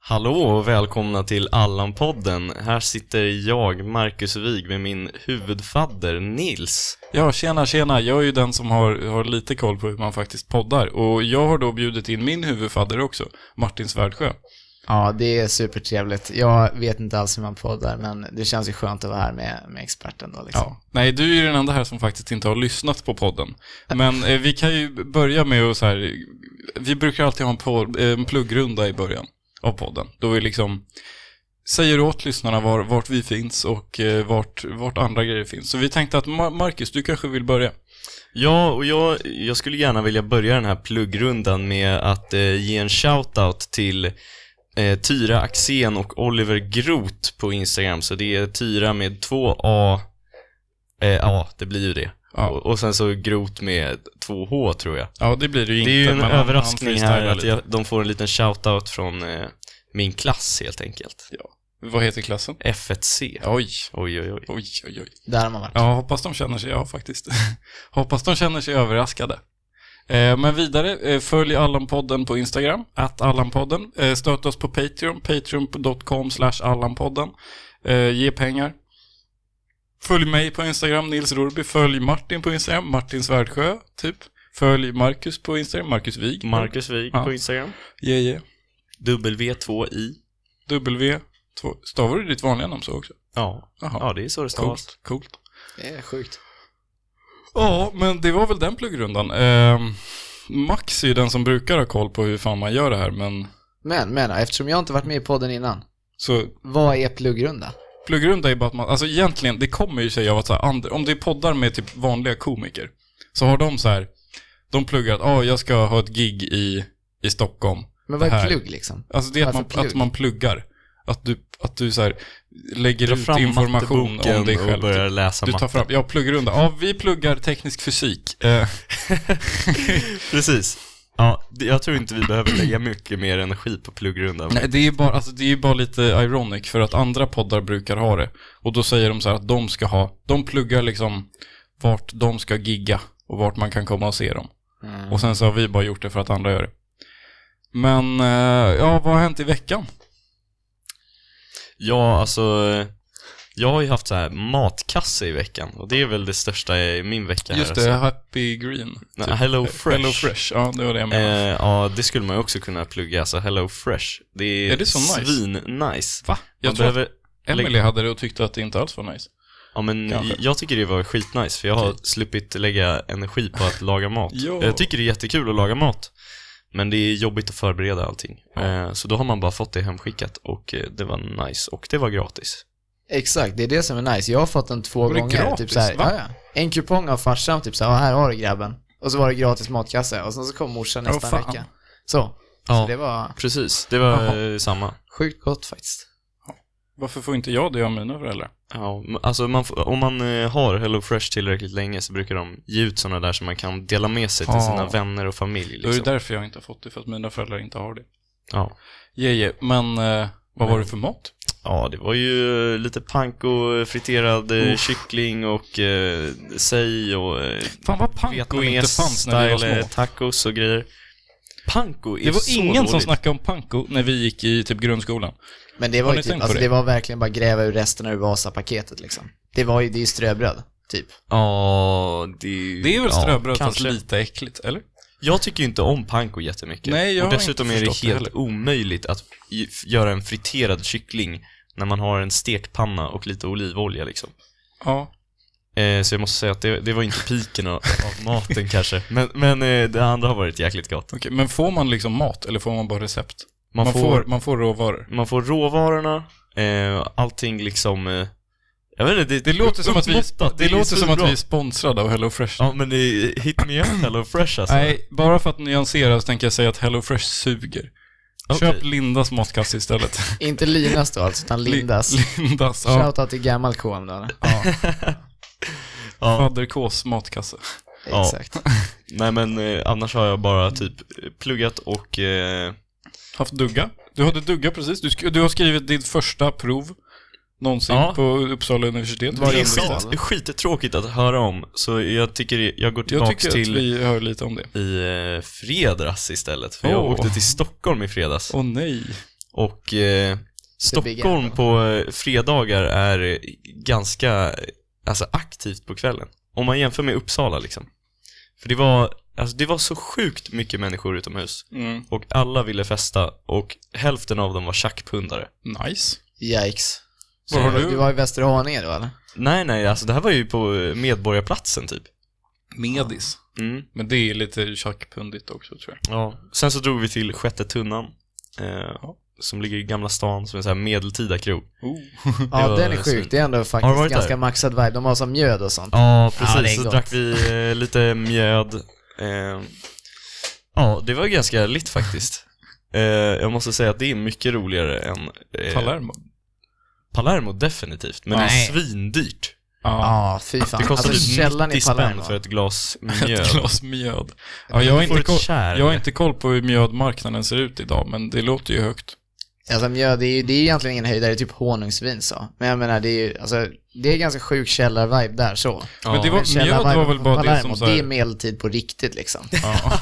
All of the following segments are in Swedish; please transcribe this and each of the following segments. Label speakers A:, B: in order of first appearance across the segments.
A: Hallå och välkomna till Allan-podden. Här sitter jag, Marcus Wig, med min huvudfadder Nils.
B: Ja, tjena, tjena. Jag är ju den som har, har lite koll på hur man faktiskt poddar. Och jag har då bjudit in min huvudfadder också, Martin Svärdsjö.
C: Ja, det är supertrevligt. Jag vet inte alls hur man poddar, men det känns ju skönt att vara här med, med experten då liksom.
B: Ja. Nej, du är ju den enda här som faktiskt inte har lyssnat på podden. Men eh, vi kan ju börja med att så här, vi brukar alltid ha en, po- eh, en pluggrunda i början av podden. Då vi liksom säger åt lyssnarna var, vart vi finns och eh, vart, vart andra grejer finns. Så vi tänkte att Ma- Marcus, du kanske vill börja?
A: Ja, och jag, jag skulle gärna vilja börja den här pluggrundan med att eh, ge en shoutout till eh, Tyra Axén och Oliver Groth på Instagram. Så det är Tyra med två A, eh, ja, det blir ju det.
B: Ja.
A: Och, och sen så Groth med två H tror jag.
B: Ja, det blir det ju inte.
A: Det är ju en
B: men han- han
A: överraskning här
B: freestylar
A: att
B: lite.
A: jag, de får en liten shoutout från eh, min klass helt enkelt.
B: Vad heter klassen?
A: F1C.
B: Oj,
A: Oj, oj, oj.
B: oj, oj, oj.
C: Där har man varit.
B: Ja, hoppas de känner sig, ja faktiskt. hoppas de känner sig överraskade. Eh, men vidare, eh, följ Allanpodden på Instagram, att Allanpodden. Eh, stötta oss på Patreon, patreon.com slash Allanpodden. Eh, ge pengar. Följ mig på Instagram, Nils Rorby. Följ Martin på Instagram, Martin Svärdsjö, typ. Följ Marcus på Instagram, Marcus Wig.
A: Marcus Wik
B: Ja.
A: på Instagram.
B: Yeah, yeah.
A: W2I.
B: W, två, stavar du ditt vanliga namn så också?
A: Ja.
B: Jaha,
A: ja, det är så det stavas.
B: coolt, coolt.
C: Det är sjukt.
B: Ja, men det var väl den pluggrundan. Ehm, Max är ju den som brukar ha koll på hur fan man gör det här, men
C: Men, men eftersom jag inte varit med i podden innan,
B: så
C: vad är pluggrunda?
B: pluggrunda är bara att man, alltså egentligen, det kommer ju sig av att så här, and- om det är poddar med typ vanliga komiker, så har de så här, de pluggar att ah, jag ska ha ett gig i, i Stockholm.
C: Men vad
B: Det
C: är
B: här.
C: plugg liksom?
B: Alltså det är att man,
C: Varför plugg?
B: att man pluggar. Att du, att du så här, lägger
A: Dra
B: ut information
A: matteboken
B: om dig
A: och
B: själv.
A: börjar läsa
B: Du tar
A: matte.
B: fram, ja, pluggrunda. Ja, vi pluggar teknisk fysik. Eh,
A: Precis. Ja, det- jag tror inte vi behöver lägga mycket mer energi på pluggrundan.
B: Nej, det är ju bara, alltså, det är ju bara lite ironic för att andra poddar brukar ha det. Och då säger de så här att de ska ha, de pluggar liksom vart de ska gigga och vart man kan komma och se dem.
C: Mm.
B: Och sen så har vi bara gjort det för att andra gör det. Men, eh, ja, vad har hänt i veckan?
A: Ja, alltså. eh, Jag har ju haft så här matkasse i veckan och det är väl det största i min vecka.
B: Just
A: här,
B: det,
A: alltså.
B: Happy Green. Typ.
A: Nej, Hello Fresh.
B: Hello Fresh, ja det var det jag
A: Eh,
B: menade.
A: ja, det skulle man ju också kunna plugga. Alltså Hello Fresh. Det är,
B: Är det så nice?
A: svin-nice.
B: Va?
A: Man
B: Jag tror
A: behöver...
B: att Emily hade det och tyckte att det inte alls var nice.
A: Ja, men
B: Kanske.
A: jag tycker det var skitnice för jag har sluppit lägga energi på att laga mat.
B: Ja.
A: Jag tycker det är jättekul att laga mat, men det är jobbigt att förbereda allting.
B: Ja.
A: Eh, Så då har man bara fått det hemskickat och eh, det var nice och det var gratis.
C: Exakt, det är det som är nice. Jag har fått den två
B: Var det
C: gånger.
B: gratis?
C: typ så här,
B: Va?
C: ja, ja. En kupong av farsan, typ så här, "Ja, här har du grabben. Och så var det gratis matkasse, och sen så kom morsan
B: Åh,
C: nästa
B: fan.
C: vecka. Så.
A: Ja.
C: Så det var
A: Precis, det var
B: Jaha.
A: eh, samma.
C: sjukt gott faktiskt.
B: Varför får inte jag det av mina föräldrar?
A: Ja, m- alltså man, får- om man eh, har HelloFresh tillräckligt länge så brukar de ge ut sådana där som man kan dela med sig till
B: Ja.
A: sina vänner och familj.
B: Då är
A: Liksom.
B: det därför jag inte har fått det, för att mina föräldrar inte har det.
A: Ja.
B: Jeje, men eh, vad var det för mat?
A: ja, det var ju eh, lite panko, eh, friterad eh, kyckling och eh, sej och eh,
B: Fan vad panko inte
A: Vietnames
B: fanns när vi var
A: style, eh,
B: små.
A: tacos och grejer. Panko är
B: Det
A: så
B: var ingen som
A: dåligt.
B: snackade om panko när vi gick i typ grundskolan.
C: Men det
B: Har
C: var
B: ni
C: ju
B: tänkt
C: typ,
B: på
C: alltså
B: det?
C: det var verkligen bara gräva ur resterna ur Vasa-paketet liksom. Det var ju, det är ju ströbröd, typ.
A: Ja, det,
B: Det är väl
A: ja,
B: ströbröd fast
A: kanske.
B: lite äckligt, eller?
A: Jag tycker ju inte om panko jättemycket.
B: Nej, jag
A: och
B: har
A: dessutom
B: inte
A: är det
B: förstått det
A: helt
B: heller.
A: omöjligt att i- f- göra en friterad kyckling när man har en stekpanna och lite olivolja liksom.
B: Ja.
A: Eh, så jag måste säga att det, det var inte piken av, av maten kanske. Men, men eh, det andra har varit jäkligt gott.
B: Okej, men får man liksom mat eller får man bara recept?
A: Man, får,
B: man får råvaror.
A: man får råvarorna, eh, allting liksom... Eh, jag vet inte, det,
B: Det låter som att vi, det
A: uppmåttat. är
B: låter
A: så
B: som att
A: bra.
B: vi är sponsrade av Hello Fresh.
A: Ja men det är hit me up hello fresh alltså.
B: Nej, bara för att nyansera så tänker jag säga att Hello Fresh suger.
A: Okej.
B: Köp Lindas matkasse istället.
C: Inte Linas då alltså, utan Lindas.
B: Li- Lindas, ja.
C: Shoutout till gammal KM då. eller?
B: ja.
A: Ja.
B: Fader Ks matkasse.
A: Ja.
C: Exakt.
A: Nej men eh, annars har jag bara typ pluggat och eh,
B: haft dugga. Du hade dugga precis. Du, sk- du har skrivit ditt första prov någonsin
A: Ja.
B: på Uppsala universitet.
C: Vad
A: det är
C: gör du då?
A: skit, skittråkigt att höra om. Så jag tycker jag går
B: Jag
A: tillbaks
B: tycker att
A: till
B: vi hör lite om det.
A: i eh, fredags istället. För jag
B: Åh.
A: åkte till Stockholm i fredags.
B: Åh nej.
A: Och eh, Stockholm på eh, fredagar är eh, ganska eh, alltså, aktivt på kvällen. Om man jämför med Uppsala liksom. För det var, alltså, det var så sjukt mycket människor utomhus.
B: Mm.
A: Och alla ville festa och hälften av dem var tjackpundare.
B: Nice.
C: Yikes.
B: Var har
C: Du
B: du?
C: var i Västerhaninge då eller?
A: Nej, nej, alltså det här var ju på eh, Medborgarplatsen typ.
B: Medis.
A: Mm.
B: Men det är lite tjackpundigt också tror jag.
A: Ja, sen så drog vi till Sjätte Tunnan, eh,
B: Ja.
A: som ligger i Gamla stan, som är en sån här medeltida krog.
C: Ja,
A: var
C: den är
A: synd.
C: sjuk. Det är ändå
A: Har du
C: faktiskt
A: varit
C: ganska
A: där?
C: maxad vibe. De har som mjöd och sånt.
A: Ja,
C: Ja, det är
A: precis. så
C: gott.
A: drack vi eh, lite mjöd. Eh, ja, det var ganska lit faktiskt. Eh, jag måste säga att det är mycket roligare än eh,
B: Palermo.
A: Palermo, definitivt. Men det
C: Nej.
A: är svindyrt.
B: Ja.
C: Ja, fy fan. Alltså,
A: Det kostar typ
C: källan
A: 90
C: i Palermo.
A: spänn för ett glas
B: Ett
A: mjöd.
B: glas mjöd. Ja, jag, har
A: får
B: inte
A: ett
B: koll,
A: kärl.
B: jag har inte koll på hur mjödmarknaden ser ut idag, men det låter ju högt.
C: Alltså mjöd, det är ju det är ju egentligen ingen höjdare, det är typ honungsvin så. Men jag menar, det är ju, alltså, det är ganska sjuk källarvibe där så.
A: Ja.
B: Men det var, mjöd
C: Källarviben
B: var väl
C: på
B: bara det
C: Palermo,
B: som
C: Det är
B: såhär...
C: medeltid på riktigt liksom.
B: Ja.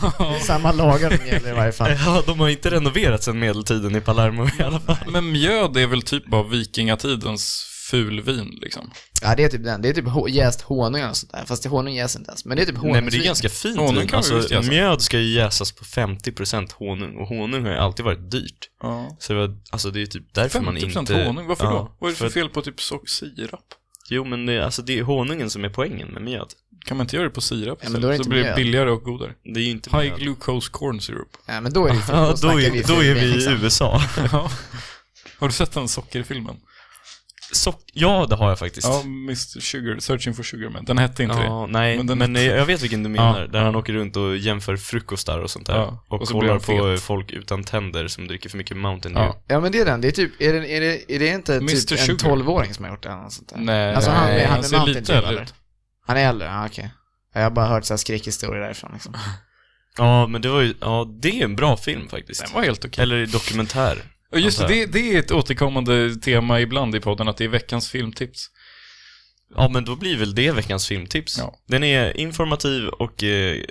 C: Samma lagar som gäller i varje fall.
A: Ja, de har inte renoverat sedan medeltiden i Palermo i alla fall.
B: Men mjöd är väl typ bara vikingatidens fulvin liksom.
C: Ja, det är typ den. Det är typ ho- jäst honung och sånt där. Fast det honung jäser inte ens. Men det är typ honungsvin.
A: Nej men det är ganska fint
B: Honung kan
A: vin.
B: vi visst
A: Alltså,
B: jäsa.
A: mjöd ska ju jäsas på 50% honung och honung har ju alltid varit dyrt.
B: Ja.
A: Så det, var, alltså, det är ju typ därför man
B: 50%
A: inte...
B: honung, varför då? Vad är det för
A: att-
B: fel på typ so- sirap?
A: Jo men det, alltså, det är honungen som är poängen med mjöd.
B: Kan man inte göra det på sirap
C: Ja, men då är det
B: istället? så
C: inte
B: blir det
C: mjöd.
B: billigare och godare.
A: Det är ju inte
B: High
A: mjöd.
B: glucose corn syrup.
C: Ja, men då är det ju fint.
A: Ja, då
C: snackar
A: är, då är vi i
C: liksom.
A: USA.
B: Ja. Har du sett den sockerfilmen?
A: Sock- ja, det har jag faktiskt.
B: Ja, Mr Sugar, Searching for Sugar Man. Den hette inte det.
A: Ja, nej,
B: Men
A: men,
B: den-
A: nej, jag vet vilken du menar.
B: Ja.
A: Där han åker runt och jämför frukostar och sånt där.
B: Ja,
A: Och,
B: och så blir
A: kollar
B: han
A: på folk utan tänder som dricker för mycket Mountain Dew.
B: Ja.
C: Ja, men det är den. Det är typ, är det, är det, är det inte
B: Mr.
C: typ
B: Sugar.
C: en 12-åring som har gjort det eller något sånt där?
B: Nej,
C: Alltså han,
A: Nej,
C: han,
B: han
C: han
B: ser
C: är
B: lite
C: lite
B: äldre
C: äldre
B: ut.
C: Han är äldre? Ja, okej. Jag har bara hört så här skräckhistorier därifrån liksom.
A: Ja, men det var ju, ja, det är en bra film faktiskt.
B: Den var helt okej.
A: Eller Alltså- dokumentär.
B: Och just det,
A: antar
B: det, det är ett återkommande tema ibland i podden, att det är veckans filmtips.
A: Ja, men då blir väl det veckans filmtips.
B: Ja.
A: Den är informativ och eh,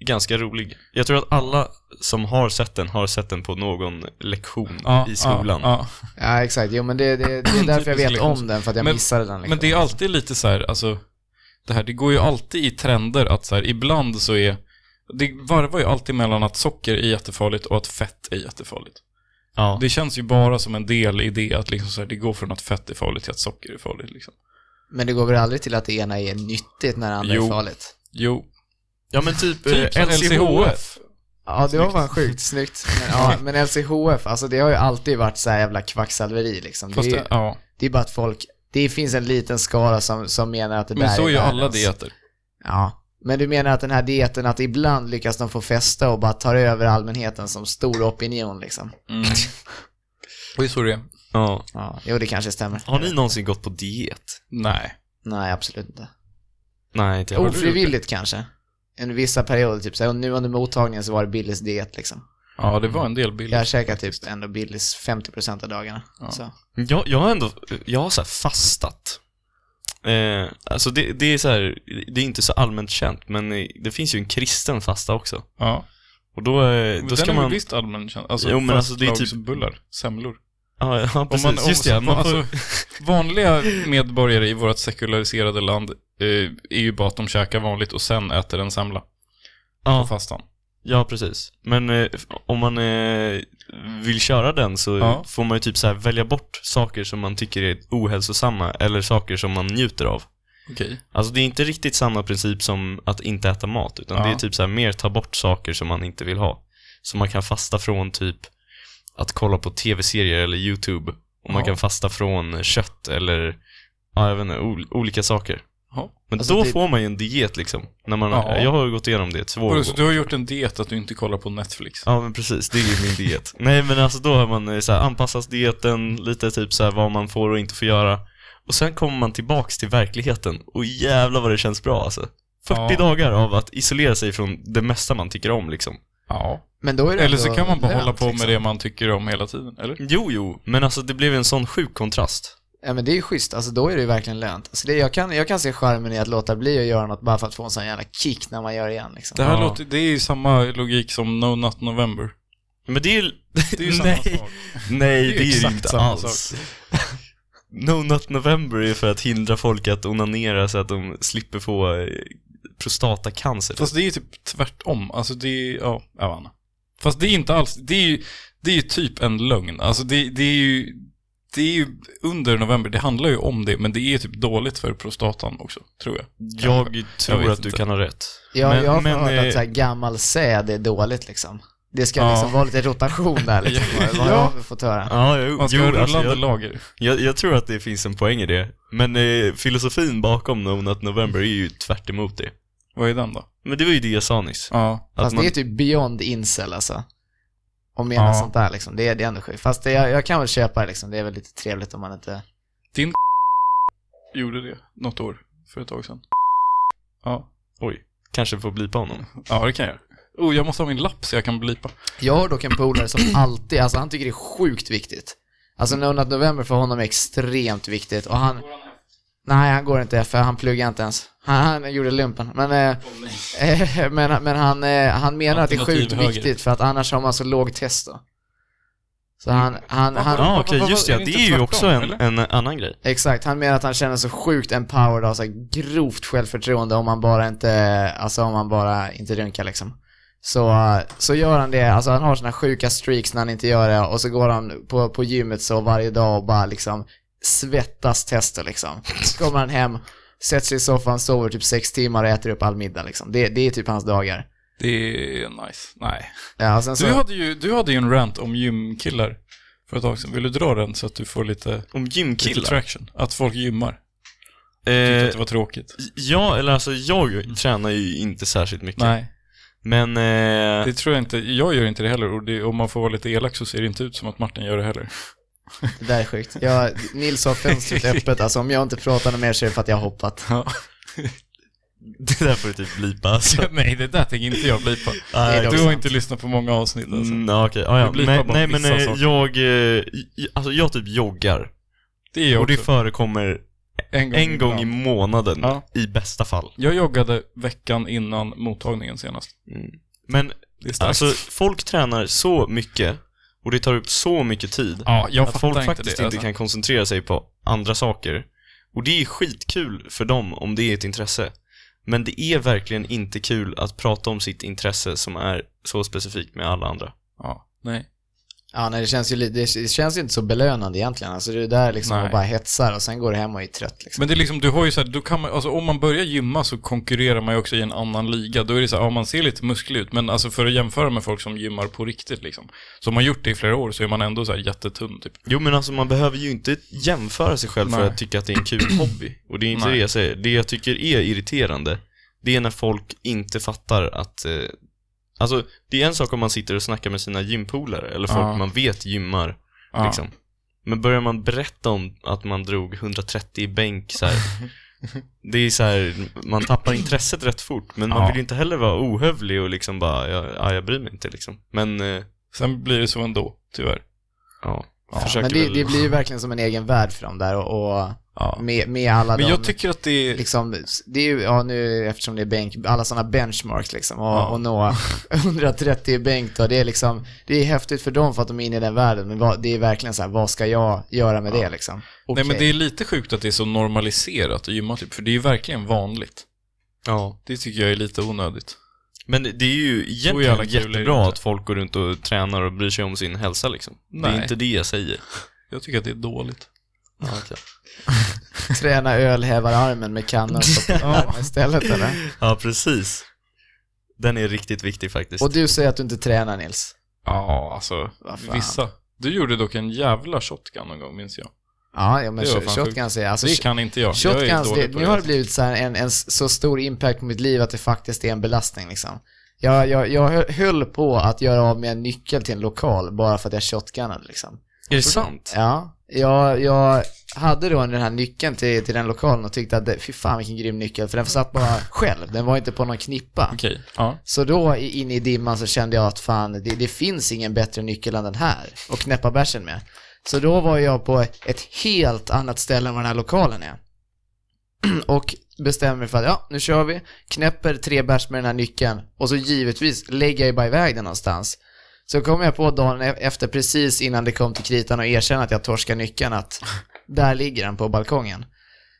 A: ganska rolig. Jag tror att alla som har sett den har sett den på någon lektion i skolan.
B: Ja, ja.
C: Ja, exakt. Jo, men det, det, det är därför jag
B: Typiskt
C: vet
B: lektions-
C: om den, för att jag
B: Typ Men-
C: missade den liksom.
B: Men det är alltid lite så här, alltså, det här, det går ju alltid i trender att så här, ibland så är, det varvar ju alltid mellan att socker är jättefarligt och att fett är jättefarligt.
A: Ja.
B: Det känns ju bara som en del i det, att liksom så här, det går från att fett är farligt till att socker är farligt. Liksom.
C: Men det går väl aldrig till att det ena är nyttigt när det andra
B: Jo.
C: är farligt?
B: Jo,
A: Ja men typ,
B: typ
A: eh,
B: som LCHF.
C: Ja, det var fan sjukt snyggt. Men, ja, men LCHF, alltså det har ju alltid varit så här jävla kvacksalveri liksom. Det
B: Fast
C: är,
B: det, ja.
C: det är bara att folk, det finns en liten skara som, som menar att det där
B: Men så är ju alla
C: världens.
B: dieter.
C: Ja. Men du menar att den här dieten, att ibland lyckas de få fästa och bara tar över allmänheten som stor opinion liksom?
B: Mm. Och det är så det är.
A: Ja.
C: Ja, jo det kanske stämmer.
A: Har ni någonsin gått på diet?
B: Nej.
C: Nej, absolut inte.
A: Nej, inte jag.
B: Oh.
A: Har du gjort
C: Ofrivilligt kanske. En vissa perioder, typ så här, och nu under mottagningen så var det Billys diet liksom.
B: Ja, det var en del
C: Jag
B: bilder.
C: har käkat typ ändå Billys 50% av dagarna.
B: Ja.
C: Så.
A: det? Jag, jag har ändå, jag har så här fastat. Eh, alltså det, det är så här, det är inte så allmänt känt, men eh, det finns ju en kristen fasta också.
B: Ja.
A: Och då, eh,
B: Men
A: då
B: den
A: ska
B: är väl
A: man...
B: visst allmän känd. Alltså,
A: Jo, men alltså, det är typ-
B: bullar, semlor.
A: Ja, ja, precis. Just det, man får...
B: alltså, vanliga medborgare i vårt sekulariserade land eh, är ju bara att de käkar vanligt och sen äter en semla på
A: ja,
B: fastan.
A: ja, precis. Men eh, om man eh, vill köra den så
B: Ja.
A: får man ju typ så här välja bort saker som man tycker är ohälsosamma eller saker som man njuter av.
B: Okej.
A: Alltså det är inte riktigt samma princip som att inte äta mat, utan
B: Ja.
A: det är typ så här mer ta bort saker som man inte vill ha. Så man kan fasta från typ att kolla på tv-serier eller YouTube, och man
B: Ja.
A: kan fasta från kött eller, ja jag vet inte, ol- olika saker.
B: Ja.
A: Men
C: Alltså,
A: då
C: det-
A: får man ju en diet liksom. När man,
B: Ja.
A: Jag har ju gått igenom det två
B: Vadå,
A: år.
B: Så du har gjort en diet att du inte kollar på Netflix?
A: Ja men precis, det är ju min diet. Nej men alltså då har man eh, så här, anpassas dieten, lite typ så här vad man får och inte får göra. Och sen kommer man tillbaks till verkligheten och jävlar vad det känns bra alltså. 40
B: Ja.
A: dagar av att isolera sig från det mesta man tycker om liksom.
B: Ja.
C: Men då är det
B: Eller så
C: ändå
B: kan man bara
C: lönt,
B: hålla på med
C: liksom.
B: det man tycker om hela tiden, eller?
A: Jo, jo, men alltså det blev en sån sjuk kontrast.
C: Ja men det är ju schysst, alltså då är det ju verkligen lönt. Alltså det, jag, kan, jag kan se charmen i att låta bli att göra något bara för att få en sån jävla kick när man gör det igen liksom.
B: Det här
A: Ja.
B: låter, det är ju samma logik som No Nut November.
A: Men det är
B: Det är ju samma
A: Nej.
B: sak.
A: Nej, det är, ju
B: exakt
A: inte
B: samma
A: alls.
B: sak.
A: No Nut November är för att hindra folk att onanera så att de slipper få eh, prostatacancer.
B: Fast det är ju typ tvärtom. Alltså det är, ja, jag vet inte. Fast det är inte alls, det är ju, det är ju typ en lögn. Alltså det, det är ju, det är ju under november, det handlar ju om det, men det är ju typ dåligt för prostatan också, tror jag.
A: jag tror
B: vet
A: att du
B: inte.
A: kan ha rätt.
C: Ja,
A: Men-
C: jag har
A: men,
C: hört
A: eh,
C: att så här, gammal säd är dåligt liksom. Det ska
B: Ja.
C: liksom vara lite rotation där liksom, vad vad jag har fått höra.
A: Ja, jo,
B: Man ska
A: jo,
B: ha rullande
A: alltså, jag,
B: lager.
A: jag, jag tror att det finns en poäng i det. Men eh, filosofin bakom No Nut November är ju tvärt emot det.
B: Vad är den då?
A: Men det var ju det jag sa nyss.
B: Ja.
A: Att
C: Fast
A: man,
C: det är typ beyond incel alltså. Om menar
B: Ja.
C: sånt där liksom. Det är, det är ändå sjukt. Fast det, jag, jag kan väl köpa det liksom. Det är väl lite trevligt om man inte...
B: Gjorde det något år, för ett tag sedan. Ja.
A: Oj, kanske får blipa honom.
B: Ja, det kan jag göra. Oh, jag måste ha min lapp så jag kan blipa.
C: Jag har dock en polare som alltid, alltså han tycker det är sjukt viktigt. Alltså No Nut November för honom är extremt viktigt och han... Nej, han går inte för han pluggar inte ens. Han, han gjorde lumpen. Men, eh, eh, men, men han, eh, han menar att det är sjukt
B: Alternativ höger.
C: viktigt för att annars har man så låg test då. Så
B: Mm.
C: han, han, han,
A: Ja,
B: Vad-
A: okej,
B: vad-
A: just
B: vad-
A: det.
B: är det
A: Det
B: inte
A: är ju
B: tvärtom,
A: också en,
B: eller?
A: en annan grej.
C: Exakt, han menar att han känner sig sjukt empowered och har så här grovt självförtroende om han bara inte, alltså om han bara inte runkar liksom. Så, eh, så gör han det, alltså han har sina sjuka streaks när han inte gör det och så går han på, på gymmet så varje dag och bara liksom svettas tester liksom. Så kommer han hem, sätter sig i soffan, sover typ sex timmar och äter upp all middag liksom. Det, det är typ hans dagar.
B: Det är nice. Nej.
C: Ja, och sen så,
B: Du hade, ju, du hade ju en rant om gymkillar för ett tag sedan. Vill du dra den så att du får lite,
A: Om
B: lite
A: gymkillar.
B: traction? Att folk gymmar. Tyckte att
A: Eh,
B: det var tråkigt.
A: ja, eller alltså jag tränar ju inte särskilt mycket.
B: Nej,
A: Men... Eh,
B: det tror jag inte. Jag gör inte det heller och det, om man får vara lite elak så ser det inte ut som att Martin gör det heller.
C: det där är sjukt. Jag, Nils har fönstret öppet, alltså om jag inte pratar mer så är det för att jag har hoppat.
A: Det där får du typ blipa alltså.
B: Nej, det där tänker inte jag blipa.
C: är dock
B: Du har
C: sant.
B: inte lyssnat på många avsnitt alltså.
A: Mm, ja, okej. Ja,
B: Det
A: ja.
B: blipar
A: Men,
B: bara
A: nej men
B: vissa
A: eh,
B: saker.
A: jag, eh, i- alltså jag typ joggar.
B: Det är jag
A: Och det
B: också.
A: förekommer
B: en gång,
A: en gång i
B: ibland.
A: månaden
B: Ja.
A: i bästa fall.
B: Jag joggade veckan innan mottagningen senast.
A: Men
B: Det är starkt.
A: alltså folk tränar så mycket och det tar upp så mycket tid
B: ja, jag
A: att
B: fattar
A: folk
B: inte
A: faktiskt
B: det.
A: inte
B: alltså.
A: kan koncentrera sig på andra saker. Och det är skitkul för dem om det är ett intresse. Men det är verkligen inte kul att prata om sitt intresse som är så specifikt med alla andra.
B: Ja, nej.
C: Ja, nej, det känns ju li- det det känns ju inte så belönande egentligen. Alltså det är där liksom
B: Nej.
C: och bara hetsar och sen går du hem och är trött liksom.
B: Men det är liksom, du har ju så här, då kan man, alltså om man börjar gymma så konkurrerar man ju också i en annan liga. Då är det så här, ja man ser lite musklig ut, men alltså för att jämföra med folk som gymmar på riktigt liksom. Som har gjort det i flera år så är man ändå så här jättetunn typ.
A: Jo men alltså man behöver ju inte jämföra sig själv för
B: Nej.
A: att tycka att det är en kul hobby. Och det är inte
B: Nej.
A: det jag säger. Det jag tycker är irriterande, det är när folk inte fattar att eh, Alltså, det är en sak om man sitter och snackar med sina gympolare eller folk
B: Ja.
A: man vet gymmar.
B: Ja.
A: Liksom. Men börjar man berätta om att man drog 130 i bänk så här. Det är så här, man tappar intresset rätt fort. Men man
B: Ja.
A: vill ju inte heller vara ohövlig och liksom bara, ja, ja jag bryr mig inte liksom. Men, eh,
B: Sen blir det så ändå, tyvärr.
A: ja.
B: Ja,
A: försöker
C: Men det,
A: väl-
C: det blir ju verkligen som en egen värld för dem där och, och
B: Ja.
C: med, med alla
B: Men
C: de,
B: jag tycker att det är...
C: liksom, det är ju, ja nu eftersom det är bänk, alla sådana benchmarks liksom och,
B: Ja.
C: och nå 130 i bänk då, det är liksom, det är häftigt för dem för att de är inne i den världen, men vad, det är verkligen så här, vad ska jag göra med det liksom?
B: Nej men
C: Okej.
B: det är lite sjukt att det är så normaliserat att gymma typ, för det är ju verkligen vanligt.
A: Ja.
B: Det tycker jag är lite onödigt.
A: Men det det är ju egentligen
B: jävla kul är det
A: jättebra
B: inte.
A: att folk går runt och tränar och bryr sig om sin hälsa liksom. Det
B: Nej.
A: är inte det jag säger.
B: Jag tycker att det är dåligt.
C: Träna ölhävararmen med kannan så istället eller?
A: ja, precis. Den är riktigt viktig faktiskt.
C: Och du säger att du inte tränar Nils?
B: Ja, alltså.
C: Vad fan.
B: Vissa. Du gjorde dock en jävla shotgun någon gång, minns
C: Alltså,
B: jag.
C: Ja, ja men
B: Det var fan
C: shotguns är, alltså,
B: Det kan inte jag. jag är
C: shotguns,
B: dålig
C: det,
B: på
C: nu
B: det. alltså.
C: har det blivit så här en, en så stor impact på mitt liv att det faktiskt är en belastning liksom. Jag, jag, jag hö- höll på att göra av med en nyckel till en lokal bara för att jag shotgunnade liksom.
A: är det sant?
C: Ja, jag, jag hade då den här nyckeln till, till den lokalen och tyckte att det, fy fan vilken grym nyckel, för den satt bara själv, den var inte på någon knippa.
B: Okej, ja.
C: Så då i- inne i dimman så kände jag att fan, det, det finns ingen bättre nyckel än den här och knäppa bärsen med. Så då var jag på ett helt annat ställe än vad den här lokalen är. Och bestämmer mig för att ja, nu kör vi, knäpper tre bärs med den här nyckeln och så givetvis lägger jag ju bara iväg den någonstans. Så kom jag på dagen e- efter, precis innan det kom till kritan och erkänna att jag torskade nyckeln, att där ligger den på balkongen.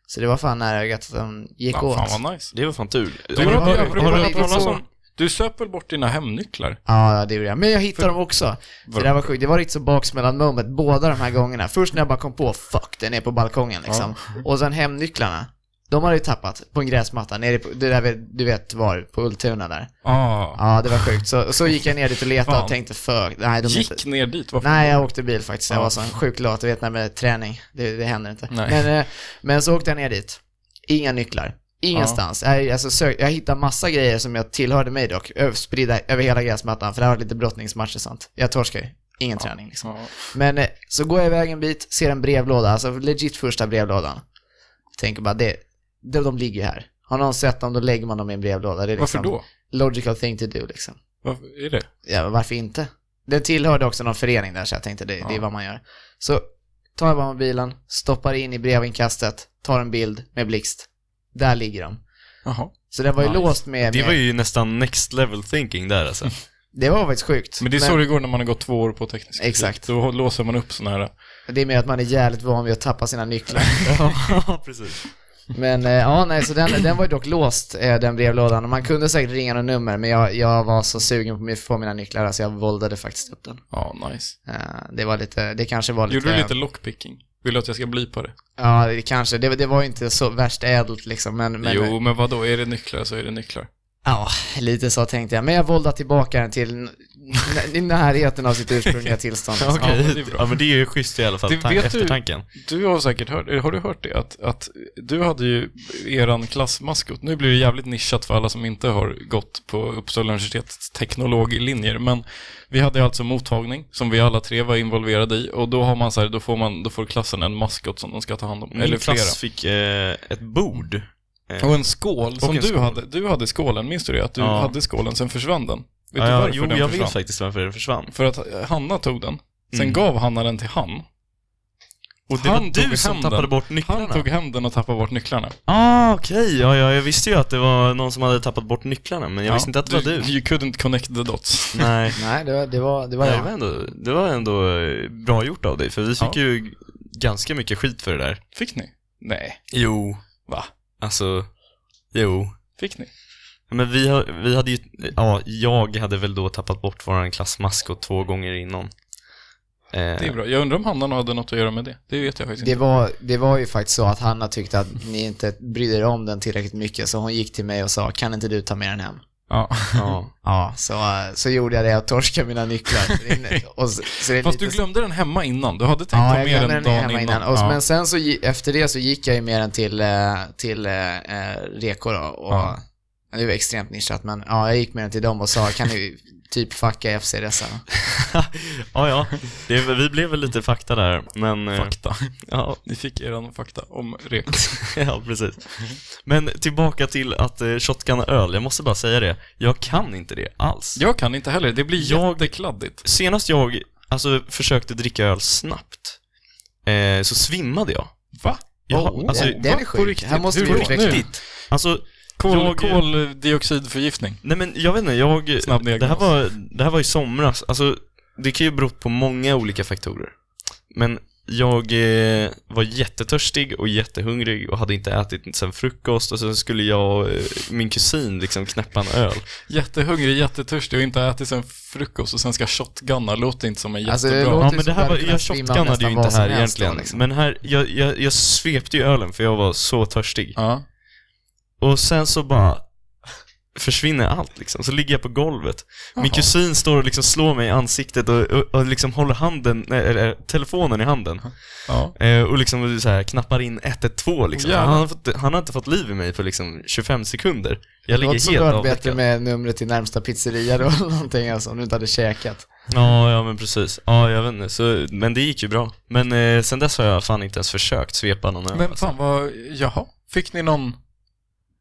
C: Så det var fan nära ögat att den gick
B: Ja,
C: åt.
B: fan vad nice.
A: Det var fan tur.
B: Du, har,
C: det var-
B: har,
C: det var
B: har du hört
C: lite
B: talas
C: så.
B: om... Du söp väl bort dina hemnycklar?
C: Ja, ja, det gjorde jag. Men jag hittade dem också. Så
B: Vad-
C: det där var sjukt. Det var riktigt så baksmällan moment båda de här gångerna. Först när jag bara kom på, fuck, den är på balkongen liksom. Och sen hemnycklarna. De hade ju tappat på en gräsmatta nere på, det där vi- du vet var, på Ultuna där.
B: Ah.
C: Ja, det var sjukt. Så, så gick jag ner dit och letade
B: Fan.
C: och tänkte, fuck, nej de är inte...
B: Gick ner dit? Varför?
C: Nej, jag åkte bil faktiskt. Jag
B: Ja.
C: var så en sjuk lat, du vet när med träning. Det, det händer inte.
B: Nej.
C: Men, eh, men så åkte jag ner dit. Inga nycklar. Ingenstans. Jag, alltså, sök, jag hittade massa grejer som jag tillhörde mig dock, ö- spridda över hela gräsmattan, för det har varit lite brottningsmatcher och sånt. Jag torskar ju. Ingen träning liksom.
B: Ja.
C: Men eh, så går jag iväg en bit, ser en brevlåda, alltså legit första brevlådan. Tänker bara, det, de, de ligger ju här. Har någon sett dem, då lägger man dem i en brevlåda. Det är
B: Varför
C: liksom
B: då?
C: Logical thing to do liksom.
B: Varför är det?
C: Ja, varför inte? Den tillhörde också någon förening där, så jag tänkte det, det är vad man gör. Så tar jag bara mobilen, stoppar in i brevinkastet, tar en bild med blixt. Där ligger de.
B: Jaha.
C: Så den var ju
A: Nice.
C: låst med...
A: Det var
C: med-
A: ju nästan next level thinking där alltså.
C: det var faktiskt sjukt.
B: Men det är så det går när man har gått två år på teknisk fysik.
C: Exakt.
B: Då låser man upp sådana här...
C: det är mer att man är jävligt van vid att tappa sina nycklar.
A: ja, precis.
C: Men eh, ja, nej, så den, den var ju dock låst, eh, den brevlådan. Och Man kunde säkert ringa något nummer, men jag, jag var så sugen på att få mina nycklar, så alltså jag våldade faktiskt upp den.
B: Ja, nice.
C: Eh, det var lite, det kanske var lite...
B: Gjorde du lite lockpicking? Vill du att jag ska bli på det?
C: Ja, det kanske. Det, det var ju inte så värst ädelt liksom, men... men
B: jo, men vad då? Är det nycklar så är det nycklar.
C: Ja, lite så tänkte jag. Men jag våldade tillbaka den till n- n- i närheten av sitt ursprungliga tillstånd.
A: Okej,
B: Ja, men det
A: ja,
B: är bra.
A: men det är ju schysst i alla fall,
B: Det
A: tan-
B: vet du-
A: eftertanken.
B: Du har säkert hört, eh, har du hört det? Att, att du hade ju eran klassmaskot. Nu blir det jävligt nischat för alla som inte har gått på Uppsala universitets teknologlinjer. Men vi hade alltså mottagning som vi alla tre var involverade i. Och då har man så här, då får, man, då får klassen en maskot som de ska ta hand om.
A: Min
B: eller
A: klass
B: flera.
A: fick eh, ett bord. Eh,
B: Och en skål som
A: en
B: du
A: skål.
B: hade. Du hade skålen, minns du det? Att du
A: Ja.
B: hade skålen, sen försvann den. Vet du
A: ja,
B: varför
A: jo,
B: den
A: jag
B: försvann?
A: vet faktiskt varför den försvann.
B: För att Hanna tog den. Sen
A: Mm.
B: gav Hanna den till han.
A: Och det
B: Han
A: var
B: tog
A: du som
B: hem
A: tappade
B: den.
A: bort
B: Han
A: nycklarna.
B: tog hem den och tappade bort nycklarna.
A: Ah, okej. Ja, ja, jag visste ju att det var någon som hade tappat bort nycklarna, men jag
B: Ja,
A: visste inte att det var du.
B: You couldn't connect the dots.
A: Nej.
C: Nej, det var, det var, det var
A: Nej, det,
C: jag.
A: var ändå, det var ändå eh, bra gjort av dig, för vi fick
B: Ja.
A: ju ganska mycket skit för det där.
B: Fick ni? Nej.
A: Jo.
B: Va?
A: Alltså, jo.
B: Fick ni?
A: Men vi, har- vi hade ju, ja, jag hade väl då tappat bort våran klassmaskot två gånger innan. Eh,
B: Det är bra. Jag undrar om Hanna hade något att göra med det. Det vet jag faktiskt
C: Det
B: inte.
C: var, det var ju faktiskt så att Hanna tyckte att ni inte brydde er om den tillräckligt mycket, så hon gick till mig och sa, kan inte du ta med den hem?
B: Ja.
A: Ja.
C: Ja, så, eh, så gjorde jag det, jag torskade mina nycklar. Det är- och så, så det är
B: Fast
C: lite
B: du
C: så-
B: glömde den hemma innan. Du hade tänkt
C: Ja,
B: ha
C: jag
B: med
C: glömde
B: den dagen
C: hemma
B: innan.
C: innan. Och,
B: ja.
C: Men sen så, gi- efter det så gick jag ju med den till, eh, till eh, eh, Reko då. Och,
B: Ja.
C: Det var extremt nischat, men ja, jag gick med den till dem och sa, kan ni typ fucka FC dessa?
A: ja, ja. Det, är väl- vi blev väl lite fakta där, men... eh,
B: Fakta.
A: Ja,
B: Ni fick eran fakta om rek.
A: ja, precis. Men tillbaka till att eh, shotgunna öl, jag måste bara säga det. Jag kan inte det alls.
B: Jag kan inte heller. Det blir
A: Jag-
B: jättekladdigt.
A: Senast jag alltså, försökte dricka öl snabbt, eh, så svimmade jag.
B: Va?
A: jag
B: Oh,
A: alltså,
C: den, den är
B: va? På
C: sjuk.
B: riktigt?
C: Här måste
B: Hur
C: vi
B: då?
C: utveckla.
B: Nu?
A: riktigt. Alltså,
B: Kol,
A: Jag-
B: koldioxidförgiftning.
A: nej men jag vet inte, jag...
B: Snabb
A: det, här
B: diagnos.
A: var, det här var i somras. Alltså, det kan ju bero på många olika faktorer. Men jag eh, var jättetörstig och jättehungrig och hade inte ätit sen frukost och sen skulle jag och eh, min kusin liksom knäppa en öl.
B: Jättehungrig, jättetörstig och inte ätit sen frukost och sen ska shotgunna. Låter inte som en
C: Alltså,
B: jättebra...
C: det låter-
A: Ja
C: ju
A: men det
C: som
A: här
C: att
A: var,
C: du hade
A: jag
C: kunnat svimma
A: shotgunnade ju
C: nästan
A: inte
C: vad som
A: här
C: helst då,
A: egentligen.
C: liksom.
A: Men här, jag, jag, jag svepte ju ölen för jag var så törstig.
B: ja.
A: Och sen så bara försvinner allt liksom. Så ligger jag på golvet. Min
B: Jaha.
A: kusin står och liksom slår mig i ansiktet och, och, och liksom håller handen, nej, eller, telefonen i handen.
B: ja.
A: Eh, och liksom så här, knappar in 112 liksom.
B: Jävlar.
A: Han, har fått, han har inte fått liv i mig på liksom 25 sekunder. Jag
C: Det låter
A: ligger
C: som du
A: helt
C: hade bättre
A: avveckad.
C: med numret till närmsta pizzeria då, eller någonting alltså, om du inte hade käkat.
A: Ja, ja men precis. Ja, jag vet inte. Så, men det gick ju bra. Men eh, sen dess har jag fan inte ens försökt svepa någon öl.
B: Men fan vad, jaha, fick ni någon,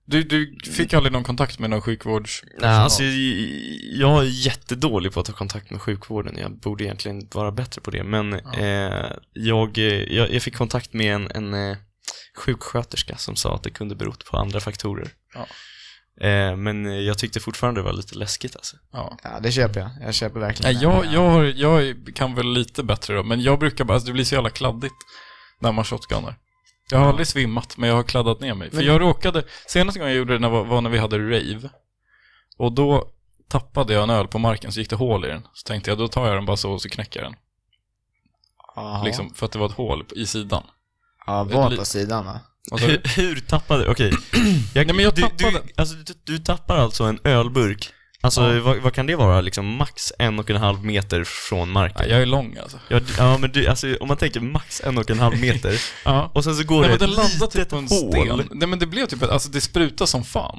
B: du, du fick aldrig någon kontakt med någon sjukvårds...
A: Nej, alltså jag- jag är jättedålig på att ta kontakt med sjukvården. Jag borde egentligen vara bättre på det. Men eh, jag, eh, jag, jag fick kontakt med en, en eh, sjuksköterska som sa att det kunde berott på andra faktorer.
B: Ja.
A: Eh, men eh, jag tyckte fortfarande det var lite läskigt alltså.
B: Ja.
C: Ja, det köper jag. Jag köper verkligen
B: Nej,
C: det.
B: jag, jag, har, jag kan väl lite bättre då, men jag brukar bara, alltså det blir så jävla kladdigt när man shotgunnar. Jag har aldrig svimmat, men jag har kladdat ner mig. För
C: Men-
B: jag råkade, senaste gången jag gjorde det när, var- var när vi hade rave. Och då tappade jag en öl på marken, så gick det hål i den. Så tänkte jag, då tar jag den bara så och så knäcker jag den.
C: Jaha.
B: Liksom, för att det var ett hål i sidan.
C: Ja, var
B: Li-
C: på sidan va?
B: Och så,
A: Hur, hur tappade du? Okej.
B: Nej, men jag
A: du, du,
B: tappade-
A: alltså, du, du tappar alltså en ölburk. Alltså
B: Ja.
A: vad, vad kan det vara? Liksom max en och en halv meter från marken?
B: nej, jag är lång alltså.
A: Ja, d- ja men du, alltså, om man tänker max en och en halv meter
B: Ja.
A: och sen så går det
B: Nej, men den
A: ett
B: landade
A: litet
B: typ på en
A: hål.
B: sten. Nej, men det blev typ, ett- alltså det sprutade som fan.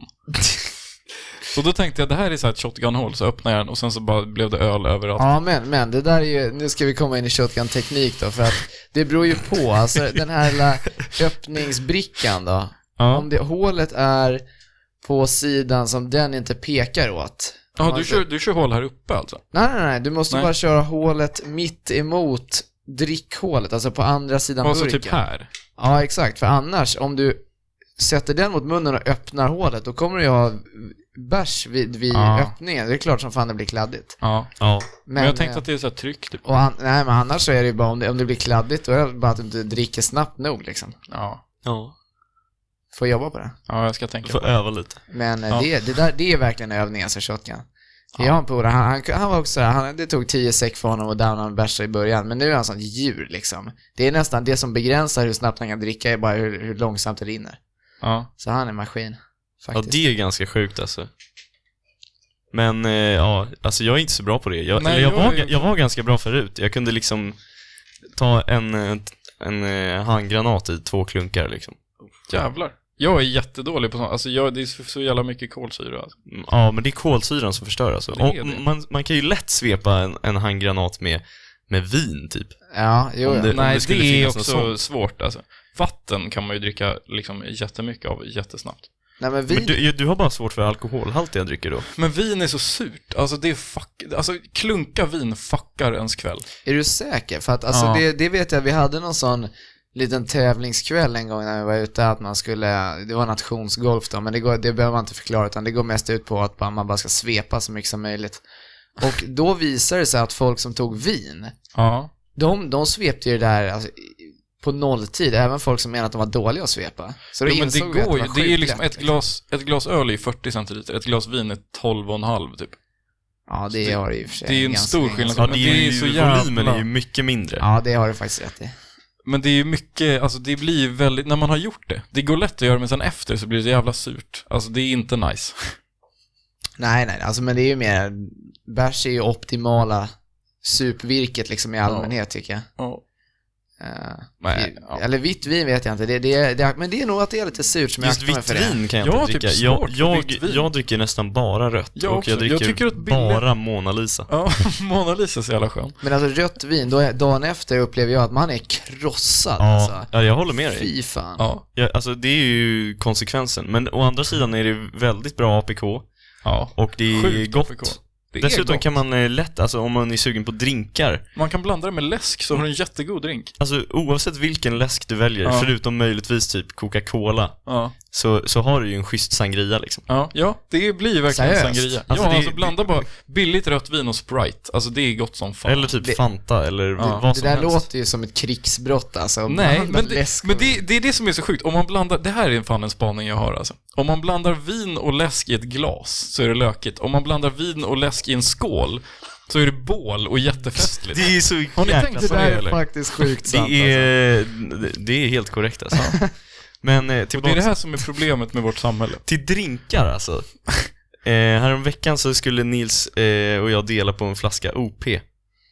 B: Så då tänkte jag, det här är så här ett shotgun-hål, så öppnade jag den och sen så bara blev det öl överallt.
C: Ja, men, men det där är ju, nu ska vi komma in i shotgun-teknik då, för att det beror ju på, alltså den här lilla öppningsbrickan då. Om det hålet är på sidan som den inte pekar åt.
B: Ja, du
C: Alltså-
B: kör, du kör hål här uppe alltså?
C: Nej, nej, nej, du måste
B: Nej.
C: bara köra hålet mitt emot drickhålet, alltså på andra sidan
B: Alltså
C: burken.
B: typ här?
C: Ja, exakt, för annars om du sätter den mot munnen och öppnar hålet, då kommer du ju ha bärs vid, vid
B: Ja.
C: öppningen. Det är klart som fan det blir kladdigt.
B: Ja.
A: Ja.
C: Men,
B: Men jag tänkte
C: eh,
B: att det är så här tryck typ.
C: Och an- nej, men annars så är det ju bara om det, om det blir kladdigt, då är det bara att du inte dricker snabbt nog liksom.
B: Ja.
A: Ja.
C: Får jobba på det.
B: Ja, jag ska
A: Du
B: tänka på
A: får
B: det.
A: öva lite.
C: Men eh,
B: Ja.
C: det, det, där, det är verkligen övning, alltså shotgun.
B: Ja.
C: Jag har en polare, han, han, han var också så här, han, det tog 10 sek för honom och downa en bärsa i början, men nu är han sånt djur liksom. Det är nästan det som begränsar hur snabbt han kan dricka, är bara hur, hur långsamt det rinner.
B: Ja.
C: Så han är en maskin,
A: Ja,
C: faktiskt.
A: det är ganska sjukt alltså. Men eh, ja, alltså jag är inte så bra på det. Jag,
B: Nej,
A: eller jag,
B: jag
A: var,
B: är-
A: ga- jag var ganska bra förut. Jag kunde liksom ta en, eh, t- en eh, handgranat i två klunkar liksom.
B: Jävlar. Jag är jättedålig på sånt. Alltså jag, det är så, så jävla mycket kolsyra. Alltså.
A: Mm, Ja, men det är kolsyran som förstör alltså.
B: Det är
A: Och
B: det.
A: man, man kan ju lätt svepa en, en handgranat med, med vin typ.
C: Ja, jo,
A: Om
C: ja.
A: det- om
B: Nej, det,
A: skulle
B: är
A: finnas något
B: också svårt alltså. Vatten kan man ju dricka liksom jättemycket av jättesnabbt.
C: Nej, men vi...
A: Men du, du har bara svårt för alkoholhaltiga drycker då?
B: Men vin är så surt. Alltså det är fuck... Alltså klunka vin fuckar ens kväll.
C: Är du säker? För att alltså,
B: Ja.
C: det, det vet jag, vi hade någon sån liten tävlingskväll en gång när vi var ute, att man skulle, det var nationsgolf då, men det, går, det behöver man inte förklara, utan det går mest ut på att bara- man bara ska svepa så mycket som möjligt. Och då visade det sig att folk som tog vin,
B: Ja.
C: de, de svepte ju det där alltså, i- på nolltid, även folk som menade att de var dåliga att svepa. Så då
B: Jo, men det
C: insåg vi att
B: går ju.
C: var
B: Det är ju
C: sjukt
B: liksom
C: lätt,
B: ett glas, ett glas öl är ju 40 centiliter, ett glas vin är 12,5 typ.
C: Ja, det
B: det-
C: har det i och för sig.
B: det är ju en
C: ganska-
B: stor skillnad.
A: Ja,
B: Men
A: det är
B: det är
A: ju,
B: så
A: volymen
B: jävla-
A: är ju mycket mindre.
C: Ja, det har du faktiskt rätt i.
B: Men det är ju mycket, alltså det blir ju väldigt, när man har gjort det, det går lätt att göra men sen efter så blir det så jävla surt. Alltså det är inte nice.
C: Nej, nej, alltså men det är ju mer, bärs är ju optimala supvirket liksom i allmänhet tycker jag.
B: Ja.
C: Eh,
B: Nej,
C: i-
B: ja.
C: Eller vitt vin vet jag inte, det, det, det, men det är nog att det är lite surt som jag
A: Just
C: aktar mig
A: vitt
C: för det.
A: vin kan jag
B: Jag har
A: inte
B: typ
A: dricka.
B: svårt
A: Jag,
B: för
A: jag,
B: vitt vin.
A: jag dricker nästan bara rött
B: Jag
A: och
B: också.
A: jag
B: Jag
A: dricker
B: tycker att billigt-
A: bara Mona Lisa.
B: ja, Mona Lisa är så jävla skön.
C: Men alltså rött vin, då är, dagen efter upplever jag att man är krossad
A: Ja,
C: alltså.
A: ja, jag håller med dig.
C: Fy fan.
B: Ja.
A: Ja, alltså det är ju konsekvensen. Men å andra sidan är det väldigt bra APK
B: Ja.
A: och det är
B: Sjukt
A: gott.
B: APK. Det är
A: Dessutom
B: gott.
A: kan man eh, lätt, alltså om man är sugen på drinkar,
B: Man kan blanda det med läsk så har du en jättegod drink.
A: alltså oavsett vilken läsk du väljer,
B: Ja.
A: förutom möjligtvis typ Coca-Cola,
B: Ja.
A: så, så har du ju en schysst sangria liksom.
B: Ja, ja det blir ju verkligen
C: Seriöst?
B: sangria.
A: Alltså,
B: ja,
A: det-
B: alltså blanda bara billigt rött vin och Sprite. Alltså det är gott som fan.
A: Eller typ
C: Det-
A: Fanta eller
B: Ja.
A: vad
C: Det
A: som
C: där
A: helst.
C: låter ju som ett krigsbrott alltså.
B: Nej,
C: Man-
B: men, det,
C: läsk
B: men
C: och-
B: det, det är det som är så sjukt. Om man blandar, det här är fan en spaning jag har alltså. Om man blandar vin och läsk i ett glas så är det lökigt. Om man blandar vin och läsk i en skål så är det bål och jättefestligt.
A: Det är så
B: Har ni tänkt
C: det
B: på det
C: där är
B: eller?
C: faktiskt sjukt sant
A: Det
C: alltså.
A: är, det är helt korrekt alltså. Men eh,
B: Och det
A: tillbaka
B: är det här som är problemet med vårt samhälle.
A: till drinkar alltså. Eh, häromveckan så skulle Nils eh, och jag dela på en flaska OP.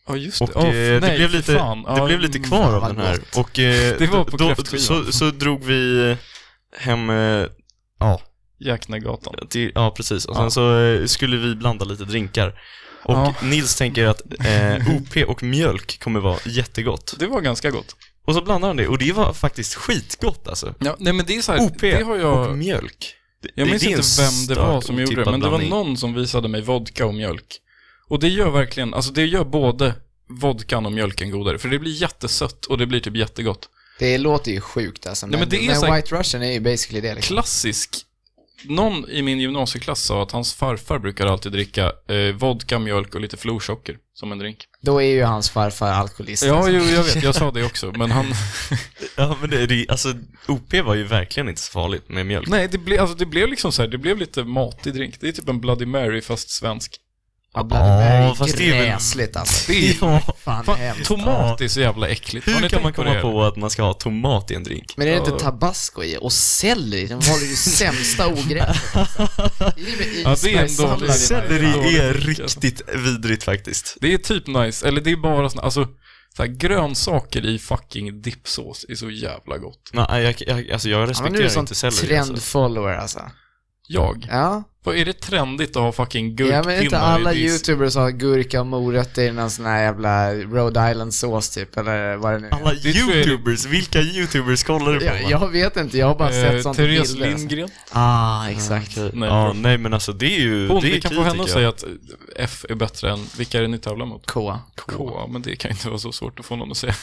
B: Ja, just det.
A: Och
B: Åh,
A: eh, det,
B: nej,
A: blev
B: fy
A: lite,
B: fan.
A: det
B: Ja, mm.
A: blev lite kvar av
C: vad
A: den här.
C: gott.
A: Och eh,
B: Det var på
A: då,
B: kräftskivan.
A: så, så drog vi eh, hem, eh, ja,
B: Jäknegatan.
A: till, ja precis. Och
B: Ja.
A: sen så eh, skulle vi blanda lite drinkar. Och
B: Ja.
A: Nils tänker att eh, OP och mjölk kommer vara jättegott.
B: Det var ganska gott.
A: Och så blandade han det och det var faktiskt skitgott alltså.
B: Ja, nej men det är så här,
A: OP
B: det har jag...
A: och mjölk. Det-
B: Jag
A: det-
B: minns
A: det är en
B: inte vem det var
A: stark
B: som gjorde det,
A: otippad
B: men det var
A: blandning.
B: någon som visade mig vodka och mjölk. Och det gör verkligen, alltså det gör både vodkan och mjölken godare, för det blir jättesött och det blir typ jättegott.
C: Det låter ju sjukt alltså. Men,
B: men det är
C: men
B: så här-
C: White Russian är ju basically det liksom.
B: Klassisk Någon i min gymnasieklass sa att hans farfar brukar alltid dricka eh, vodka, mjölk och lite florsocker som en drink.
C: Då är ju hans farfar alkoholist.
B: Ja,
C: alltså.
B: jo, jag vet, jag sa det också, men han...
A: Ja, men det, det, alltså, OP var ju verkligen inte så farligt med mjölk.
B: Nej, det, ble, alltså, det blev liksom så här, det blev lite matig drink. Det är typ en Bloody Mary fast svensk.
C: Ja, Bloody Mary,
A: fast det är väl-
C: gräsligt alltså.
B: Det är,
A: Ja.
C: Fan,
B: fan,
C: hemskt.
B: tomat är så jävla äckligt. Har
A: Hur
B: ni
A: kan man
B: tänkt
A: komma
B: det?
A: på att man ska ha tomat i en drink?
C: Men är det
B: Ja.
C: inte tabasco i? Och selleri, de håller ju sämsta ogräset. alltså. I och med
B: Ja, det är en
C: isbergssallad
B: dålig-
C: i varje fall.
A: Selleri är
B: Dåligt, alltså.
A: riktigt vidrigt faktiskt.
B: Det är typ nice, eller det är bara såna, alltså, så här, grönsaker i fucking dipsås är så jävla gott.
A: Nej, jag, jag, alltså jag
C: Ja, men du är
A: respekterar
C: sån
A: inte selleri. Alltså.
C: trendfollower alltså.
B: Jag?
C: Ja.
B: Vad är det trendigt att ha fucking
C: Ja
B: gurkpinnar
C: men inte alla
B: i diss?
C: youtubers har gurka och morötter i någon sån här jävla Rhode Island-sås typ, eller vad det nu är.
A: Alla
B: Det tror jag är-
A: youtubers, vilka youtubers kollar du på?
C: jag, jag vet inte, jag har bara sett
B: Eh,
C: sånt
B: Therese
C: bilder. alltså.
B: Lindgren?
C: Ah, exakt.
B: Nej,
A: ja, nej men alltså det är ju,
B: Hon,
A: det är
B: vi kan
A: kul,
B: få henne
A: tycker
B: att
A: jag.
B: säga att F är bättre än, vilka är det ni tävlar mot?
C: K.
B: K, men det kan ju inte vara så svårt att få någon att säga.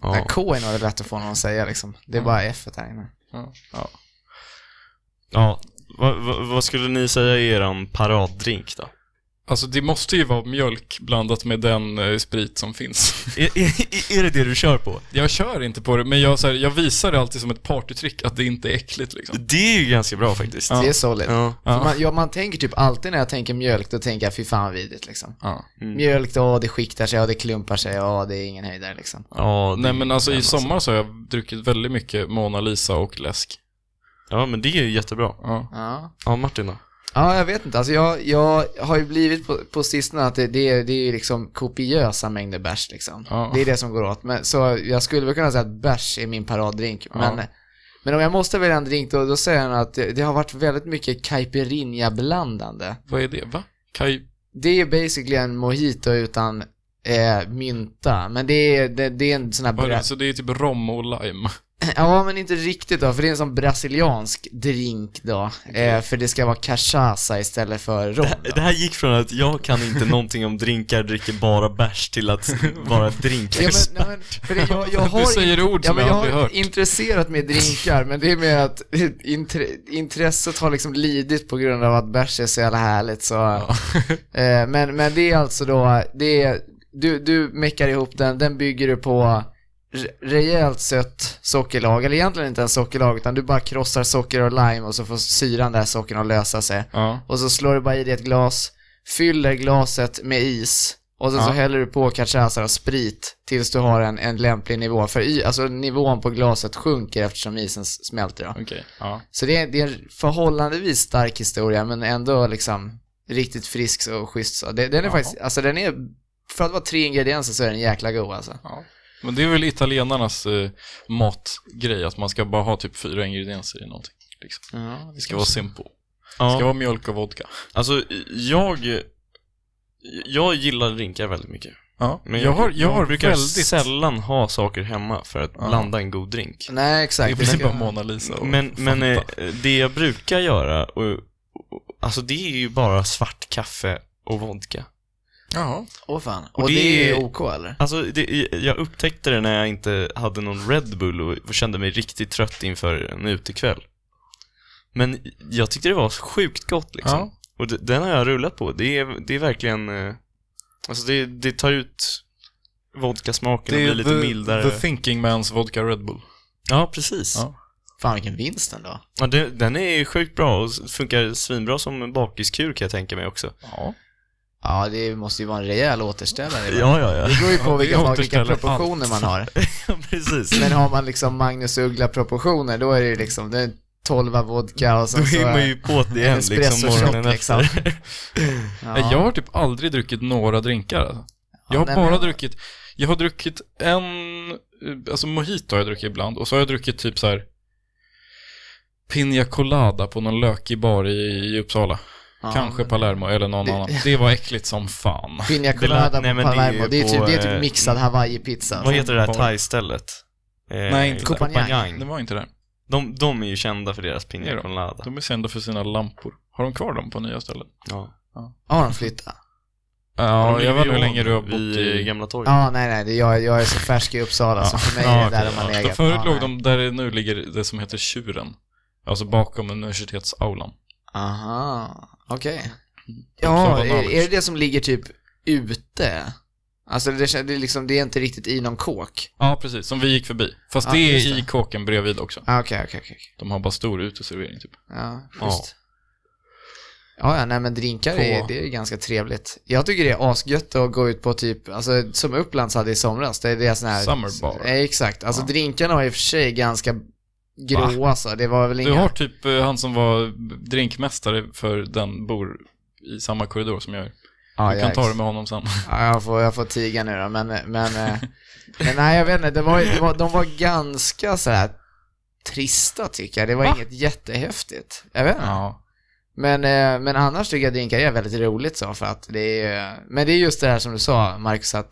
C: Men
A: Ja.
C: K är nog det lätt att få någon att säga liksom. Det är bara F här inne.
B: Ja, ja.
A: ja. Vad- vad- vad skulle ni säga är eran paraddrink då?
B: Alltså det måste ju vara mjölk blandat med den eh, sprit som finns.
A: Är, är, är det det du kör på?
B: Jag kör inte på det, men jag, så här, jag visar det alltid som ett partytrick att det inte är äckligt liksom.
A: Det är ju ganska bra faktiskt.
B: Ja.
C: Det är solid.
A: Ja.
B: Ja.
C: För Man, ja, man tänker typ alltid när jag tänker mjölk, då tänker jag fy fan vad vidrigt liksom.
B: Ja.
A: Mm.
C: Mjölk, då, det skiktar sig, ja, det klumpar sig, ja, det är ingen höjdare liksom.
A: Ja, det-
B: Nej men alltså i sommar så har jag druckit väldigt mycket Mona Lisa och läsk.
A: Ja, men det är ju jättebra.
B: Ja.
C: Ja,
A: Ja, Martin då?
C: ja jag vet inte. Alltså, jag, jag har ju blivit på, på sistone att det, det, är, det är ju liksom kopiösa mängder bärs liksom.
B: Ja.
C: Det är det som går åt. Men, så jag skulle väl kunna säga att bärs är min paraddrink.
B: Ja.
C: Men, men om jag måste välja en drink då, då säger jag nog att det, det har varit väldigt mycket caipirinha-blandande.
B: Vad är det? Va? Kaj...
C: Det är basically en mojito utan eh, mynta. Men det är, det, det är en sån här...
B: Vad är
C: bra-
B: det? Så det är typ rom och lime.
C: Ja, men inte riktigt då, för det är en sån brasiliansk drink då. Eh, för det ska vara cachaça istället för rom. då.
A: Det här gick från att jag kan inte någonting om drinkar, dricker bara bärs till att vara
C: Ja,
A: drinkexpert.
C: men, nej, men, för det, jag, jag har
B: Du säger ord
C: ja,
B: som
C: men
B: jag
C: jag
B: aldrig
C: har
B: hört.
C: intresserat mig i drinkar, men det är med att intre, intresset har liksom lidit på grund av att bärs är så jävla härligt. Så, eh, men, men det är alltså då, det är, du, du meckar ihop den, den bygger du på re- rejält sött sockerlag, eller egentligen inte en sockerlag, utan du bara krossar socker och lime och så får syran där sockern att lösa sig.
B: Ja.
C: Och så slår du bara i det ett glas, fyller glaset med is och sen så
B: Ja.
C: häller du på cachaça och sprit tills du har en, en lämplig nivå. För i, alltså, nivån på glaset sjunker eftersom isen s- smälter. Då.
B: Okej. Ja.
C: Så det är, det är en förhållandevis stark historia men ändå liksom riktigt frisk och schysst. Så. Det, den är
B: Jaha.
C: faktiskt, alltså den är, för att vara tre ingredienser så är den jäkla god alltså.
B: ja. Men det är väl italienarnas eh, matgrej, att man ska bara ha typ fyra ingredienser i någonting. Liksom.
C: Ja,
B: Det ska vara simple. Det ska
A: Ja,
B: vara mjölk och vodka.
A: alltså jag, jag gillar drinkar väldigt mycket.
B: Ja.
A: Men
B: jag, har, jag har
A: brukar
B: väldigt...
A: sällan ha saker hemma för att
B: Ja.
A: blanda en god drink.
C: Nej,
B: Det
C: exakt.
B: är
C: Det
B: precis
C: ska-
B: bara Mona Lisa och
A: Men, men eh,
B: Fanta.
A: det jag brukar göra, och, och, alltså det är ju bara svart kaffe och vodka.
B: Ja.
C: Åh fan.
A: och
C: Och
A: det
C: det
A: är-
C: är OK eller?
A: Alltså, det, jag upptäckte det när jag inte hade någon Red Bull och kände mig riktigt trött inför en utekväll. Men jag tyckte det var sjukt gott liksom.
B: Ja.
A: Och d- den har jag rullat på. Det är, det är verkligen... eh, Alltså det, det tar ut vodkasmaken och
B: Det
A: blir
B: är
A: lite mildare.
B: the, the thinking man's vodka Red Bull.
A: ja, precis.
B: Ja.
A: Ja.
C: Fan vilken vinst ändå.
A: det, den är sjukt bra och s- funkar svinbra som en bakiskur kan jag tänka mig också.
B: Ja.
C: Ja, det måste ju vara en rejäl återställare.
A: Ja, ja,
C: Det beror ju på
B: Ja, det
C: vilka, vilka
B: återställer
C: proportioner man har.
A: ja. precis.
C: Men har man liksom Magnus Uggla-proportioner, då är det ju liksom, det är en tolva vodka och
A: Då
C: sen så...
A: är man ju på det igen liksom
C: espressoshot,
A: morgonen
C: liksom.
A: efter.
C: ja.
B: Nej, Jag har typ aldrig druckit några drinkar. alltså. Jag har
C: nej,
B: bara
C: men-
B: druckit, jag har druckit en, eh, alltså mojito har jag druckit ibland och så har jag druckit typ så här Pina colada på någon lökig bar i, i Uppsala.
C: Ja,
B: Kanske
C: men-
B: Palermo eller någon
C: Det-
B: annan. Det var äckligt som fan.
C: Pina
A: Det
C: colada
A: lät- nej, men
C: på
A: det är ju
C: Palermo, det är,
A: på,
C: typ, det är
A: eh,
C: typ mixad hawaii-pizza.
A: Vad heter det här
B: Bar.
A: thai-stället? Eh,
B: Nej, inte
C: Koh Phangan.
B: Det var inte det.
A: De, de är ju kända för deras
B: Är de?
A: pina colada.
B: De är kända för sina lampor. Har de kvar dem på nya ställen?
A: Ja.
C: Har de flyttat?
B: Ja,
A: De
B: jag
A: ligger
B: vet inte hur
A: ju
B: länge du har
A: vid,
B: bott
A: eh,
B: i...
A: Gamla torget.
C: Ja, nej, nej, det, jag, jag är så färsk i Uppsala, så för mig
A: Ja,
C: är det där
A: okej,
C: de har
A: ja.
C: legat.
B: Förut
C: Ja,
B: låg
C: nej.
B: de där det nu ligger det som heter Tjuren. Alltså bakom universitetsaulan.
C: Aha, okej.
B: Uppsala
C: Ja, är,
B: Knowledge.
C: är det det som ligger typ ute? Alltså det, kän- det, är liksom, det är inte riktigt i någon kåk?
B: Ja, precis. Som vi gick förbi. Fast
C: Ja,
B: det
C: just
B: är
C: det.
B: i kåken bredvid också.
C: Ah, Okej, okej, okej.
B: De har bara stor uteservering typ.
C: Ja,
A: Ja.
C: schysst. Ja, ja, nej men drinkar
B: På-
C: är, det är ganska trevligt. Jag tycker det är asgött att gå ut på typ, alltså som Upplands hade i somras, det är deras sån här...
B: Summer bar.
C: Ja, exakt. Alltså
B: Ja.
C: drinkarna var i och för sig ganska grå alltså. Det var väl
B: Du
C: inga...
B: har typ eh, han som var drinkmästare för den bor i samma korridor som jag är.
C: Ja,
B: Du kan ta
C: yikes.
B: det med honom sen.
C: Ja, jag får, jag får tiga nu då, men, men, eh, men nej jag vet inte, det var, det var, de var ganska så här trista tycker jag. Det var
B: Va?
C: inget jättehäftigt. Jag vet inte.
B: Ja.
C: Men, eh, men annars tycker jag drinkar är väldigt roligt så för att det är, men det är just det här som du sa Marcus att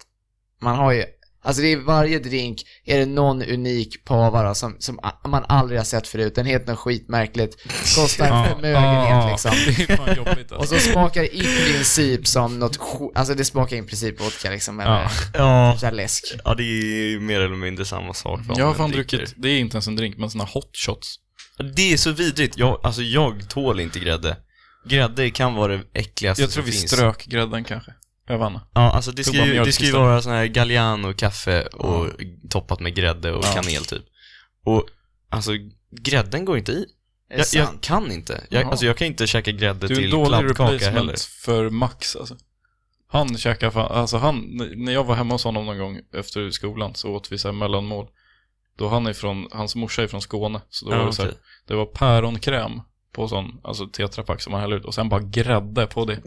C: man har ju, alltså det är varje drink är det någon unik pava då, som, som a- man aldrig har sett förut. Den heter något skitmärkligt, kostar en förmögenhet liksom.
B: Det är fan jobbigt
C: Och
B: alltså.
C: så smakar det i princip som något sk- alltså det smakar i princip vodka liksom, eller
B: Ja.
A: Ja.
C: så här läsk.
A: Ja, det är mer eller mindre samma sak. vad
B: Jag har
A: man
B: fan
A: dricker.
B: druckit, det är inte ens en drink, men såna hot shots.
C: Alltså,
A: Det är så vidrigt. Jag, alltså jag tål inte grädde. Grädde kan vara det äckligaste
B: Jag tror
A: som
B: vi
A: finns.
B: strök grädden kanske. Jag vann.
A: Ja, alltså det ska
B: Tog bara
A: ju, det ska ju
B: mjölkkistan.
A: vara sån här Galliano kaffe och toppat med grädde och
B: Ja.
A: kanel typ. Och alltså grädden går inte i.
C: Är det
A: Jag, jag
C: sant?
A: kan inte. Jag,
B: Jaha.
A: alltså jag kan inte käka grädde
B: Du är en
A: till
B: dålig
A: kladdkaka
B: replacement
A: heller.
B: för Max alltså. Han käkar fan, alltså han, när jag var hemma hos honom någon gång efter skolan så åt vi så här mellanmål. Då han är från, hans morsa är från Skåne, så då
A: Ja,
B: var det så här,
A: okej.
B: det var päronkräm på sån, alltså tetrapack som man häller ut och sen bara grädde på det.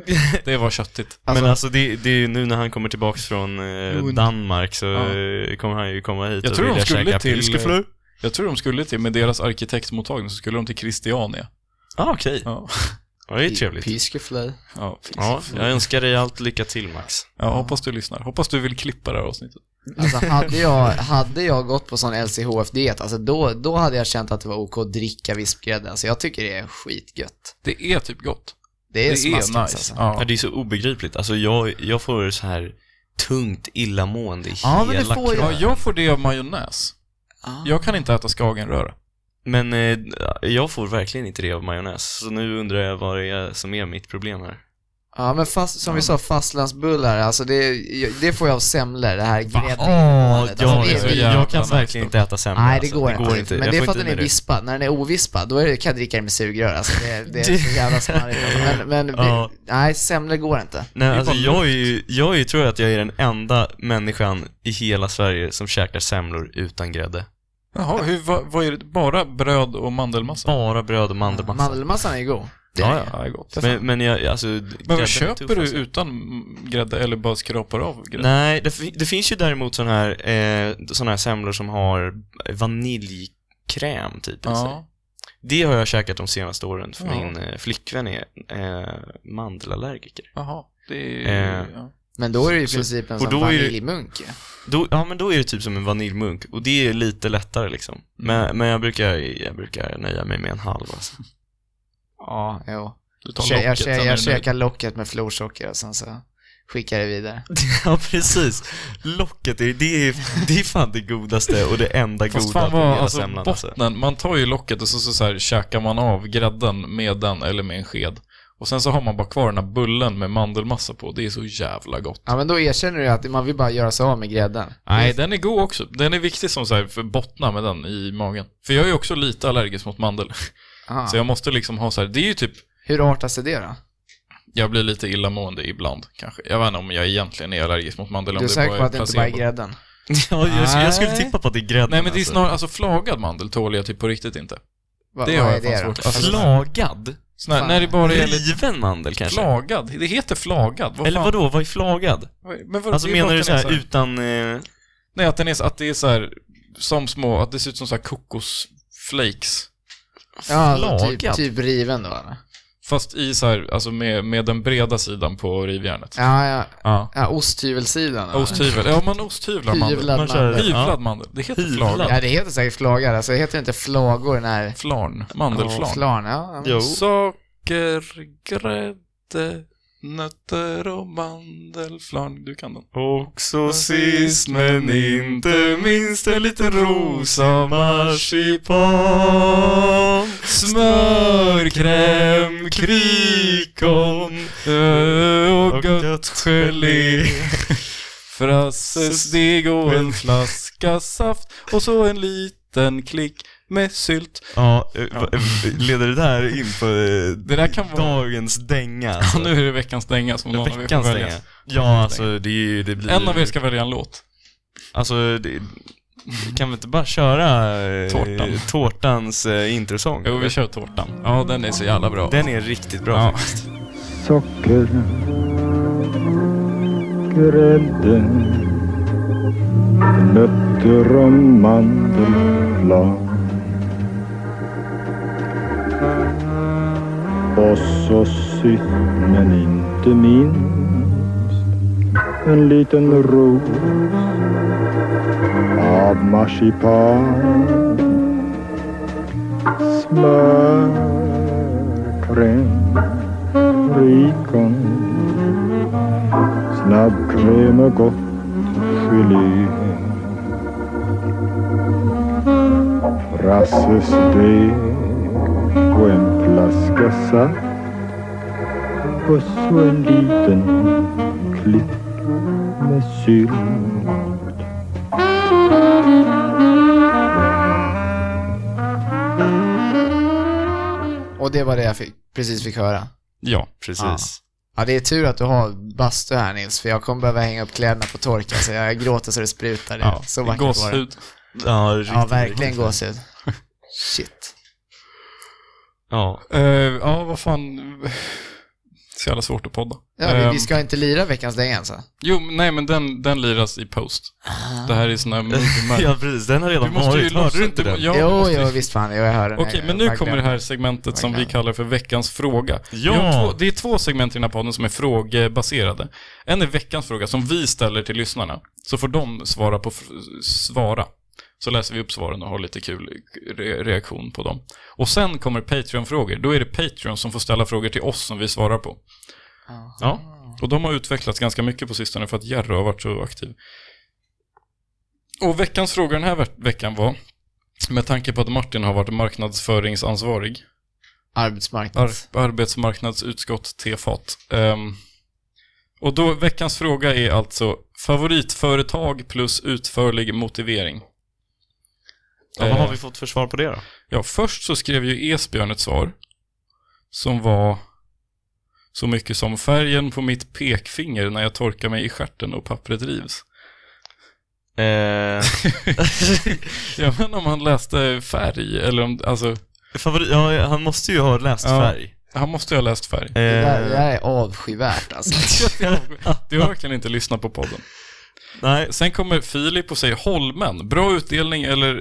B: Det var köttigt.
C: Alltså-
A: Men alltså det, det är ju nu när han kommer tillbaks från eh,
B: Lund.
A: Danmark så
B: Ja.
A: eh, kommer han ju komma hit
B: Jag
A: och
B: tror de
A: vilja
B: skulle
A: käka
B: till-
A: pilskeflö.
B: Jag tror de skulle till, med deras arkitektmottagning så skulle de till Christiania.
A: Ah, okej.
B: Ja,
A: Ja, det är trevligt.
C: Piskeflöj.
B: ja,
A: Ja, jag önskar dig allt lycka till Max.
B: ja hoppas du lyssnar. Hoppas du vill klippa det här avsnittet.
C: Alltså hade jag, hade jag gått på sån LCHF-diet, alltså då, då hade jag känt att det var ok att dricka vispgrädde. Alltså jag tycker det är skitgött.
B: Det är typ gott.
C: Det är,
B: Det är,
C: smaskigt
B: nice.
C: alltså. Ja,
A: Ja, det är så obegripligt. Alltså jag, jag får så här tungt illamående i
C: Ja, men det
A: hela
C: får jag.
B: Ja,
A: kroppen.
B: jag får det av majonnäs. Jag kan inte äta skagenröra.
A: Men eh, jag får verkligen inte det av majonnäs. Så nu undrar jag vad det är som är mitt problem här.
C: ja men fast, som vi sa, fastlandsbullar, alltså det, det får jag av semlor, det här grädden.
A: Ja,
C: alltså,
A: jag,
C: det är
B: så
C: vidrigt.
B: jävla
A: jag kan
B: nice
A: verkligen
B: dock.
A: inte äta semla.
C: Nej, det
A: alltså.
C: går, inte. Men
A: Jag
C: det är
A: får
C: för att
A: inte
C: den är
A: med det.
C: vispad. När den är ovispad, då är det, kan jag dricka den med sugrör. Alltså, det, det är så jävla smarrigt. alltså. Men, men
A: Ja.
C: vi, nej, semlor går inte.
A: Nej,
B: Det är
A: alltså
B: bara
A: jag, är ju, jag är ju, tror jag att jag är den enda människan i hela Sverige som käkar semlor utan grädde.
B: Jaha, hur, vad, vad är det? Bara bröd och mandelmassa?
A: Bara bröd och mandelmassa.
C: Mandelmassan är ju god.
A: Ja,
B: Ja, det är gott. Men,
A: Men, men jag, alltså, grädden är
B: vad köper
A: tuff,
B: du
A: alltså.
B: utan mm, grädde eller bara skrapar av grädde?
A: Nej, det, fi- det finns ju däremot sådana här, eh, såna här semlor som har vaniljkräm typ i sig.
B: ja.
A: Det har jag käkat de senaste åren för
B: Ja.
A: min eh, flickvän är eh, mandelallergiker.
B: Jaha, det är...
A: Eh,
B: ja.
C: Men då är det ju i
A: Så-
C: princip en
A: och
C: sån
A: då är det-
C: vaniljmunk ju.
A: Då, ja, men då är det typ som en vaniljmunk och det är lite lättare liksom.
B: Mm.
A: Men, men jag, brukar, jag brukar nöja mig med en halv alltså.
C: Ja, jo.
B: Du tar
C: Kö-
B: locket,
C: jag
B: sen är
C: kö-
B: du
C: jag
B: nöjd.
C: käkar locket med florsocker och sen så skickar jag det vidare.
A: ja, precis. Locket, är, det, är, det är fan det godaste och det enda
B: Fast
A: goda
B: fan
A: på
B: vad,
A: hela
B: alltså
A: semlan. Alltså.
B: bottnen, man tar ju locket och så, så, så här, käkar man av grädden med den eller med en sked. Och sen så har man bara kvar den här bullen med mandelmassa på. Det är så jävla gott.
C: Ja, men då erkänner du att man vill bara göra sig av med grädden.
B: Nej, den är god också. Den är viktig som så här, för bottna med den i magen. För jag är ju också lite allergisk mot mandel.
C: Aha.
B: Så jag måste liksom ha så här, det är ju typ,
C: Hur artar sig det då?
B: jag blir lite illamående ibland kanske. Jag vet inte om jag egentligen är allergisk mot mandel. om
C: Du är
B: det
C: säker
B: bara
C: på att det inte bara är
B: placebo.
C: grädden?
A: Ja, jag, jag skulle
B: Nej.
A: tippa på att det är grädden.
B: Nej men det är
A: alltså.
B: snarare, alltså flagad mandel tål jag typ på riktigt inte.
C: Va,
B: Det
C: vad
B: har jag
C: är
B: fan
C: det då?
B: svårt för. Alltså,
A: Flagad?
B: Sån här,
C: Fan.
B: när det bara är lite
A: Riven mandel kanske?
B: flagad. Det heter flagad. Vad
A: Eller
B: fan?
A: vadå, vad är flagad?
B: Men vad,
A: Alltså
B: det är bara
A: menar du
B: att
A: så
B: den är
A: här utan... Eh,
B: Nej, att, den är, så- att det är så här, som små, att det ser ut som så här kokosflakes.
C: Ja, alltså, typ,
A: Flagad.
C: typ riven då eller?
B: Fast i så här, alltså med, med den breda sidan på rivjärnet.
C: Ja, ja.
B: Ja.
C: ja osthyvelsidan. eller?
B: Osthyvel. Ja, man osthyvlar mandel.
C: Hyvlad
A: man kör-
C: mandel.
B: Hyvlad mandel. Det heter
A: Hyvlad.
B: flagan.
C: Ja, det heter säkert flagar. Alltså det heter inte flagor när...
B: Flarn.
C: Ja,
B: Mandelflarn.
C: Flarn, ja. ja.
A: jo.
B: Sockergrädde. Nötter och mandelflarn. Du kan den.
A: Också sist men inte minst en liten ros av marsipan Smörkräm, krikon
B: Ö,
A: och
B: Eh, Och
A: gött gelé
B: frassesdeg och en flaska saft. Och så en liten klick med sylt.
A: Ja, eh, va- eh, leder det där in på eh,
B: Det där kan vara-
A: dagens dänga?
B: Ja,
A: Alltså.
B: nu är det veckans dänga som någon av er får
A: Veckans dänga.
B: välja.
A: Ja, alltså det, är ju- det blir
B: En av er ska välja en låt.
A: Alltså, det, kan vi inte bara köra eh,
B: Tårtan.
A: tårtans eh, introsång?
B: Jo, vi kör tårtan. Ja, den är så jävla bra.
A: Den är riktigt bra
B: Ja.
A: faktiskt.
D: socker, grädde, nötter och mandelflarn. Och så sist men inte minst en liten ros av marsipan, smörkräm rikon Snabbkräm och gott gelé Frasses deg och en flaska saft Och så en liten klick med sylt
C: Och det var det jag fick, precis fick höra.
B: Ja.
A: Precis.
C: Ja, det är tur att du har bastu här Nils, för jag kommer behöva hänga upp kläderna på tork. Alltså, jag gråter så det sprutar.
B: ja.
C: Ja, så vackert var det.
B: Gåshud.
A: Ja, riktigt,
C: Ja, verkligen
A: riktigt.
C: gåshud. Shit.
A: Ja.
B: Eh, ja, vad fan. Så jävla svårt att podda.
C: Ja, vi,
B: Ehm,
C: vi ska inte lira veckans dänga alltså?
B: Jo, men- nej men den, den liras i post.
C: Ah.
B: Det här är sån här minimer.
A: ja, precis. Den har
B: Du
A: redan
B: måste ju
A: varit. Hörde
B: låtsas-
A: du inte
B: du-
A: den?
B: ja, du
C: jo,
B: måste ju-
C: jo, visst fan, jo, jag hör den.
B: Okej,
C: Jag-
B: men nu
C: jag-
B: kommer det här segmentet som vi
C: Verkligen.
B: kallar för veckans fråga.
A: Ja!
B: Vi har två, det är två segment i den här podden som är frågebaserade. En är veckans fråga som vi ställer till lyssnarna, så får de svara på fr- svara. Så läser vi upp svaren och har lite kul re- reaktion på dem. Och sen kommer Patreon-frågor. Då är det Patreon som får ställa frågor till oss som vi svarar på.
C: Ja.
B: Ja, och de har utvecklats ganska mycket på sistone för att Jerry har varit så aktiv. Och veckans fråga den här ve- veckan var, med tanke på att Martin har varit marknadsföringsansvarig,
C: Arbetsmarknad.
B: ar- arbetsmarknadsutskott TFAT. Ehm, och då, veckans fråga är alltså favoritföretag plus utförlig motivering.
A: Ja, vad
B: Eh,
A: har vi fått för svar på det då?
B: Ja, först så skrev ju Esbjörn ett svar som var så mycket som färgen på mitt pekfinger när jag torkar mig i stjärten och pappret rivs.
A: Eh,
B: Jag vet inte om han läste färg eller om, alltså,
A: favorit, ja, han måste ju ha läst
B: Ja.
A: färg.
B: han måste ju ha läst färg.
A: Eh,
C: Det där, det där är avskyvärt alltså.
B: Du har verkligen inte lyssnat på podden.
A: nej,
B: Sen kommer Filip och säger Holmen, bra utdelning eller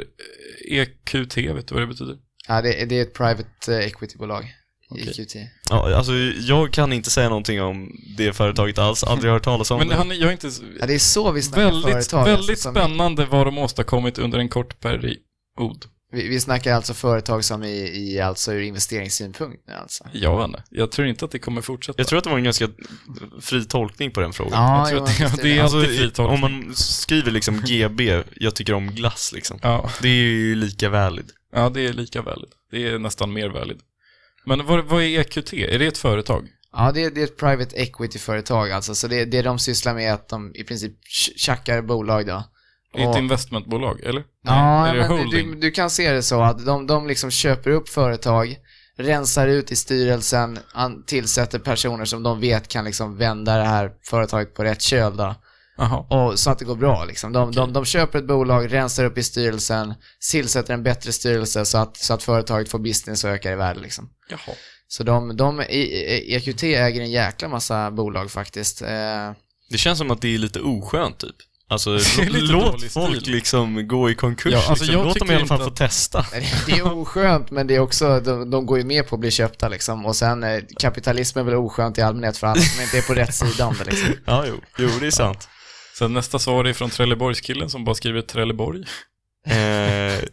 B: eh, EQT, vet du vad det betyder?
C: Ja, det, det är ett private eh, equity-bolag.
B: Okej.
C: EQT.
A: ja, alltså jag kan inte säga någonting om det företaget alls, aldrig hört talas om
B: Men
A: det.
B: han, är- jag är inte... s-
C: Ja, det är så vi snackar
B: Väldigt,
C: företag. alltså,
B: väldigt
C: som-
B: spännande vad de åstadkommit under en kort period.
C: vi, vi snackar alltså företag som i, i alltså ur investeringssynpunkt nu alltså.
B: Jag vet inte. Jag tror inte att det kommer fortsätta.
A: Jag tror att det var en ganska fri tolkning på den frågan.
C: Ja,
B: tror
C: jo,
B: att det-
C: visst är
B: det är-
C: det.
A: Alltså,
B: alltid fri tolkning.
A: om man skriver liksom GB, jag tycker om glass liksom.
B: Ja,
A: Det är ju lika valid.
B: ja, det är lika valid. Det är nästan mer valid. Men vad, vad är EQT? Är det ett företag?
C: Ja, det, är- det är ett private equity-företag alltså. Så det, det de sysslar med är att de i princip ch- tjackar bolag då.
B: Det är ett
C: Och-
B: investmentbolag, eller?
C: Ja,
B: är det
C: men du,
B: holding?
C: du, du kan se det så att de, de liksom köper upp företag, rensar ut i styrelsen, an, tillsätter personer som de vet kan liksom vända det här företaget på rätt köl då.
B: Aha.
C: Och så att det går bra liksom. De, de, de köper ett bolag, rensar upp i styrelsen, tillsätter en bättre styrelse så att, så att företaget får business och ökar i värde liksom.
B: Jaha.
C: Så de, de, E- E- EQT äger en jäkla massa bolag faktiskt. Eh,
A: Det känns som att det är lite oskönt typ. Alltså,
B: Det är
A: lå-
B: lite
A: låt
B: dålig
A: folk
B: stil.
A: liksom gå i konkurs.
B: Ja, alltså,
A: liksom.
B: jag
A: Låt dem
B: tycker
A: i alla fall få
B: inte att-
A: testa.
C: Det är oskönt, men det är också, de, de går ju med på att bli köpta liksom. Och sen, eh, kapitalism är väl oskönt i allmänhet för alla som inte är på rätt sida om det liksom.
A: Ja, jo. jo, det är sant.
B: Sen nästa svar är från Trelleborgskillen som bara skriver Trelleborg.
A: Eh,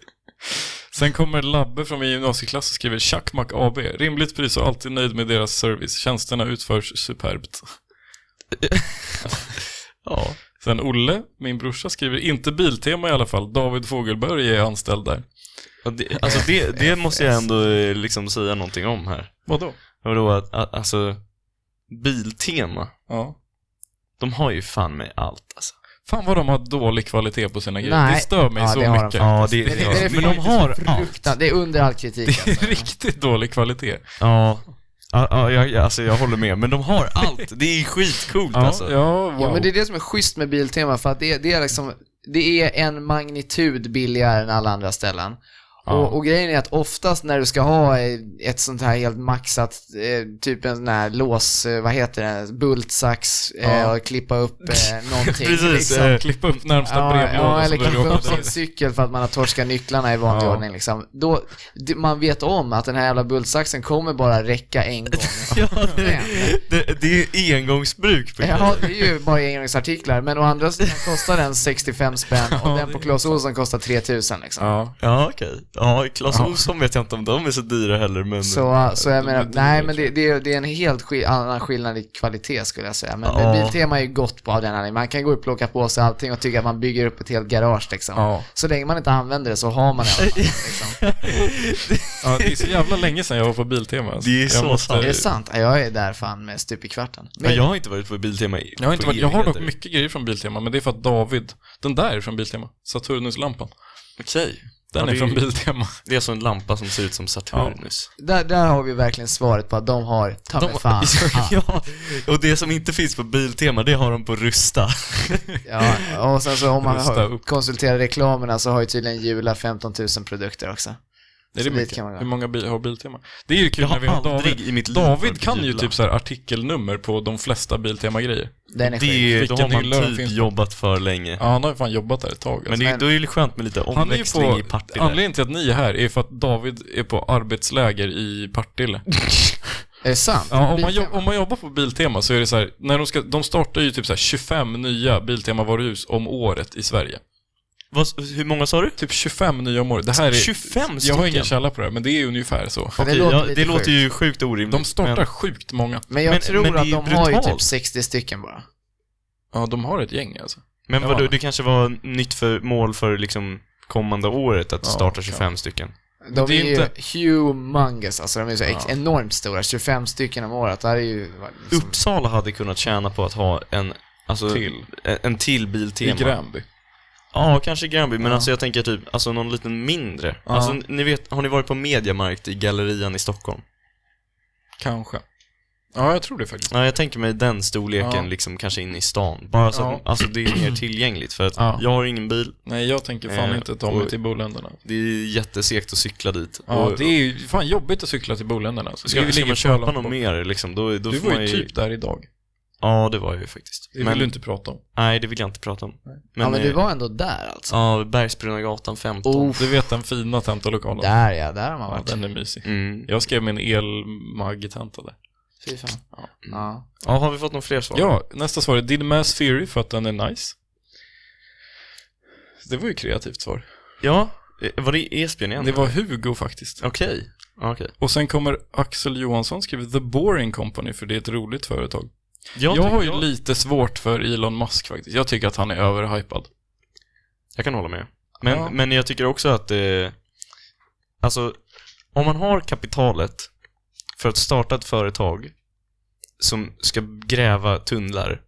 B: Sen kommer Labbe från min gymnasieklass och skriver Tjackmack AB. Rimligt pris och alltid nöjd med deras service. Tjänsterna utförs superbt.
A: Ja.
B: Sen Olle, min brorsa, skriver inte Biltema i alla fall. David Fogelberg är anställd där.
A: Ja, det, alltså det, det måste jag ändå eh, liksom säga någonting om här.
B: Vadå?
A: Vadå att, a- alltså, Biltema,
B: Ja.
A: de har ju fan med allt alltså.
B: Fan vad de har dålig kvalitet på sina grejer.
C: Nej.
B: Det stör mig
C: Ja,
B: så
C: det har de
B: mycket.
A: Ja, det,
C: Det, det, det är
A: men de har
C: faktiskt
A: allt.
C: fruktan- Det är under all kritik.
B: Det är
C: alltså.
B: riktigt dålig kvalitet.
A: Ja. Ja, ja, jag- jag- alltså jag håller med, men de har allt. Det är skitcoolt
B: Ja,
A: alltså.
B: ja, wow.
C: Ja, men det är det som är schysst med Biltema, för att det, det är liksom, det är en magnitud billigare än alla andra ställen. Och, och grejen är att oftast när du ska ha eh, ett sånt här helt maxat, eh, typ en sån här lås, eh, vad heter det, bultsax, eh,
B: Ja.
C: och klippa upp eh, någonting.
A: Precis,
C: liksom.
A: eh,
B: Klippa upp närmsta
C: Ja,
B: brevlåda
C: ja,
B: som
C: eller
B: du
C: klippa upp
B: råkade-
C: sin cykel för att man har torskat nycklarna i vanlig
B: Ja.
C: ordning liksom. Då, det- man vet om att den här jävla bultsaxen kommer bara räcka en gång.
A: Ja, det, det, det är engångsbruk på
C: Ja,
A: grejer.
C: det är ju bara engångsartiklar, men å andra sidan kostar den 65 spänn och
A: Ja,
C: den
A: det
C: på
A: är
C: Clas Ohlson kostar 3000 liksom.
B: Ja.
A: Ja, okej. Ja, Clas Ohlson vet jag inte om de är så dyra heller, men...
C: Så, så jag menar,
B: men det är
C: nej
B: väl
C: men det, det, är- det är en helt skill- annan skillnad i kvalitet skulle jag säga. Men
A: Ja.
C: Biltema är ju gott på av den anledningen. Man kan gå och plocka på sig allting och tycka att man bygger upp ett helt garage liksom.
B: Ja.
C: Så länge man inte använder det så har man det i alla fall, liksom.
B: ja, det är så jävla länge sedan jag var på Biltema. alltså.
A: Det är
B: jag
A: så sant.
C: Det är sant. Ja, Jag är där fan med stup i kvarten.
A: Men
C: Men,
A: jag har inte varit på Biltema i
B: Jag har, inte
A: på
B: varit, jag har dock
A: evigheter.
B: mycket grejer från Biltema, men det är för att David, den där är från Biltema. Saturnus-lampan.
A: Okej.
B: Den
A: Ja,
B: är
A: det-
B: från Biltema.
A: Det är alltså en lampa som ser ut som Saturnus.
C: där, där har vi verkligen svaret på att de har, ta mig fan.
A: ja, och det som inte finns på Biltema, det har de på Rusta.
C: Ja, och sen så om man
B: Rusta
C: har-
B: upp.
C: konsulterar reklamerna så har ju tydligen Jula 15 000 produkter också.
B: Är det
C: dit
B: mycket?
C: kan man gå.
B: Hur många bil har Biltema? Det är ju kul
A: Jag
B: när vi har
A: har
B: David.
A: aldrig i mitt liv
B: David
A: varit
B: kan ju
A: bjudland.
B: typ så här artikelnummer på de flesta Biltema-grejer.
C: Den är sjuk.
A: Det, då
B: Vilken
A: har man
B: hylla
A: typ
B: finns det?
A: jobbat för länge.
B: Ja, han har ju fan jobbat där ett tag. Alltså.
A: Men det,
C: men-
A: då är det skönt med lite
B: han är ju
A: omväxling
B: på,
A: i Partille.
B: anledningen till att ni är här är för att David är på arbetsläger i Partille.
C: Är det sant?
B: Ja, om man, jobb,
C: Biltema?
B: om man jobbar på Biltema så är det så här, när de, ska, de startar ju typ så här 25 nya Biltema-varuhus om året i Sverige.
A: Vad- Hur många sa du?
B: Typ 25 nya om året. Det här är,
A: 25
B: Jag har ingen
A: stycken?
B: källa på det här, men det är ungefär så.
C: Men det
A: Okej,
C: låter
A: ja,
C: lite
A: det låter
C: sjukt.
A: ju sjukt orimligt.
B: De startar
A: men-
B: sjukt många.
C: Men jag
A: Men-
C: tror
A: men det är
C: att
A: ju
C: de har ju typ
A: brutalt.
C: 60 stycken bara.
B: Ja, de har ett gäng alltså.
A: Men
B: Ja.
A: vadå, det kanske var nytt för, mål för liksom kommande året att
B: Ja,
A: starta 25 stycken.
C: De
B: det är
C: är, ju
B: inte-
C: humongous, alltså de är så ex-
B: Ja.
C: enormt stora, 25 stycken om året. Det här är ju... Liksom,
A: Uppsala hade kunnat tjäna på att ha en, alltså,
B: Till.
A: en, en till
B: I
A: Biltema.
B: Gränby.
A: Ja, kanske Gränby, men alltså jag tänker typ, alltså någon liten mindre.
B: Ja.
A: Alltså, ni vet, har ni varit på Mediamarkt i Gallerian i Stockholm?
B: Kanske. Ja, jag tror det faktiskt.
A: Ja, jag tänker mig den storleken
B: Ja.
A: liksom kanske inne i stan. Bara så att,
B: Ja.
A: alltså det är mer tillgängligt för att
B: Ja.
A: jag har ingen bil,
B: Nej, jag tänker fan
A: Eh,
B: inte ta mig
A: och-
B: till Boländerna.
A: det är jättesegt att cykla dit.
B: Ja, det är ju fan jobbigt att cykla till Boländerna. Alltså.
A: Ska,
B: Det
A: ska
B: ligger
A: man
B: på
A: köpa
B: Lampå.
A: något mer liksom, då, då
B: Du
A: får
B: var
A: man
B: ju typ där idag.
A: Ja, det var jag ju faktiskt.
B: Det vill du inte prata om.
A: Nej, det vill jag inte prata om.
C: ja, men du
A: eh,
C: var ändå där alltså.
A: Ja, Bergsbrunnagatan 15.
C: Oh.
B: Du vet den fina tentalokalen?
C: Där ja, där har man
B: Ja,
C: varit.
B: den är mysig.
A: Mm.
B: Jag skrev min elmagg-tenta där.
C: Fy fan. Ja.
A: Ja, har vi fått några fler svar?
B: Ja, nästa svar är Did Mass Theory för att den är nice. Det var ju kreativt svar.
A: Ja, eh, var det Esbjörn igen?
B: Det var Hugo faktiskt.
A: Okej. Ja, Okej.
B: Och sen kommer Axel Johansson skriver The Boring Company för det är ett roligt företag. Jag,
A: Jag,
B: har
A: jag,
B: ju
A: jag,
B: lite svårt för Elon Musk faktiskt. Jag tycker att han är överhypad.
A: jag kan hålla med. Men,
B: Ja.
A: men jag tycker också att eh, Alltså, om man har kapitalet för att starta ett företag som ska gräva tunnlar,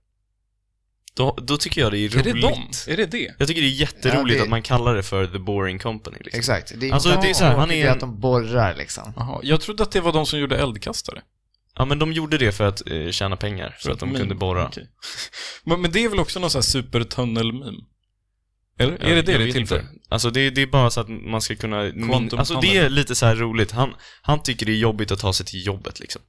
A: då, då tycker jag det är
B: Är
A: roligt.
B: det dem? Är det det?
A: Jag tycker det är jätteroligt
C: Ja, det-
A: att man kallar det för The Boring Company. Liksom.
C: Exakt. Det är
A: Alltså,
C: inte
A: det är så här, han
C: tråkigt,
A: är
C: det
A: en-
C: att de borrar liksom.
B: Aha. Jag trodde att det var de som gjorde eldkastare.
A: Ja, men de gjorde det för att eh, tjäna pengar, för att de
B: Meme.
A: kunde borra.
B: Okej. men, men det är väl också någon sån här supertunnel-meme? Eller?
A: Ja,
B: är det det
A: jag
B: det är
A: vet
B: till för?
A: inte. Alltså det, det är bara så att man ska kunna... Min...
B: Quantum
A: Alltså det
B: tunnel.
A: är lite så här roligt. Han, han tycker det är jobbigt att ta sig till jobbet liksom.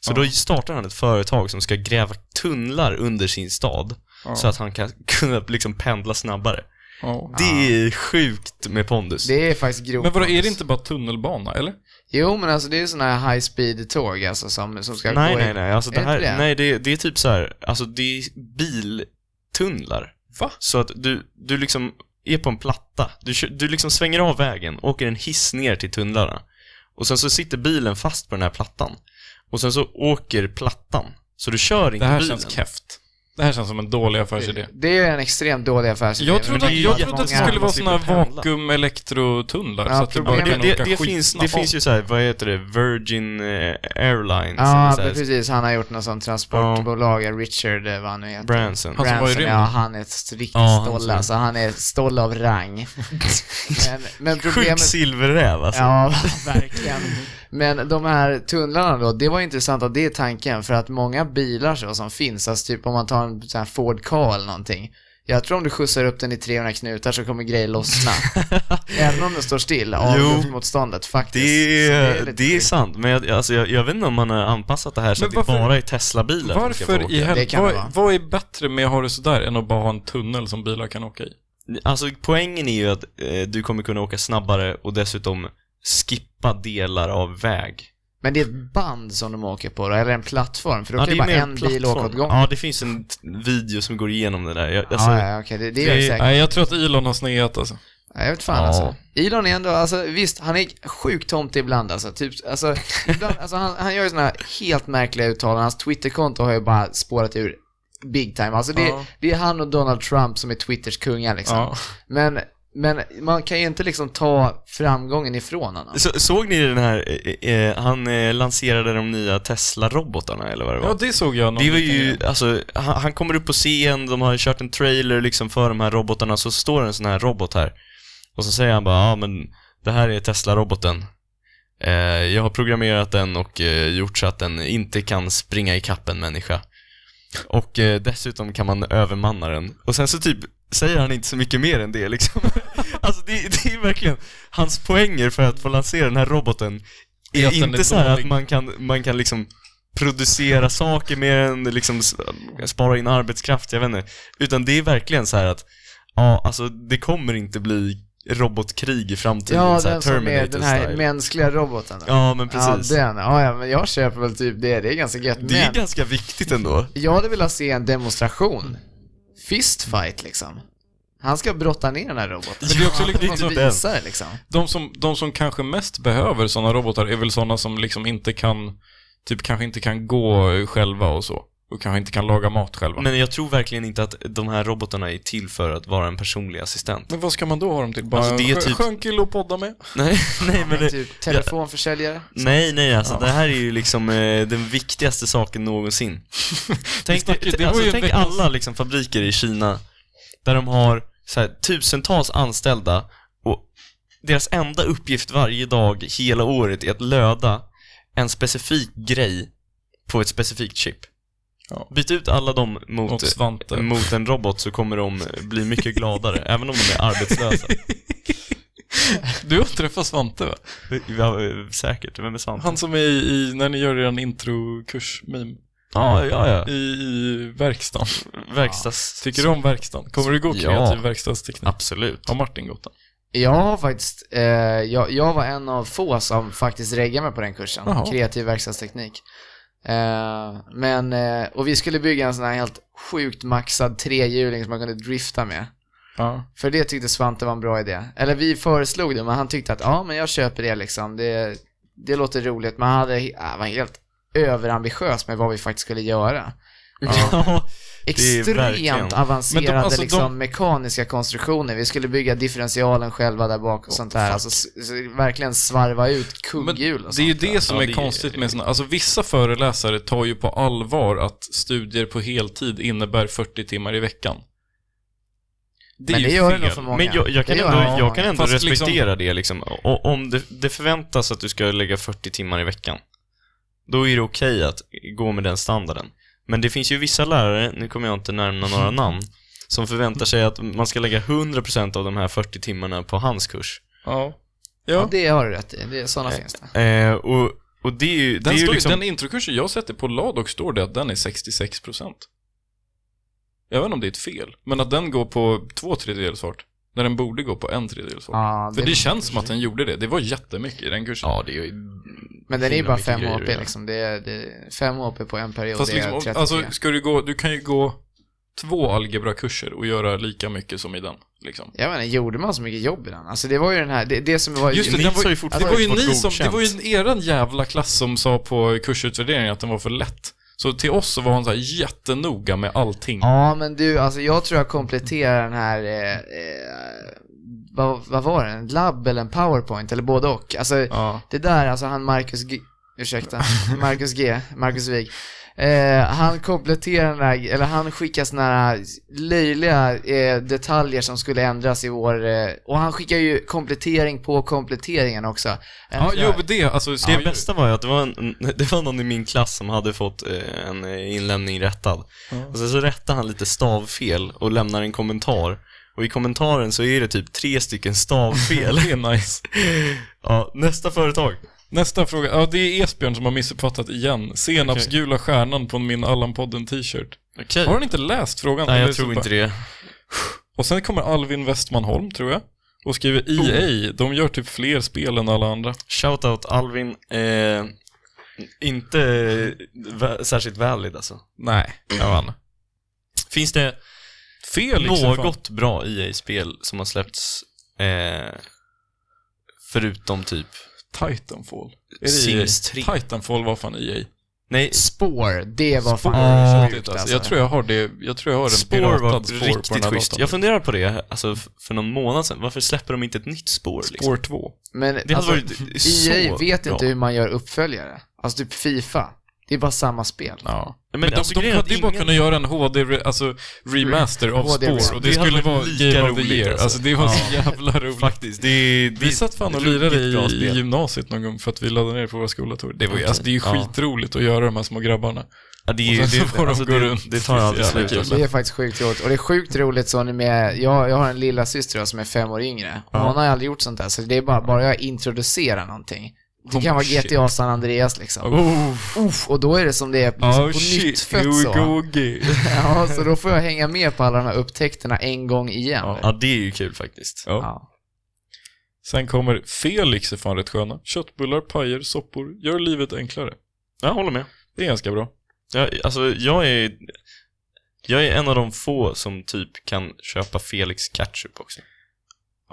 A: Så
B: Ja.
A: då startar han ett företag som ska gräva tunnlar under sin stad
B: Ja.
A: så att han kan kunna liksom pendla snabbare.
B: Ja.
A: Det är sjukt med pondus.
C: Det är faktiskt grovt.
B: Men vadå, är det inte bara tunnelbana, eller?
C: Jo, men alltså det är ju sådana här high speed tåg alltså som, som ska
A: Nej,
C: gå i-
A: nej, nej. Alltså
C: Är
A: det
C: det
A: här,
C: inte det?
A: nej, det, det är typ så här, alltså det är biltunnlar.
B: Va?
A: Så att du, du liksom är på en platta. Du, kör, du liksom svänger av vägen, åker en hiss ner till tunnlarna. Och sen så sitter bilen fast på den här plattan. Och sen så åker plattan. Så du kör
B: Det
A: inte
B: här
A: bilen.
B: känns keft. Det här känns som en dålig affärsidé.
C: Det är en extremt dålig affärsidé.
B: Alltså, Jag
C: men
B: trodde, att,
C: det är
B: jag
C: ju
B: trodde att det
C: många-
B: skulle vara
A: slipper
B: såna här
A: pendla.
B: vakuum-elektrotunnlar
C: Ja,
B: så att du
A: Ja,
B: bara
C: problemet-
A: men
B: kan
A: det,
B: åka
A: det, finns, det
B: skitsnabbt.
A: finns ju så här, vad heter det, Virgin eh, Airlines
C: Ja,
A: eller så här,
C: precis. Han har gjort något sånt transportbolag, Richard, eh, vad han nu heter.
A: Branson.
B: Han som var i
C: Branson,
B: rymden.
C: ja, han är ett riktigt
B: Ja, han som-
C: stolle. Alltså, han är ett stolle av rang. men, men
A: Sjuk
C: problemet...
A: silverräv alltså.
C: Ja, verkligen. Men de här tunnlarna då, det var intressant att det är tanken för att många bilar så som finns, alltså typ om man tar en sån här Ford Ka eller någonting. Jag tror om du skjutsar upp den i 300 knutar så kommer grejer lossna. Även om den står still av
A: Jo.
C: luftmotståndet faktiskt.
A: Det
C: Så
A: är,
C: lite
A: det är
C: sjukt.
A: sant, men jag, alltså, jag, jag vet inte om man har anpassat det här så
B: Men
A: att
B: varför-
A: det bara är Tesla-bilar som ska få
B: Varför
A: åka.
B: i
C: Det
B: helvete,
C: kan det vara.
B: vad, vad är bättre med att ha det sådär än att bara ha en tunnel som bilar kan åka i?
A: Alltså poängen är ju att eh, du kommer kunna åka snabbare och dessutom skippa delar av väg.
C: Men det är ett band som de åker på då, eller en plattform, för då
A: Ja,
C: kan ju
A: är
C: bara
A: mer
C: en bil
A: plattform.
C: åka åt gången.
A: Ja, det finns en t- video som går igenom det där. Jag, alltså,
C: Ja, ja, okej, det, det gör
A: det-
C: det säkert.
B: Nej, jag tror att Elon har sneat alltså.
C: Nej, jag vet fan
A: Ja.
C: alltså. Elon är ändå, alltså visst, han är sjukt tomte ibland alltså. Typ, alltså, ibland, alltså han, han gör ju sådana helt märkliga uttalanden. Hans Twitterkonto har ju bara spårat ur big time. Alltså det,
B: Ja.
C: det är han och Donald Trump som är Twitters kungar liksom.
B: Ja.
C: Men, men man kan ju inte liksom ta framgången ifrån honom.
A: så, såg ni den här, eh, eh, han eh, lanserade de nya Tesla-robotarna eller vad det var?
B: ja, det såg jag någon
A: Det var
B: liten
A: ju,
B: grej.
A: alltså, han, han kommer upp på scen, de har kört en trailer liksom för de här robotarna, så står en sån här robot här. Och så säger han bara, ja men det här är Tesla-roboten. Eh, jag har programmerat den och eh, gjort så att den inte kan springa ikapp en människa. Och eh, dessutom kan man övermanna den. Och sen så typ säger han inte så mycket mer än det liksom. alltså det, det är verkligen, hans poänger för att få lansera den här roboten
B: Är
A: är
B: att den är
A: inte så här att
B: dålig.
A: man kan, man kan liksom producera saker mer än liksom s- spara in arbetskraft, jag vet inte. Utan det är verkligen så här att, ja alltså det kommer inte bli robotkrig i framtiden,
C: Ja,
A: så typ här
C: den som är den här
A: Terminator-style.
C: mänskliga roboten. då.
A: Ja, men precis.
C: Ja,
A: det,
C: den. Ja, ja, men jag köper väl typ det. Det är ganska gött.
A: är
C: men
A: ganska viktigt ändå.
C: jag hade velat se en demonstration. Fistfight liksom. Han ska brotta ner den här roboten.
B: Men det är också liksom,
A: inte
B: alltså,
A: den.
C: Visa det liksom.
B: de, som, de som kanske mest behöver sådana robotar är väl sådana som liksom inte kan, typ kanske inte kan gå själva och så. Och kanske inte kan laga mat själva. Men,
A: Men jag tror verkligen inte att de här robotarna är till för att vara en personlig assistent.
B: vad ska man då ha dem till? Bara
A: Alltså, det är
B: en sjö-
A: typ-
B: skön kille att podda med?
A: Nej, nej men det,
C: Typ telefonförsäljare.
A: Nej, nej alltså det här är ju liksom eh, den viktigaste saken någonsin. tänk
B: snackar ju- det var
A: alltså,
B: ju
A: tänk
B: veckans-
A: alla liksom, fabriker i Kina där de har så här, tusentals anställda och deras enda uppgift varje dag hela året är att löda en specifik grej på ett specifikt chip.
B: Ja.
A: Byt ut alla dem mot,
B: Mot Svante.
A: mot en robot så kommer de bli mycket gladare, även om de är arbetslösa.
B: Du har träffat Svante va?
A: Ja, eh, säkert, vem är Svante?
B: Han som är i, i när ni gör er introkurs-meme.
A: Ja, ja, ja.
B: I, I verkstaden.
A: Verkstads...
B: Tycker du om verkstaden? Kommer du gå
A: Ja.
B: kreativ verkstadsteknik?
A: Absolut.
B: Har Martin gått den?
C: Jag har faktiskt, eh, jag, jag var en av få som faktiskt reggade mig på den kursen.
B: Jaha.
C: Kreativ verkstadsteknik. Eh, men, eh, och vi skulle bygga en sån här helt sjukt maxad trehjuling som man kunde drifta med.
B: Ja.
C: För det tyckte Svante var en bra idé. Eller vi föreslog det, men han tyckte att ja, men jag köper det liksom. Det, det låter roligt, men han hade, han var helt överambitiös med vad vi faktiskt skulle göra.
A: Ja. Det är verkligen-
C: Extremt avancerade
B: Men de- alltså, de-
C: liksom, mekaniska konstruktioner. Vi skulle bygga differentialen själva där bak och sånt där. Alltså, s- s- verkligen svarva ut
B: Men
C: kugghjul och
B: det är ju
C: sånt där.
B: det som
A: Ja,
B: är
A: det är-
B: konstigt med såna, alltså vissa föreläsare tar ju på allvar att studier på heltid innebär 40 timmar i veckan. Det är
C: Men det
B: ju
C: gör det
B: fel.
C: nog för många.
A: Men jag, jag kan ändå,
C: Det gör det nog för
A: jag
C: många.
A: kan ändå
B: Fast liksom-
A: respektera det liksom. Och om det, det förväntas att du ska lägga 40 timmar i veckan, då är det okej att gå med den standarden. Men det finns ju vissa lärare, nu kommer jag inte nämna några
B: Mm.
A: namn, som förväntar sig att man ska lägga 100% av de här 40 timmarna på hans kurs.
B: Ja.
C: Ja,
B: ja.
C: det har du rätt i. Det, sådana finns det.
A: Eh, och, och det är ju, det
B: Den,
A: är ju
B: står, ju-
A: liksom...
B: den introkursen jag sätter på Ladox står det att den är 66%. Jag vet inte om det är ett fel, men att den går på två tredjedels fart, när den borde gå på en tredjedels fart.
C: Ja,
B: För det känns som att den gjorde det. Det var jättemycket i den kursen.
A: Ja, det är ju...
C: men den är ju
A: himla
C: bara
A: mycket
C: 5
A: grejer
C: HP
A: att göra.
C: liksom. Det är, det är 5 HP på en period.
B: Fast
C: det är
B: liksom,
C: 33.
B: alltså, ska du gå, du kan ju gå två algebrakurser och göra lika mycket som i den. Liksom.
C: Jag menar, gjorde man så mycket jobb i den? Alltså det var ju den här, det, det som var...
B: Just det,
A: Nils
B: den var,
A: har ju
B: det
A: fortfarande
B: var ju
A: inte fått
B: ni som, det
A: godkänt.
B: var ju eran jävla klass som sa på kursutvärderingen att den var för lätt. Så till oss så var han så här jättenoga med allting.
C: Ja men du, alltså jag tror jag kompletterar den här, eh, eh, vad, vad var det, en labb eller en powerpoint eller både och. Alltså
B: Ja.
C: det där, alltså han Marcus G, ursäkta, Marcus G, Marcus Wig. Eh, han kompletterar den här, eller han skickar såna här löjliga eh, detaljer som skulle ändras i år. Eh, och han skickar ju komplettering på kompletteringen också. Eh,
B: Ja, jo, men det, alltså,
A: Det
B: ja, ju-
A: bästa var ju att det var, en, det var någon i min klass som hade fått eh, en eh, inlämning rättad. Och sen så rättade han lite stavfel och lämnar en kommentar. Och i kommentaren så är det typ tre stycken stavfel.
B: Det är nice.
A: ja, nästa företag.
B: Nästa fråga. Ja, det är Esbjörn som har missuppfattat igen. Senapsgula stjärnan på min Allan-podden t-shirt.
A: Okej.
B: Har han inte läst frågan?
A: Nej,
B: Eller
A: jag
B: så
A: tror
B: bara-
A: inte det.
B: Och sen kommer Alvin Westman Holm, tror jag. Och skriver EA, de gör typ fler spel än alla andra.
A: Shoutout Alvin. Eh, inte vä- särskilt valid alltså.
B: Nej, jag vann.
A: Finns det
B: Fel liksom, fan.
A: något bra EA-spel som har släppts eh, förutom typ
B: Titanfall. Är det
A: Sims
B: EA?
A: 3?
B: Titanfall var fan E EA.
A: Nej,
C: Spår, det var
B: Spår,
C: fan
B: shit,
C: sjukt
B: alltså. Jag tror jag har det, jag tror jag har en
A: Spår
B: piratad
A: var
B: spår på den
A: riktigt
B: här
A: schysst.
B: datorn.
A: Jag funderar på det alltså, f- för någon månad sedan. Varför släpper de inte ett nytt spår? Liksom?
B: Spår 2.
C: Men
A: Det hade
C: alltså,
A: varit så
C: EA vet
A: bra.
C: inte hur man gör uppföljare. Alltså typ Fifa. Det är bara samma spel.
B: Ja.
A: Men,
B: Men,
A: alltså,
B: de, de
A: grejen är att
B: hade ju bara
A: ingen-
B: kunnat göra en HD, re- alltså remaster av
C: HD
B: spår och det,
A: Det hade
B: skulle
A: varit
B: vara
A: lika
B: Game of the
A: roligt,
B: Year. Alltså.
A: alltså.
B: det var så jävla roligt.
A: Faktiskt, det, det
B: Vi satt fan och
A: ett ruggigt
B: lirade
A: bra
B: i, i
A: spel.
B: gymnasiet någon gång för att vi laddade ner på våra skoldatorer. Det, var ju,
A: Okej.
B: alltså, det är ju
A: Ja.
B: skitroligt att göra de här små grabbarna.
A: Ja, det,
B: Och
A: är-
B: sen så
A: det,
B: får de
A: alltså,
B: gå
A: det,
B: runt.
A: det tar aldrig
B: Jävla
A: slut.
B: kul.
A: Alltså.
C: Det är faktiskt sjukt roligt. Och det är sjukt roligt så ni med, jag, jag har en lilla syster då som är fem år yngre. Och
A: Ja.
C: hon har ju aldrig gjort sånt där, så det är bara, bara jag introducerar någonting. Det
B: Oh,
C: kan vara
B: shit.
C: GTA San Andreas liksom.
B: Oh,
C: Uff, och då är det som det är
A: Alltså, Oh,
C: liksom, på nytt
B: here
C: fött
B: we
C: så.
B: go again.
C: Ja, så då får jag hänga med på alla de här upptäckterna en gång igen.
B: Ja.
A: Ja, det är ju kul faktiskt.
B: Ja.
C: Ja.
B: Sen kommer Felix är fan rätt sköna. Köttbullar, pajer, soppor. Gör livet enklare.
A: Jag håller med.
B: Det är ganska bra.
A: Jag, alltså, jag är... Jag är en av de få som typ kan köpa Felix ketchup också.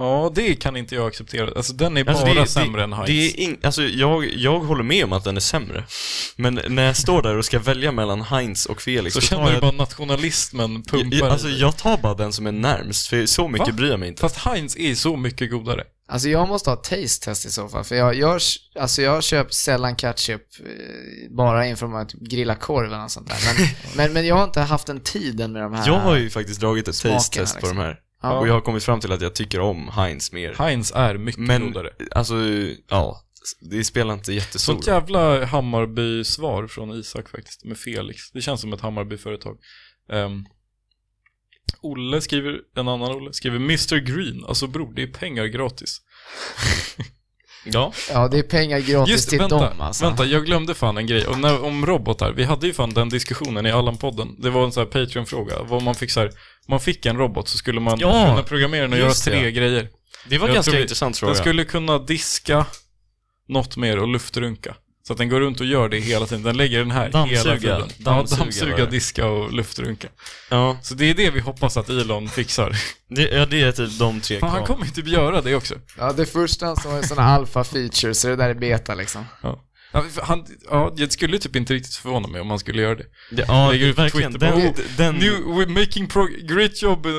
B: Ja, det kan inte jag acceptera. Alltså den är
A: Alltså,
B: bara
A: det,
B: sämre
A: det,
B: än Heinz.
A: det är ing, alltså, jag, jag håller med om att den är sämre. Men när jag står där och ska välja mellan Heinz och Felix
B: så
A: då
B: känner
A: tar
B: du
A: jag
B: bara nationalismen pumpar
A: Jag, alltså
B: i dig.
A: jag tar bara den som är närmst, för så mycket
B: Va?
A: bryr jag mig inte.
B: Fast Heinz är så mycket godare.
C: Alltså jag måste ha taste test i så fall, för jag, jag, alltså jag köper sällan ketchup eh, bara inför att typ grilla korv eller något sånt där. Men, men, men jag har inte haft den tiden med de här.
A: Jag har ju faktiskt dragit ett
C: Smakerna,
A: taste test på
C: liksom.
A: de här.
C: Ja.
A: Och jag har kommit fram till att jag tycker om Heinz mer.
B: Heinz är mycket
A: Men,
B: godare.
A: alltså, ja. Det spelar inte jättestor
B: Sånt jävla Hammarby-svar från Isak faktiskt, med Felix. Det känns som ett Hammarby-företag. Ehm, Olle skriver, en annan Olle, skriver Mr Green, alltså bror, det är pengar gratis.
A: Ja.
C: Ja, det är pengar gratis
B: Just det,
C: till
B: vänta,
C: dem alltså.
B: vänta, jag glömde fan en grej. Om, när, om robotar, vi hade ju fan den diskussionen i Allan-podden. Det var en sån här Patreon-fråga, vad man fick så här, man fick en robot så skulle man
A: Ja,
B: kunna programmera den och göra
A: just det.
B: tre grejer.
A: Det var
B: Jag
A: ganska
B: tror vi-
A: intressant fråga.
B: Den skulle kunna diska något mer och luftrunka. Så att den går runt och gör det hela tiden. Den lägger den här hela
A: Dammsuga.
B: tiden.
A: Dammsuga
B: ja, dammsuga
A: var det.
B: diska och luftrunka.
A: Ja,
B: Så det är det vi hoppas att Elon fixar.
A: det, ja, det är typ de tre
B: Fan, han
A: kraven.
B: kommer ju typ göra det också.
C: Ja, det första som är sådana alfa features, så det där är beta liksom.
B: Ja, för Han, ja, jag skulle typ inte riktigt förvåna mig om han skulle göra det.
A: Det- Ja,
B: Lägger
A: det,
B: ut på
A: verkligen.
B: Twitter.
A: Den,
B: Oh,
A: den,
B: New, we're making prog- great job. eh,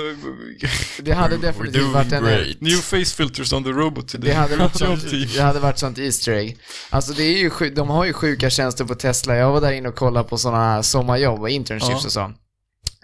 C: Det hade
A: We're
C: definitivt
A: doing
C: varit en...
A: great.
B: new face filters on the robot today. typ.
C: Det hade, varit
B: Great job,
C: sånt,
B: team.
A: typ.
C: det hade varit sånt Easter egg. Alltså det är ju sjuk, de har ju sjuka tjänster på Tesla. Jag var där inne och kollade på sådana sommarjobb och internships
B: Ja.
C: och så.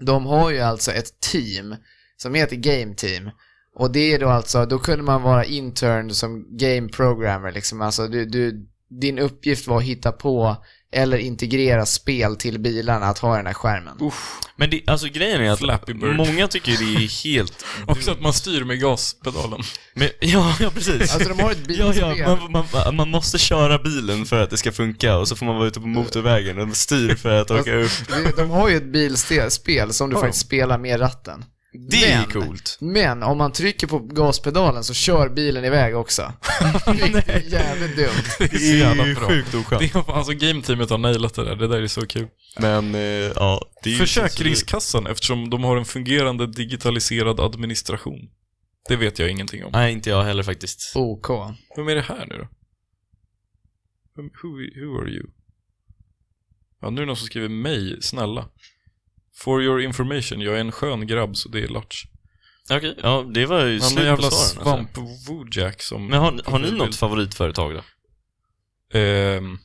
C: De har ju alltså ett team som heter Game Team. Och det är då alltså, då kunde man vara intern som game programmer liksom. Alltså du, du, din uppgift var att hitta på eller integrera spel till bilarna att ha i den här skärmen.
B: Usch.
A: Men det, alltså grejen är att
B: Flappy Bird.
A: många tycker det är helt...
B: Också att man styr med gaspedalen.
A: Men, ja, ja, precis.
C: Alltså de har ett
A: Ja,
C: bilspel.
A: ja, man, man, man måste köra bilen för att det ska funka och så får man vara ute på motorvägen och styr för att åka upp.
C: Det- De har ju ett bilspel som du
B: Har de?
C: faktiskt spelar med ratten.
A: Det är
C: Men-
A: coolt.
C: Men om man trycker på gaspedalen så kör bilen iväg också. Vilket är jävligt dumt.
B: Det är så jävla bra.
A: sjukt oskönt.
B: Det är, alltså Game-teamet har nailat det där, det där är så kul.
A: Men, eh, ja. Det är ju-
B: Försäkringskassan, eftersom de har en fungerande digitaliserad administration. Det vet jag ingenting om.
A: Nej, inte jag heller faktiskt.
C: OK.
B: Vem är det här nu då? Vem, who, who are you? Ja, nu är det någon som skriver mig, snälla. For your information, jag är en skön grabb så det är latch.
A: Okej, ja det var ju
B: Han är en
A: slut på
B: jävla
A: svaren. Alltså.
B: svamp-wojack som...
A: Men har, har ni
B: Vill-
A: något favoritföretag då?
B: Ehm,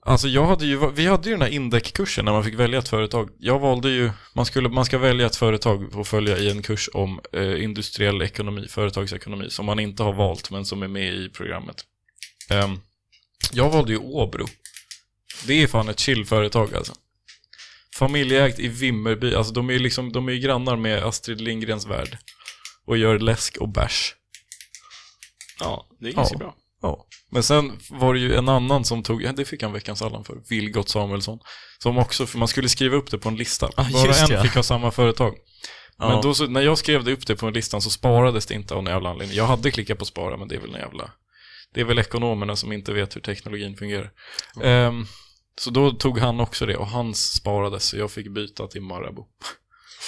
B: alltså jag hade ju, vi hade ju den här Indec-kursen när man fick välja ett företag. Jag valde ju, man, skulle, man ska välja ett företag och följa i en kurs om eh, industriell ekonomi, företagsekonomi, som man inte har valt men som är med i programmet. Ehm, jag valde ju Åbro. Det är fan ett chill-företag alltså. Familjeägt i Vimmerby, alltså de är ju liksom, de är ju grannar med Astrid Lindgrens värld och gör läsk och bärs.
A: Ja, det är
B: ganska bra. Ja. Men sen var det ju en annan som tog, ja, det fick han veckans Allan för, Vilgot Samuelsson. Som också, för man skulle skriva upp det på en lista.
A: Ah,
B: Bara
A: just
B: en
A: ja.
B: fick ha samma företag.
A: Ja.
B: Men då så, när jag skrev det upp det på en listan så sparades det inte av någon jävla anledning. Jag hade klickat på spara, men det är väl en jävla... Det är väl ekonomerna som inte vet hur teknologin fungerar. Ehm, så då tog han också det och hans sparades så jag fick byta till Marabou.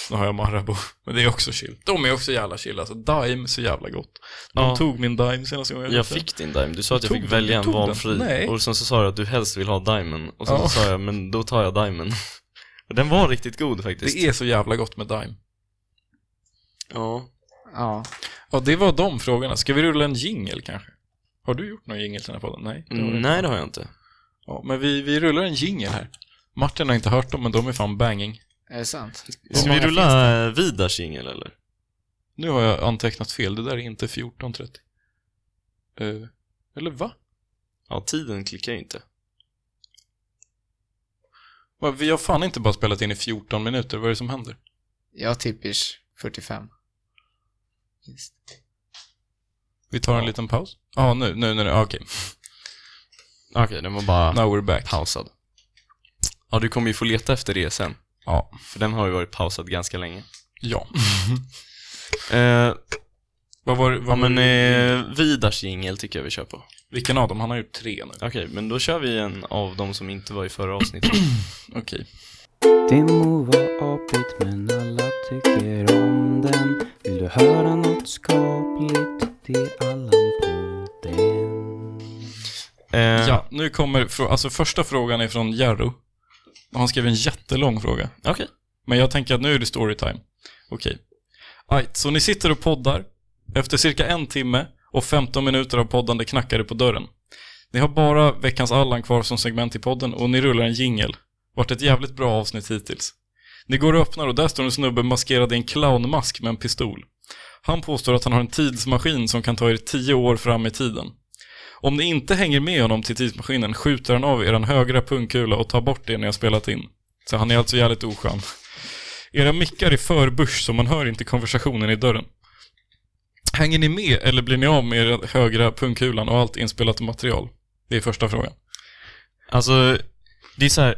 B: Nu har jag Marabou, men det är också chill. De är också jävla chill alltså. Dime, så jävla gott. De
A: Ja.
B: tog min Dime senast gången
A: Jag
B: köpte den.
A: fick din Dime, du sa att jag
B: Tog
A: fick
B: den,
A: välja
B: du
A: en
B: tog den.
A: valfri
B: Nej.
A: och sen så sa du att du helst vill ha Dimen och sen
B: Ja.
A: så sa jag men då tar jag Dimen. Och den var riktigt god faktiskt.
B: Det är så jävla gott med Dime.
A: Ja.
C: Ja.
B: Ja, det var de frågorna. Ska vi rulla en jingle kanske? Har du gjort någon jingle till den här podden? Nej. det har du inte.
A: Mm, Nej, det har jag inte.
B: Ja, men vi, vi rullar en jingle här. Martin har inte hört dem, men de är fan banging.
C: Är det sant?
A: Ska vi
C: många
A: rulla eh, Vidars jingel eller?
B: Nu har jag antecknat fel. Det där är inte 14.30. Eh, eller va?
A: Ja, tiden klickar ju inte.
B: va? Vi har fan inte bara spelat in i 14 minuter. Vad är det som händer?
C: Jag tippish 45. Just.
B: Vi tar en liten paus. Ja, ah, nu, nu, nu, nu. Ah, okej.
A: Okej, den var bara
B: Now we're back.
A: pausad. Ja, du kommer ju få leta efter det sen.
B: Ja.
A: För den har ju varit pausad ganska länge.
B: Ja.
A: Eh,
B: Vad var, vad
A: ja, men
B: var
A: eh, Vidars jingel tycker jag vi kör på.
B: Vilken av dem? Han har gjort tre nu.
A: Okej, men då kör vi en av de som inte var i förra avsnittet.
B: Okej.
E: Det må vara apigt men alla tycker om den Vill du höra något skapligt? Det är Allan-podden
A: Eh,
B: Ja, nu kommer, frå- alltså första frågan är från Jarro. Han skrev en jättelång fråga.
A: Okej.
B: Men jag tänker att nu är det storytime. Okej. Ajt, så ni sitter och poddar. Efter cirka en timme och 15 minuter av poddande knackar det på dörren. Ni har bara veckans Allan kvar som segment i podden och ni rullar en jingel. Vart ett jävligt bra avsnitt hittills. Ni går och öppnar och där står en snubbe maskerad i en clownmask med en pistol. Han påstår att han har en tidsmaskin som kan ta er tio år fram i tiden. Om ni inte hänger med honom till tidsmaskinen skjuter han av er en högra pungkula och tar bort det ni har spelat in. Så han är alltså jävligt oskön. Era mickar är för busch så man hör inte konversationen i dörren. Hänger ni med eller blir ni av med era högra pungkulan och allt inspelat material? Det är första frågan.
A: Alltså, det är så här.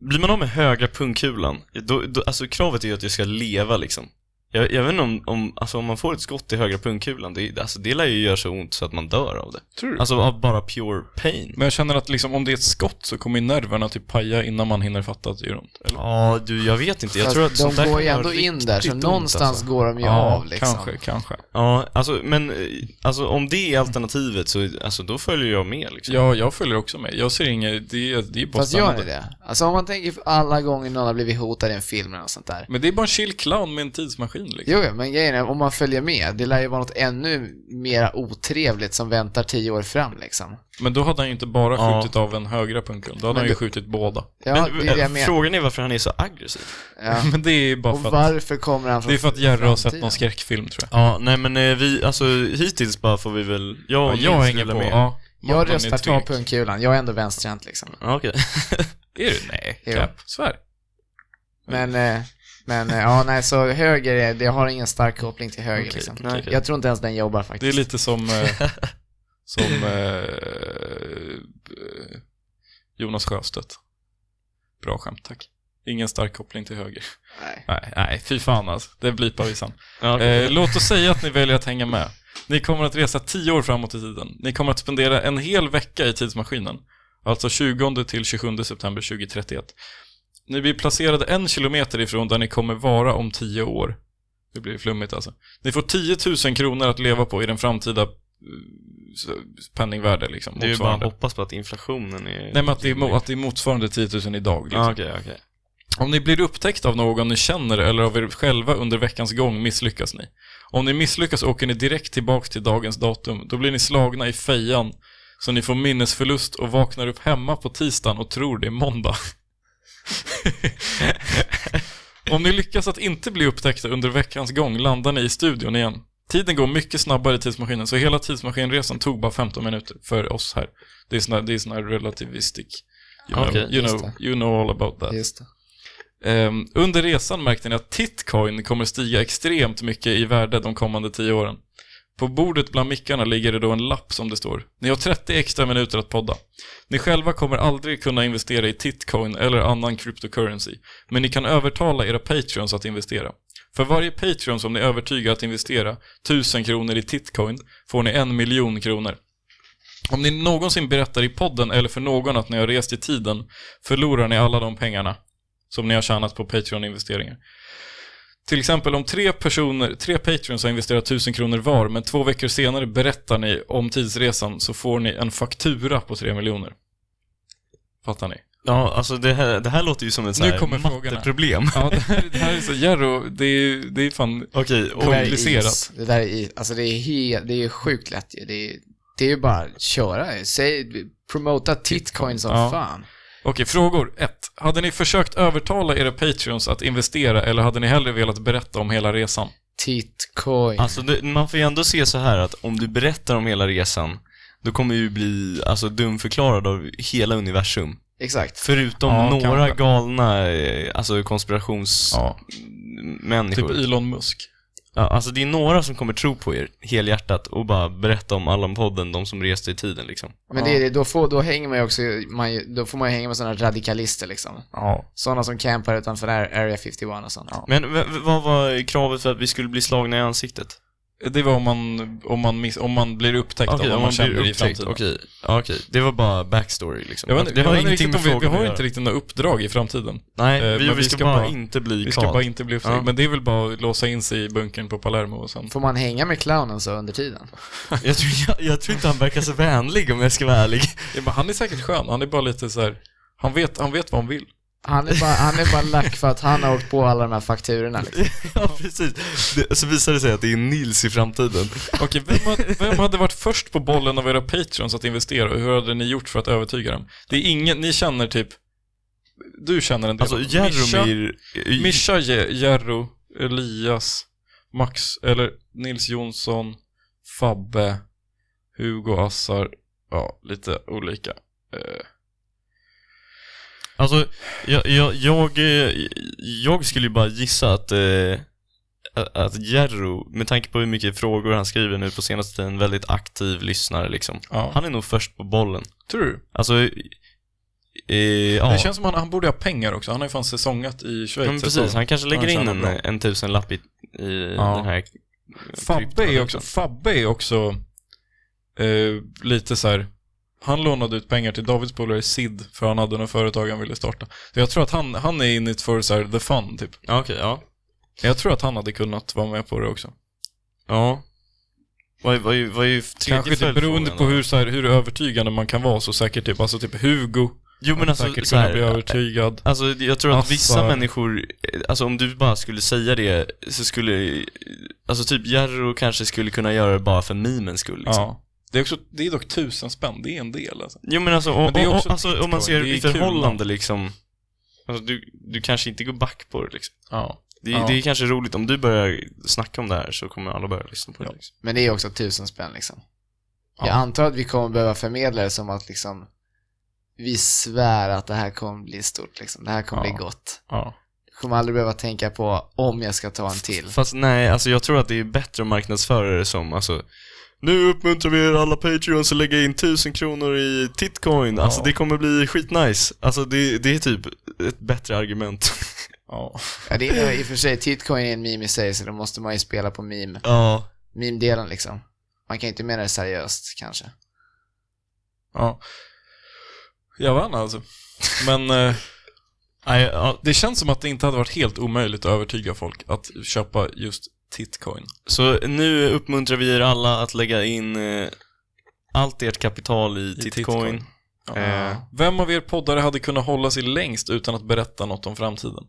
A: Blir man av med högra pungkulan, då, då, alltså kravet är ju att jag ska leva liksom. Jag, jag vet inte om, om, alltså, om man får ett skott i högra pungkulan, det, alltså, det lär ju göra så ont så att man dör av det.
B: Tror du?
A: Alltså av bara pure pain.
B: Men jag känner att liksom, om det är ett skott så kommer ju nerverna typ paja innan man hinner fatta att det gör ont. Eller?
A: Ja, du, jag vet inte. Jag tror att sånt
C: de
A: där
C: går ju
A: kan göra
C: ändå in där,
A: riktigt
C: så
A: ont,
C: någonstans
A: alltså.
C: går de ju av liksom.
B: kanske, kanske.
A: Ja, alltså, men eh, alltså, om det är alternativet så alltså, då följer jag med liksom.
B: Ja, jag följer också med. Jag ser inget, det, är- det är bara
C: Fast gör
B: spännande.
C: ni det? Alltså om man tänker på alla gånger någon har blivit hotad i en film eller något sånt där.
B: Men det är bara en chill clown med en tidsmaskin liksom.
C: Jo, jo, men grejen är, om man följer med, det lär ju vara något ännu mera otrevligt som väntar tio år fram liksom.
B: Men då hade han ju inte bara
A: Ja.
B: skjutit av en högra pungkula, då hade han ju skjutit båda.
C: Ja,
A: men,
C: det är det jag
A: eh,
C: menar.
A: Frågan är varför han är så aggressiv.
C: Ja.
B: Men det är bara
C: Och
B: för att,
C: varför kommer han från...
B: det är för att Jerry har sett
C: framtiden?
B: någon skräckfilm tror jag.
A: Ja, nej men eh, vi, alltså hittills bara får vi väl, jag och Nils rullar med.
B: Ja,
C: Jag
B: Martin är
C: röstar ta
B: tvek.
C: pungkulan, jag är ändå vänsterhänt liksom.
A: Ja, okej.
B: Är du? Nej,
C: Jo.
B: Kapp. Svär.
C: Men, eh, men eh, ja, nej, så höger, är- det har ingen stark koppling till höger
B: Okej,
C: liksom.
A: nej, okej.
C: Jag tror inte ens den jobbar
B: Det är
C: faktiskt.
B: lite som, eh, som eh, Jonas Sjöstedt. Bra skämt, tack. Ingen stark koppling till höger.
C: Nej.
B: Nej, nej fy fan alltså. Det blipar vi sen.
A: Ja,
B: Eh, låt oss säga att ni väljer att hänga med. Ni kommer att resa 10 år framåt i tiden. Ni kommer att spendera en hel vecka i tidsmaskinen. Alltså 20 till 27 september 2031. Ni blir placerade en kilometer ifrån där ni kommer vara om 10 år. Det blir flummigt alltså. Ni får 10 000 kronor att leva på i den framtida eh, s- penningvärde liksom.
A: det är ju bara att
B: motsvarande.
A: hoppas på att inflationen är...
B: Nej men att det, är, mo- att det är motsvarande 10 000 idag liksom.
A: Ja, Okej, okej.
B: Om ni blir upptäckt av någon ni känner eller av er själva under veckans gång misslyckas ni. Om ni misslyckas åker ni direkt tillbaks till dagens datum. Då blir ni slagna i fejan, så ni får minnesförlust och vaknar upp hemma på tisdagen och tror det är måndag. Om ni lyckas att inte bli upptäckta under veckans gång landar ni i studion igen. Tiden går mycket snabbare i tidsmaskinen, så hela tidsmaskinresan tog bara 15 minuter för oss här. Det är sån här, det är sån här relativistic. You know,
A: Okej,
B: you,
C: just
B: know, you know all about that.
C: Just det.
B: Ehm, under resan märkte ni att Titcoin kommer stiga extremt mycket i värde de kommande tio åren. På bordet bland mickarna ligger det då en lapp som det står. Ni har 30 extra minuter att podda. Ni själva kommer aldrig kunna investera i Titcoin eller annan cryptocurrency, men ni kan övertala era patreons att investera. För varje patreon som ni övertygar att investera 1000 kronor i Titcoin får ni en miljon kronor. Om ni någonsin berättar i podden eller för någon att ni har rest i tiden förlorar ni alla de pengarna som ni har tjänat på Patreon-investeringar. Till exempel om tre personer, tre Patreons har investerat 1000 kronor var, men två veckor senare berättar ni om tidsresan så får ni en faktura på 3 miljoner. Fattar ni?
A: Ja, alltså det här, det här låter ju som ett så
B: Nu
A: här
B: kommer frågorna.
A: matteproblem.
B: Ja, det här, det här är så Jerro, det är, det är fan...
A: Okej, och
C: Det där är
B: komplicerat.
C: is. Det där är is. Alltså det är helt, det är sjukt lätt ju. Det är, det är ju bara att köra. Säg, promota titcoin som
B: Ja.
C: fan.
B: Okej, frågor 1. Hade ni försökt övertala era Patreons att investera eller hade ni hellre velat berätta om hela resan?
C: Titcoin.
A: Alltså det, man får ju ändå se så här att om du berättar om hela resan, då kommer du ju bli alltså, dumförklarad av hela universum.
C: Exakt.
A: Förutom
B: Ja,
A: några
B: kanske.
A: galna eh, alltså, konspirationsmänniskor.
B: Ja, typ Elon Musk.
A: Ja, alltså det är några som kommer tro på er helhjärtat och bara berätta om Allan-podden, de som reste i tiden liksom.
C: Men det är det, då, får, då hänger man ju också, man, ju- då får man ju hänga med sådana radikalister liksom.
B: Ja.
C: Sådana som campar utanför Are- Area 51 och sånt.
B: Ja.
A: Men v- v- vad var kravet för att vi skulle bli slagna i ansiktet?
B: Det var om man, om man, miss, om man blir upptäckt av vad man,
A: blir
B: känner i
A: upptäckt.
B: framtiden.
A: Okej, Ja, okej. Det var bara backstory liksom.
B: Jag vet, inte-
A: det
B: jag
A: har
B: vet inte
A: ingenting med
B: riktigt om vi,
A: frågan
B: vi har
A: att
B: inte
A: göra.
B: riktigt några uppdrag i framtiden.
A: Nej,
B: eh,
A: vi,
B: men
A: vi, ska bara inte bli
B: Vi ska
A: kallad.
B: bara inte bli upptäckta.
A: Ja.
B: Men det är väl bara att låsa in sig i bunkern på Palermo och sen...
C: Får man hänga med clownen så under tiden?
A: Jag, tror, jag, jag tror inte han verkar så vänlig om jag ska vara ärlig.
B: Ja, men han är säkert skön, han är bara lite så här. Han vet, han vet vad han vill.
C: Han är bara, han är bara lack för att han har åkt på alla de här fakturorna. Liksom.
A: ja, precis. Det, så visar det sig att det är Nils i framtiden.
B: Okej, vem, hade- vem hade varit först på bollen av era patreons att investera och hur hade ni gjort för att övertyga dem? Det är ingen, ni känner typ... Du känner en del.
A: Alltså Jaromir...
B: Mischa, Jer- Jerro, Elias, Max, eller Nils Jonsson, Fabbe, Hugo Assar, ja, lite olika. Eh,
A: Alltså, jag, jag, jag, eh, jag skulle ju bara gissa att, eh, att Jerro, med tanke på hur mycket frågor han skriver nu på senaste tiden, väldigt aktiv lyssnare liksom.
B: ja.
A: Han är nog först på bollen.
B: Tror du?
A: Alltså, eh, ja.
B: Det känns som han, han borde ha pengar också, han har ju fan säsongat i Schweiz.
A: Ja, men precis,
B: säsongen.
A: han kanske lägger
B: Han
A: in
B: tjänar
A: en,
B: bra.
A: en tusenlapp i, i
B: Ja.
A: den här liksom.
B: Fabbe är också, Fabbe är också eh, lite så här. Han lånade ut pengar till Davids polare Sid för han hade något företag han ville starta. Så jag tror att han, han är inne för så här, the fun typ.
A: Ja, okej, ja.
B: Jag tror att han hade kunnat vara med på det också.
A: Ja. Vad är, vad är, vad är tredje
B: Kanske typ beroende
A: följdfrågan
B: på
A: då?
B: hur, så här, hur övertygande man kan vara så säkert typ, alltså typ Hugo
A: Jo men alltså,
B: säkert
A: så
B: kunna bli
A: här,
B: övertygad.
A: Alltså jag tror att
B: Alltså-
A: vissa människor, eh, alltså om du bara skulle säga det så skulle, alltså typ Jarro kanske skulle kunna göra det bara för memens skull liksom.
B: Ja. Det är, också, det är dock tusen spänn, det är en del alltså.
A: Jo men alltså, och,
B: Men det är
A: och-
B: också
A: och, alltså om man
B: bitcoin,
A: ser
B: det är
A: i
B: kul.
A: förhållande liksom, alltså du, du kanske inte går back på det liksom.
B: Ja.
A: Det,
B: Ja.
A: det är kanske roligt, om du börjar snacka om det här så kommer alla börja lyssna på det
B: Ja.
A: liksom.
C: Men det är också tusen spänn liksom.
B: Ja.
C: Jag antar att vi kommer behöva förmedla det som att liksom, vi svär att det här kommer bli stort liksom. Det här kommer
B: Ja.
C: bli gott.
B: ja.
C: Jag kommer aldrig behöva tänka på om jag ska ta en till.
A: Fast nej, alltså jag tror att det är bättre att marknadsföra det som, alltså Nu uppmuntrar vi er alla Patreons att lägga in 1000 kronor i Titcoin. Alltså
B: Ja.
A: det kommer bli skitnice. Alltså det, det är typ ett bättre argument.
B: Ja.
C: Ja, det är i och för sig, Titcoin är en meme i sig, så då måste man ju spela på meme.
A: ja.
C: Meme-delen liksom. Man kan ju inte mena det seriöst kanske.
B: ja. Jag vann alltså. Men eh,
A: Nej, ja.
B: det känns som att det inte hade varit helt omöjligt att övertyga folk att köpa just Titcoin.
A: Så nu uppmuntrar vi er alla att lägga in eh, allt ert kapital i, Titcoin.
B: Titcoin. Ja.
A: Eh,
B: Vem av er poddare hade kunnat hålla sig längst utan att berätta något om framtiden?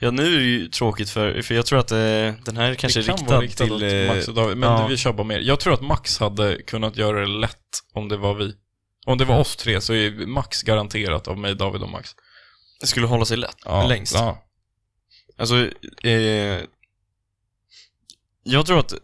A: Ja, nu är det ju tråkigt för, för jag tror att eh, den här kanske
B: det
A: är
B: kan
A: riktad
B: vara riktat
A: till...
B: åt
A: eh,
B: Max och David, men
A: ja.
B: vi kör bara mer. Jag tror att Max hade kunnat göra det lätt om det var vi. Om det var oss tre så är Max garanterat av mig, David och Max.
A: det skulle hålla sig lätt,
B: Ja,
A: längst.
B: Ja.
A: Alltså, eh, jag tror att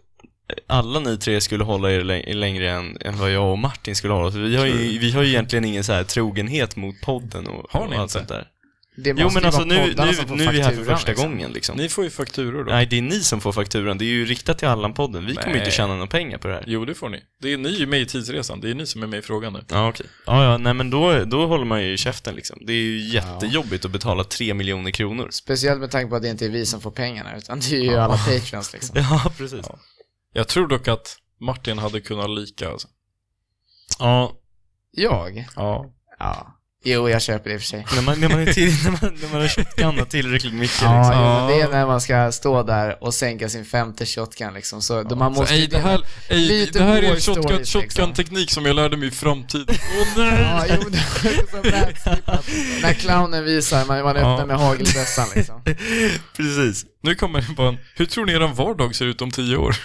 A: alla ni tre skulle hålla er läng- längre än, än vad jag och Martin skulle hålla. För vi, har
B: Tror
A: ju,
B: du?
A: vi har ju egentligen ingen så här trogenhet mot podden och,
B: Har ni
A: och allt
B: inte?
A: sånt där.
C: Det
A: Jo
C: måste
A: men
C: ju
A: alltså
C: vara
A: nu,
C: poddarna som
A: nu,
C: får
A: nu är vi här för
C: fakturan,
A: första
C: liksom.
A: gången liksom.
B: Ni får ju fakturor då.
A: Nej, det är ni som får fakturan. Det är ju riktat till Allan-podden. Vi kommer ju inte
B: Nej.
A: tjäna några pengar på det här.
B: Jo, det får ni. Det är ni ju med i tidsresan. Det är ni som är med i frågan nu.
A: Ja, okej. Ja, ja, nej men då, då håller man ju i käften liksom. Det är ju jättejobbigt att betala tre miljoner kronor.
C: Speciellt med tanke på att det inte är vi som får pengarna, utan det är ju alla patreons liksom.
A: Ja, precis.
B: Ja. Jag tror dock att Martin hade kunnat lika alltså.
A: Ja,
C: Jag?
B: Ja.
C: Ja. Jo, jag köper det i och för sig.
A: när man, när man, är till, när man, när man har köpt kanna tillräckligt mycket
C: Ja,
A: liksom.
C: jo, men det är när man ska stå där och sänka sin femte shotgun liksom. Så då man måste
B: så, Alltså, ej,
C: ju
B: det här, ej,
C: Lite
B: det här är
C: war
B: en shotgun-
C: stories, liksom.
B: shotgun-teknik som jag lärde mig i framtiden. Åh nej!
C: Ja, jo, men det är så värdstippat. När clownen visar, man, man öppnar
B: Ja.
C: med hagelbössan liksom.
A: Precis.
B: Nu kommer det bara en, hur tror ni er vardag ser ut om tio år?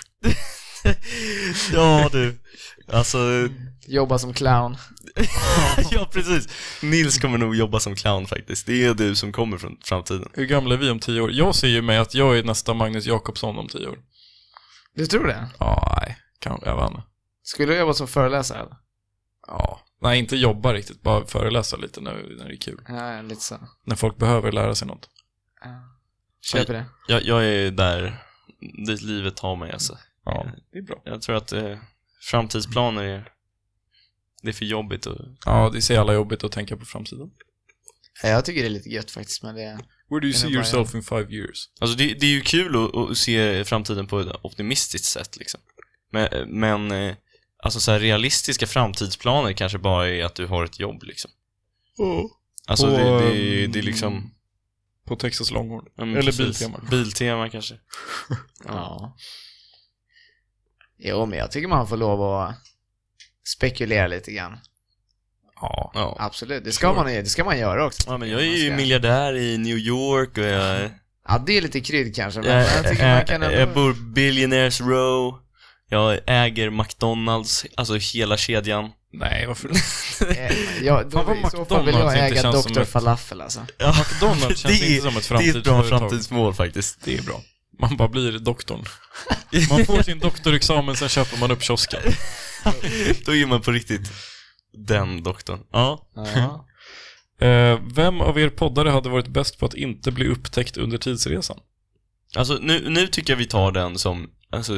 A: Ja, du. Alltså,
C: Jobba som clown.
A: ja precis. Nils kommer nog jobba som clown faktiskt. Det är du som kommer från framtiden.
B: Hur gamla är vi om tio år? Jag ser ju mig att jag är nästa Magnus Jakobsson om tio år.
C: Du tror det?
B: Ja, nej. Kan jag vann.
C: Skulle du jobba som föreläsare? eller?
B: Ja. Nej, inte jobba riktigt, bara föreläsa lite när, när det är kul.
C: Ja, lite så.
B: När folk behöver lära sig något.
C: Ja. Köper det.
A: Jag, jag är där, dit livet tar mig alltså.
B: Ja, det är bra.
A: Jag tror att eh, framtidsplaner är, det är för jobbigt att
B: Ja, det ser alla jobbigt att tänka på framtiden.
C: Ja, Jag tycker det är lite gött faktiskt, men det...
B: Where do you
C: Kan
B: see
C: jag bara-
B: yourself in five years?
A: Alltså det, det är ju kul att, att se framtiden på ett optimistiskt sätt liksom. Men, men eh, alltså så här realistiska framtidsplaner kanske bara är att du har ett jobb liksom. Alltså
B: Och,
A: det, det, är-
B: ehm,
A: det är liksom...
B: På Texas Longhorn.
A: ja, men
B: eller
A: precis.
B: Biltema.
A: Biltema kanske.
C: Ja. Jo, men jag tycker man får lov att spekulera lite grann.
B: Ja.
A: Ja.
C: Absolut, det ska man, ju- det ska man göra också.
A: ja men jag är ju
C: Man ska-
A: miljardär i New York och jag,
C: Ja, det är lite krydd kanske, men
A: jag,
C: jag tycker man
A: jag,
C: kan
A: eh, jag,
C: ändå...
A: bor Billionaires Row. Jag äger McDonalds, alltså hela kedjan.
B: Nej, varför?
C: Eh, Ja, då
B: Fan, vad
C: i så fall vill
B: McDonald's
C: jag
B: inte
C: äga
B: känns som
C: Dr.
B: ett-
C: Falafel alltså.
B: McDonalds känns
A: Det är-
B: inte som ett
A: Det är ett bra
B: framtidsföretag.
A: framtidsmål faktiskt.
B: Det är bra. Man bara blir doktorn. Man får sin doktorexamen, sen köper man upp kiosken.
A: Då är man på riktigt den doktorn. Ja.
C: Ja.
B: Eh, vem av er poddare hade varit bäst på att inte bli upptäckt under tidsresan?
A: Alltså nu, nu tycker jag vi tar den som, alltså,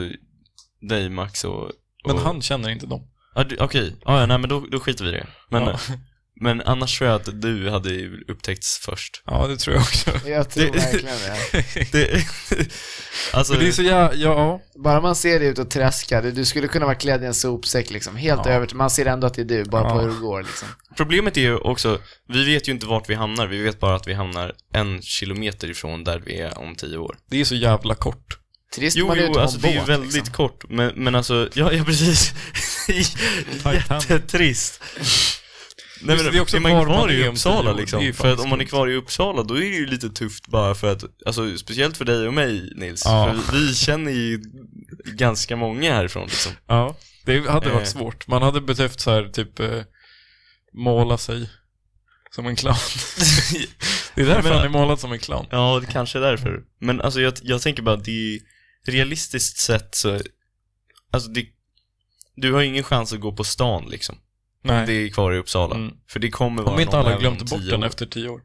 A: dig Max och... och
B: Men han känner inte dem.
A: Ja, du- Okej, ah, ja, nej men då, då skiter vi i det. Men,
B: Ja.
A: men annars tror jag att du hade ju upptäckts först.
B: Ja, det tror jag också.
C: Jag tror
A: Det-
C: verkligen det.
A: Det, alltså,
B: Men det är så jä- ja,
C: Bara man ser dig ut och traskar, du- du skulle kunna vara klädd i en sopsäck liksom. Helt
B: Ja.
C: över, man ser ändå att det är du, bara på
B: Ja.
C: hur det går liksom.
A: problemet är ju också, vi vet ju inte vart vi hamnar, vi vet bara att vi hamnar en kilometer ifrån där vi är om tio år.
B: det är så jävla kort.
C: Trist
A: Jo,
C: man är ute
A: jo,
C: på en
A: alltså det är ju
C: båt,
A: väldigt
C: liksom.
A: kort, men, men alltså, ja, ja precis.
B: Titanic.
A: Jättetrist. Nej,
B: Just
A: men
B: det, det är också
A: är man
B: var
A: kvar
B: man
A: i
B: är om tio
A: Uppsala
B: år, det är
A: liksom,
B: ju
A: för att om man är
B: faktiskt
A: kvar i Uppsala då är det ju lite tufft bara för att, alltså speciellt för dig och mig Nils,
B: Ja.
A: för vi, vi känner ju ganska många härifrån liksom.
B: Ja, det hade varit
A: Eh.
B: svårt. Man hade behövt så här, typ eh, måla sig som en clown. Det är därför
A: menar-
B: han är målad som en clown.
A: ja, det kanske är därför. Men alltså jag, jag tänker bara, att det är realistiskt sett så, alltså det, du har ingen chans att gå på stan liksom.
B: Nej.
A: Det är kvar i Uppsala.
B: Mm.
A: För det kommer vara
B: Om inte
A: någon
B: alla
A: även om
B: glömt bort
A: tio
B: den
A: år.
B: efter tio år.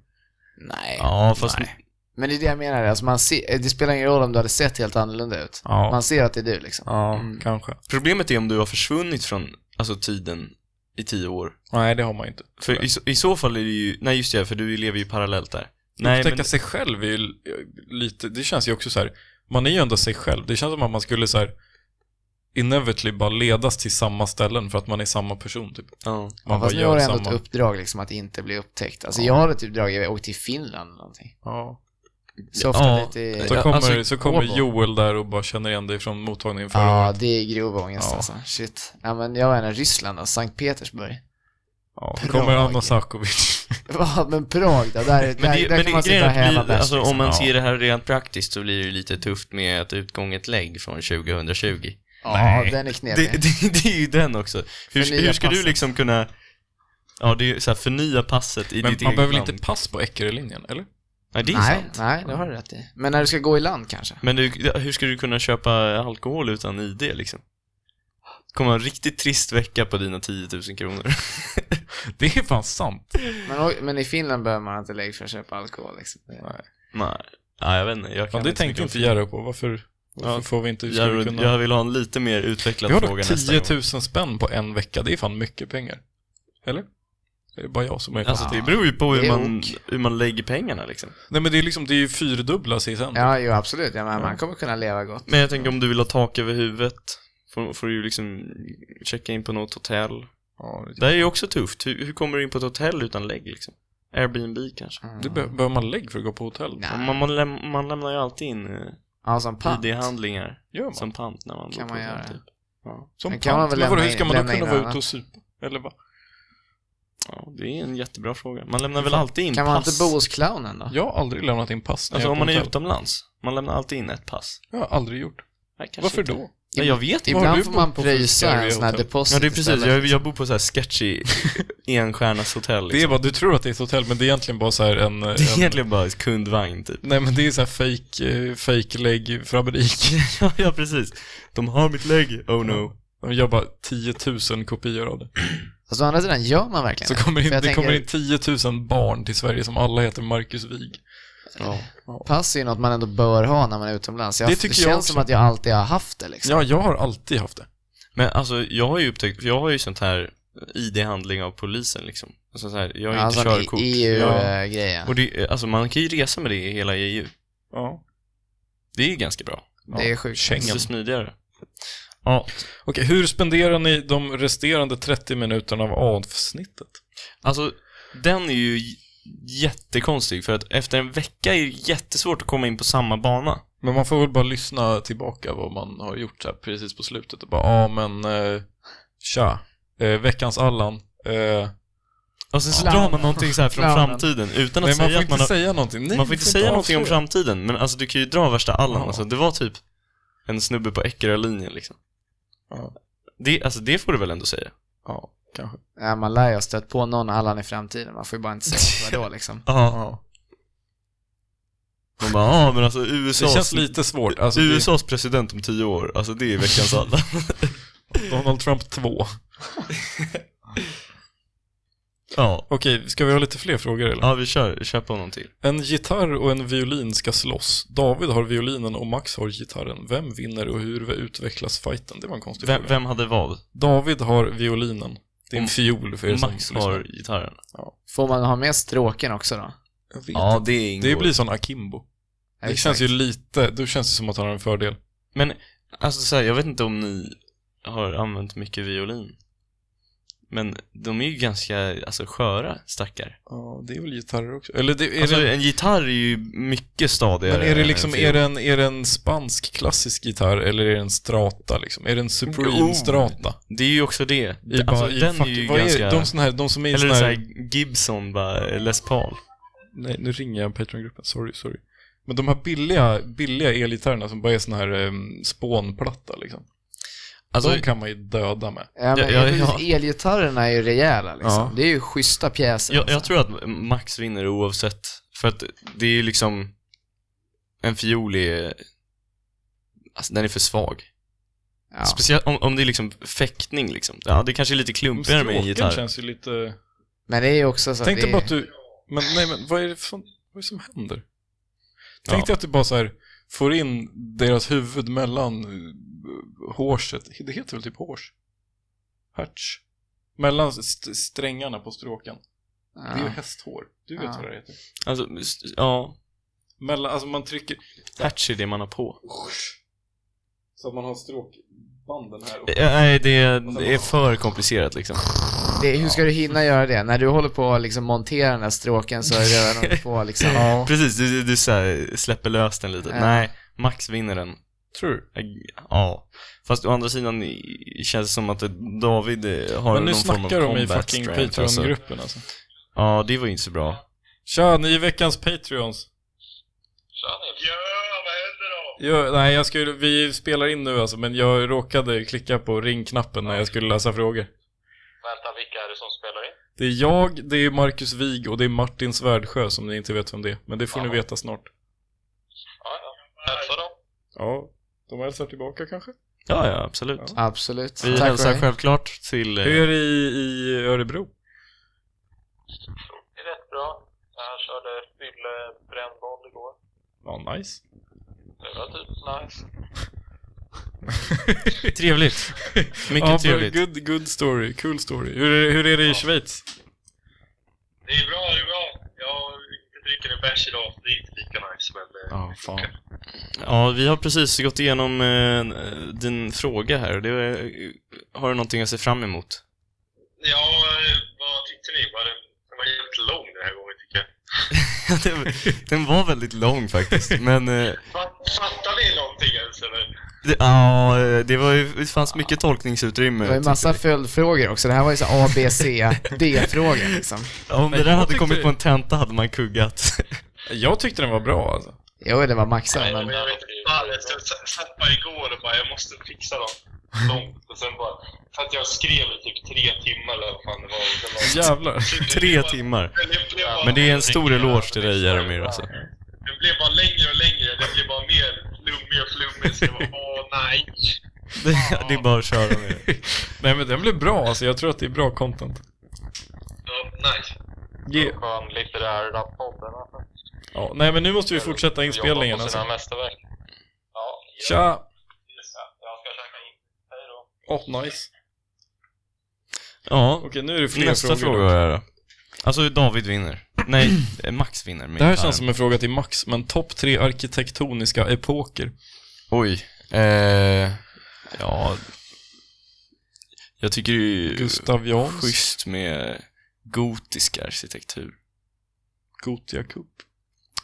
C: Nej.
A: Ja, fast
C: Nej. Men det är det jag menar, alltså man ser, det spelar ingen roll om du hade sett helt annorlunda ut.
B: Ja,
C: Man ser att det är du liksom.
B: ja
C: Mm.
B: kanske.
A: Problemet är om du har försvunnit från alltså, tiden i tio år.
B: Nej, det har man ju inte.
A: För i, så- i så fall är det ju, nej just det, för du lever ju parallellt där. Nej,
B: Upptäcka
A: men,
B: sig själv är ju l- lite, det känns ju också så här, man är ju ändå sig själv. Det känns som att man skulle så här inevitably bara ledas till samma ställen för att man är samma person typ.
A: ja.
B: Man
C: Ja, fast
B: bara
C: nu har
B: gör
C: du ändå
B: samma.
C: ett uppdrag liksom att inte bli upptäckt. Alltså
B: Ja.
C: jag har ett uppdrag, jag åker till Finland eller någonting.
B: Ja.
C: Softa
A: Ja.
C: lite i...
B: Så
A: Ja,
B: kommer,
A: alltså,
B: så kommer
C: gå på.
B: Joel där och bara känner igen dig från mottagningen förra
C: Ja,
B: året.
C: det är grov ångest
B: Ja.
C: alltså. Shit. Ja men jag var i Ryssland och Sankt Petersburg.
B: Ja.
C: Prag.
B: Kommer Anna Sakovic.
C: Ja, men Prag då, där, där,
A: Men det,
C: där
A: men
C: kan
A: det,
C: man sitta och
A: grejen är
C: häva
A: att bli,
C: bärs
A: alltså,
C: liksom.
A: om man
B: ja.
A: ser det här rent praktiskt så blir det ju lite tufft med att utgånget lägg från 2020.
C: Ja, den är knepig.
A: Det, det, det är ju den också. Hur,
C: Förnya
A: hur ska du
C: passet.
A: liksom kunna, ja det är ju så här, förnya passet i
B: Men
A: ditt
B: man
A: eget
B: behöver väl
A: land.
B: inte pass på Eckerölinjen, eller?
A: Nej, det är
C: nej,
A: sant.
C: nej, det har du rätt i. Men när du ska gå i land kanske?
A: Men du, hur ska du kunna köpa alkohol utan ID liksom? Det kommer vara en riktigt trist vecka på dina 10 000 kronor.
B: Det är fan sant.
C: Men, o- men i Finland behöver man inte lägg för att köpa alkohol liksom.
A: Nej, ja, jag vet inte. Jag
B: Ja,
A: kan
B: det tänkte inte Jerry på. Varför, varför
A: Ja,
B: får vi inte... hur ska vi
A: Jared,
B: kunna...
A: jag vill ha en lite mer utvecklad
B: Vi har
A: fråga
B: dock
A: nästa
B: 10
A: gång.
B: 000 spänn på en vecka. Det är fan mycket pengar. Eller? Det är bara jag som är fast.
A: Alltså det beror ju på hur
C: Det är
A: man,
C: ok.
A: hur man lägger pengarna liksom.
B: Nej men det är liksom, det är ju fyrdubbla CSN.
C: Ja, jo absolut. Ja, men man kommer kunna leva gott.
A: Men jag tänker om du vill ha tak över huvudet, får, får du ju liksom checka in på något hotell.
B: Ja, det-
A: Det här är ju också tufft. Hur, hur kommer du in på ett hotell utan lägg liksom? Airbnb kanske?
C: Mm.
B: Det be- behöver man lägg för att gå på hotell?
C: Nej.
A: Och Man, man, läm- man lämnar ju alltid in eh,
C: Ja, som pant.
A: ID-handlingar
B: Gör man? Som,
A: som pant när man
C: Kan
A: går på
C: man
A: hotell,
C: göra.
A: typ. Ja.
B: som
C: Men
B: pant?
C: kan man väl
B: men vadå,
C: lämna
B: hur ska
C: in-
B: man då
C: lämna in
B: kunna vara
C: annat?
B: ute och supa? Eller va?
A: ja, det är en jättebra fråga. Man lämnar väl alltid in
C: Kan man
A: pass?
C: inte bo hos clownen då?
B: Jag har aldrig lämnat in pass när
A: Alltså
B: jag
A: om man är
B: hotell.
A: utomlands, man lämnar alltid in ett pass.
B: Jag har aldrig gjort.
A: Nej, kanske
B: Varför
A: inte.
B: då?
A: Nej, jag vet inte.
B: Vad har
C: Ibland
B: du
C: får
B: bott
C: man
B: på för
C: pröjsa
B: scary
C: en sån här
B: hotel?
C: deposit
A: Ja, det är precis.
C: istället.
A: Jag, jag bor på så här sketchy enstjärnashotell.
B: Det är
A: Liksom.
B: bara, du tror att det är ett hotell, men det är egentligen bara så här en...
A: Det är
B: en
A: egentligen bara ett kundvagn typ.
B: nej men det är så här fake, eh, fake lägg fabrik.
A: Ja, ja, precis. De har mitt lägg. Oh no.
B: De gör bara 10 000 kopior av det.
C: Fast Alltså, å andra sidan gör man verkligen
B: Så kommer in,
C: För
B: det
C: jag tänker-
B: kommer in 10 000 barn till Sverige som alla heter Marcus Wig.
A: Ja.
C: Pass är ju något man ändå bör ha när man är utomlands. Jag,
B: Det
C: det,
B: tycker
C: känns
B: jag också.
C: som att jag alltid har haft det liksom.
B: Ja, jag har alltid haft det.
A: Men alltså, jag har ju upptäckt, för jag har ju sånt här ID-handling av polisen liksom. Alltså, så här, jag har ju
C: alltså
A: inte
C: den
A: körkort. Ja.
C: EU-grejen.
A: Och det, alltså man kan ju resa med det i hela EU.
B: Ja.
A: Det är ju ganska bra.
C: Det är sjukt.
A: Det är
B: Schengen.
A: så smidigare.
B: Ja. Okej, hur spenderar ni de resterande 30 minuterna av avsnittet?
A: Alltså, den är ju j- jättekonstig för att efter en vecka är det jättesvårt att komma in på samma bana.
B: Men man får väl bara lyssna tillbaka vad man har gjort så här precis på slutet och bara, ja men, eh, tja, eh, veckans Allan.
A: Och
B: Eh,
A: sen Alltså, så
C: Ja.
A: drar man någonting så här från
C: Clownen.
A: framtiden utan att
B: nej, man
A: säga
B: får
A: att
B: inte
A: man har...
B: säga någonting. Nej,
A: man får inte säga någonting om
B: avslöja.
A: framtiden, men alltså du kan ju dra värsta Allan.
B: Ja.
A: Alltså, det var typ en snubbe på Eckerö-linjen liksom.
B: Ja.
A: Det, alltså det får du väl ändå säga?
B: Ja, kanske.
C: Ja, man lär ju ha stött på någon Allan i framtiden. Man får ju bara inte säga vad då liksom.
A: Ja.
B: Ja.
A: Man bara, ja men alltså USAs,
B: Det känns lite svårt. Alltså, det-
A: USAs president om tio år, alltså det är veckans Allan.
B: Donald Trump 2.
A: ja.
B: Okej, ska vi ha lite fler frågor eller?
A: ja, vi kör, kör på någon till.
B: En gitarr och en violin ska slåss. David har violinen och Max har gitarren. Vem vinner och hur utvecklas fighten? Det var en konstig
A: Typ Vem,
B: fråga.
A: vem hade vad?
B: David har violinen. Det är en
A: Och
B: fiol för er som
A: Max
B: lyssnar.
A: har gitarren.
C: Får man ha med stråken också då?
B: Jag vet
A: Ja,
B: inte.
A: det är ingår.
B: Det blir sån akimbo. Det
C: Exakt.
B: känns ju lite, då känns det som att han har en fördel.
A: Men, alltså så här, jag vet inte om ni har använt mycket violin. Men de är ju ganska, alltså sköra stackar.
B: Ja, det är väl gitarrer också. Eller det, är
A: alltså
B: det,
A: en gitarr är ju mycket stadigare
B: men är
A: än
B: det
A: en
B: liksom,
A: fiol.
B: är det, en, är det en spansk klassisk gitarr eller är det en strata liksom? Är det en Supreme
A: Oh.
B: strata?
A: Det är ju också det.
B: I,
A: alltså
B: bara, i
A: den
B: fuck-
A: är ju
B: vad
A: ganska...
B: är de, sån här, de som är i sån
A: Eller
B: här...
A: såhär Gibson bara, Les Paul.
B: Nej, nu ringer jag Patreon-gruppen. Sorry, sorry. Men de här billiga, billiga elgitarrerna som bara är sån här um, spånplatta liksom.
A: Alltså,
B: de kan man ju döda med.
C: Ja, men
A: Ja, ja,
C: precis. Elgitarrerna är ju rejäla liksom.
B: Ja.
C: Det är ju schyssta pjäser. alltså.
A: jag, jag tror att Max vinner oavsett. För att det är ju liksom... En fiol är... Alltså den är för svag.
C: alltså. ja.
A: Speciellt om, om det är liksom fäktning liksom. Ja, det kanske är lite klumpigare med en
B: Stråken
A: gitarr.
B: känns ju lite... Alltså,
C: Men det är ju också så
B: Tänk
C: att det
B: dig
C: är...
B: bara att du... Men nej, men vad är det, fan, vad är det som händer? Tänk
A: Ja.
B: dig att du bara så här får in deras huvud mellan eh, hårset. Det heter väl typ hårs? Hertz? Mellan st- strängarna på stråken. Det är ju
C: Ja.
B: hästhår. Du vet
C: Ja.
B: vad det heter.
A: Alltså, st- ja.
B: Mellan, alltså man trycker
A: Hertz är det man har på.
B: så att man har stråkbanden här.
A: Eh, Nej, det, det är för komplicerat liksom.
C: Det, hur ska du hinna göra det? När du håller på att liksom montera den här stråken så är det redan på liksom...
B: Ja.
A: Precis, du, du, du så här, släpper lös den lite.
C: Ja.
A: Nej, Max vinner den. Äh,
B: Tror du?
A: Ja. Fast å andra sidan i- känns det som att eh, David eh, har
B: Men nu
A: någon form av
B: snackar de i
A: combat
B: fucking
A: strength. alltså.
B: Patreon-gruppen alltså.
A: Ja, det var ju inte så bra.
B: Tja, ni är veckans Patreons. Tja, vad händer då? nej, jag skulle, vi spelar in nu alltså, men jag råkade klicka på ringknappen när jag skulle läsa frågor.
F: Vänta, vilka är det som spelar in?
B: Det är jag, det är Marcus Wig och det är Martin Svärdsjö som ni inte vet vem det är. Men det får ni veta snart.
F: Ja, ja. Hälsa dem.
B: Ja, de hälsar tillbaka kanske?
A: Ja, ja, absolut.
B: Ja.
C: Absolut.
A: Vi
C: Tack
A: hälsar
C: för det.
A: självklart till... eh,
B: Hur är det i, i Örebro?
F: Det är rätt bra. Jag körde fylle brännboll igår.
B: Ja, nice.
F: Det var typ nice.
A: Trevligt. Mycket
B: ja,
A: trevligt.
B: Good, good story, cool story. Hur är, hur är det i Schweiz?
F: Det är bra, det är bra. Jag dricker en bärs idag, så det är inte lika nice, men... eh,
B: Ja, fan.
A: Ja, vi har precis gått igenom eh, din fråga här. Det, är- har du någonting jag ser fram emot?
F: Ja, eh, vad tyckte ni? Var den, den var jävligt lång den här gången, tycker jag.
A: Den- den var väldigt lång faktiskt, men... eh,
F: Fatt- Fattar ni någonting ens, eller?
A: det- Ja, eh, det var ju... Det fanns mycket tolkningsutrymme.
C: Det var ju
A: tyckte
C: massa
A: vi.
C: följdfrågor också. Det här var ju så A, B, C, D-frågor liksom.
A: Om det
B: Men
A: där
B: jag
A: hade
B: tyckte-
A: kommit på en tenta hade man kuggat.
B: Jag tyckte den var bra alltså.
C: Jo, det var maxat men...
F: men jag vet inte. Fan, jag satt- satt bara igår och bara, jag måste fixa dem. Långt. Och sen bara... Satt jag och skrev i typ tre timmar eller vad fan det var. och sen bara-
B: Jävlar.
A: Tre timmar.
F: Men det blev bara-
A: Men det är en stor eloge till dig, Jaromir alltså.
F: Det blev bara längre och längre. Det blev bara mer flummig och flummig. Så jag bara, åh nej.
A: Det, det är bara att köra med det.
B: Nej men den blev bra alltså, jag tror att det är bra content.
F: Ja, nice.
B: Ge-
F: Skön litterära podden alltså.
B: Ja, nej men nu måste vi fortsätta inspelningen
F: alltså.
B: alltså.
F: mästerverk. Ja.
B: Tja!
F: Jag ska käka in. Hej då.
B: Åh, nice.
A: Ja,
B: Okej, nu är det fler
A: nästa
B: frågor.
A: fråga
B: då.
A: är då. Alltså, David vinner. Nej, eh, Max vinner. med
B: Det här
A: gitarren.
B: känns som en fråga till Max, men topp tre arkitektoniska epoker.
A: Oj. Eh, ja. Jag tycker det är ju
B: Gustavians,
A: schysst med gotisk arkitektur.
B: Gotia Cup.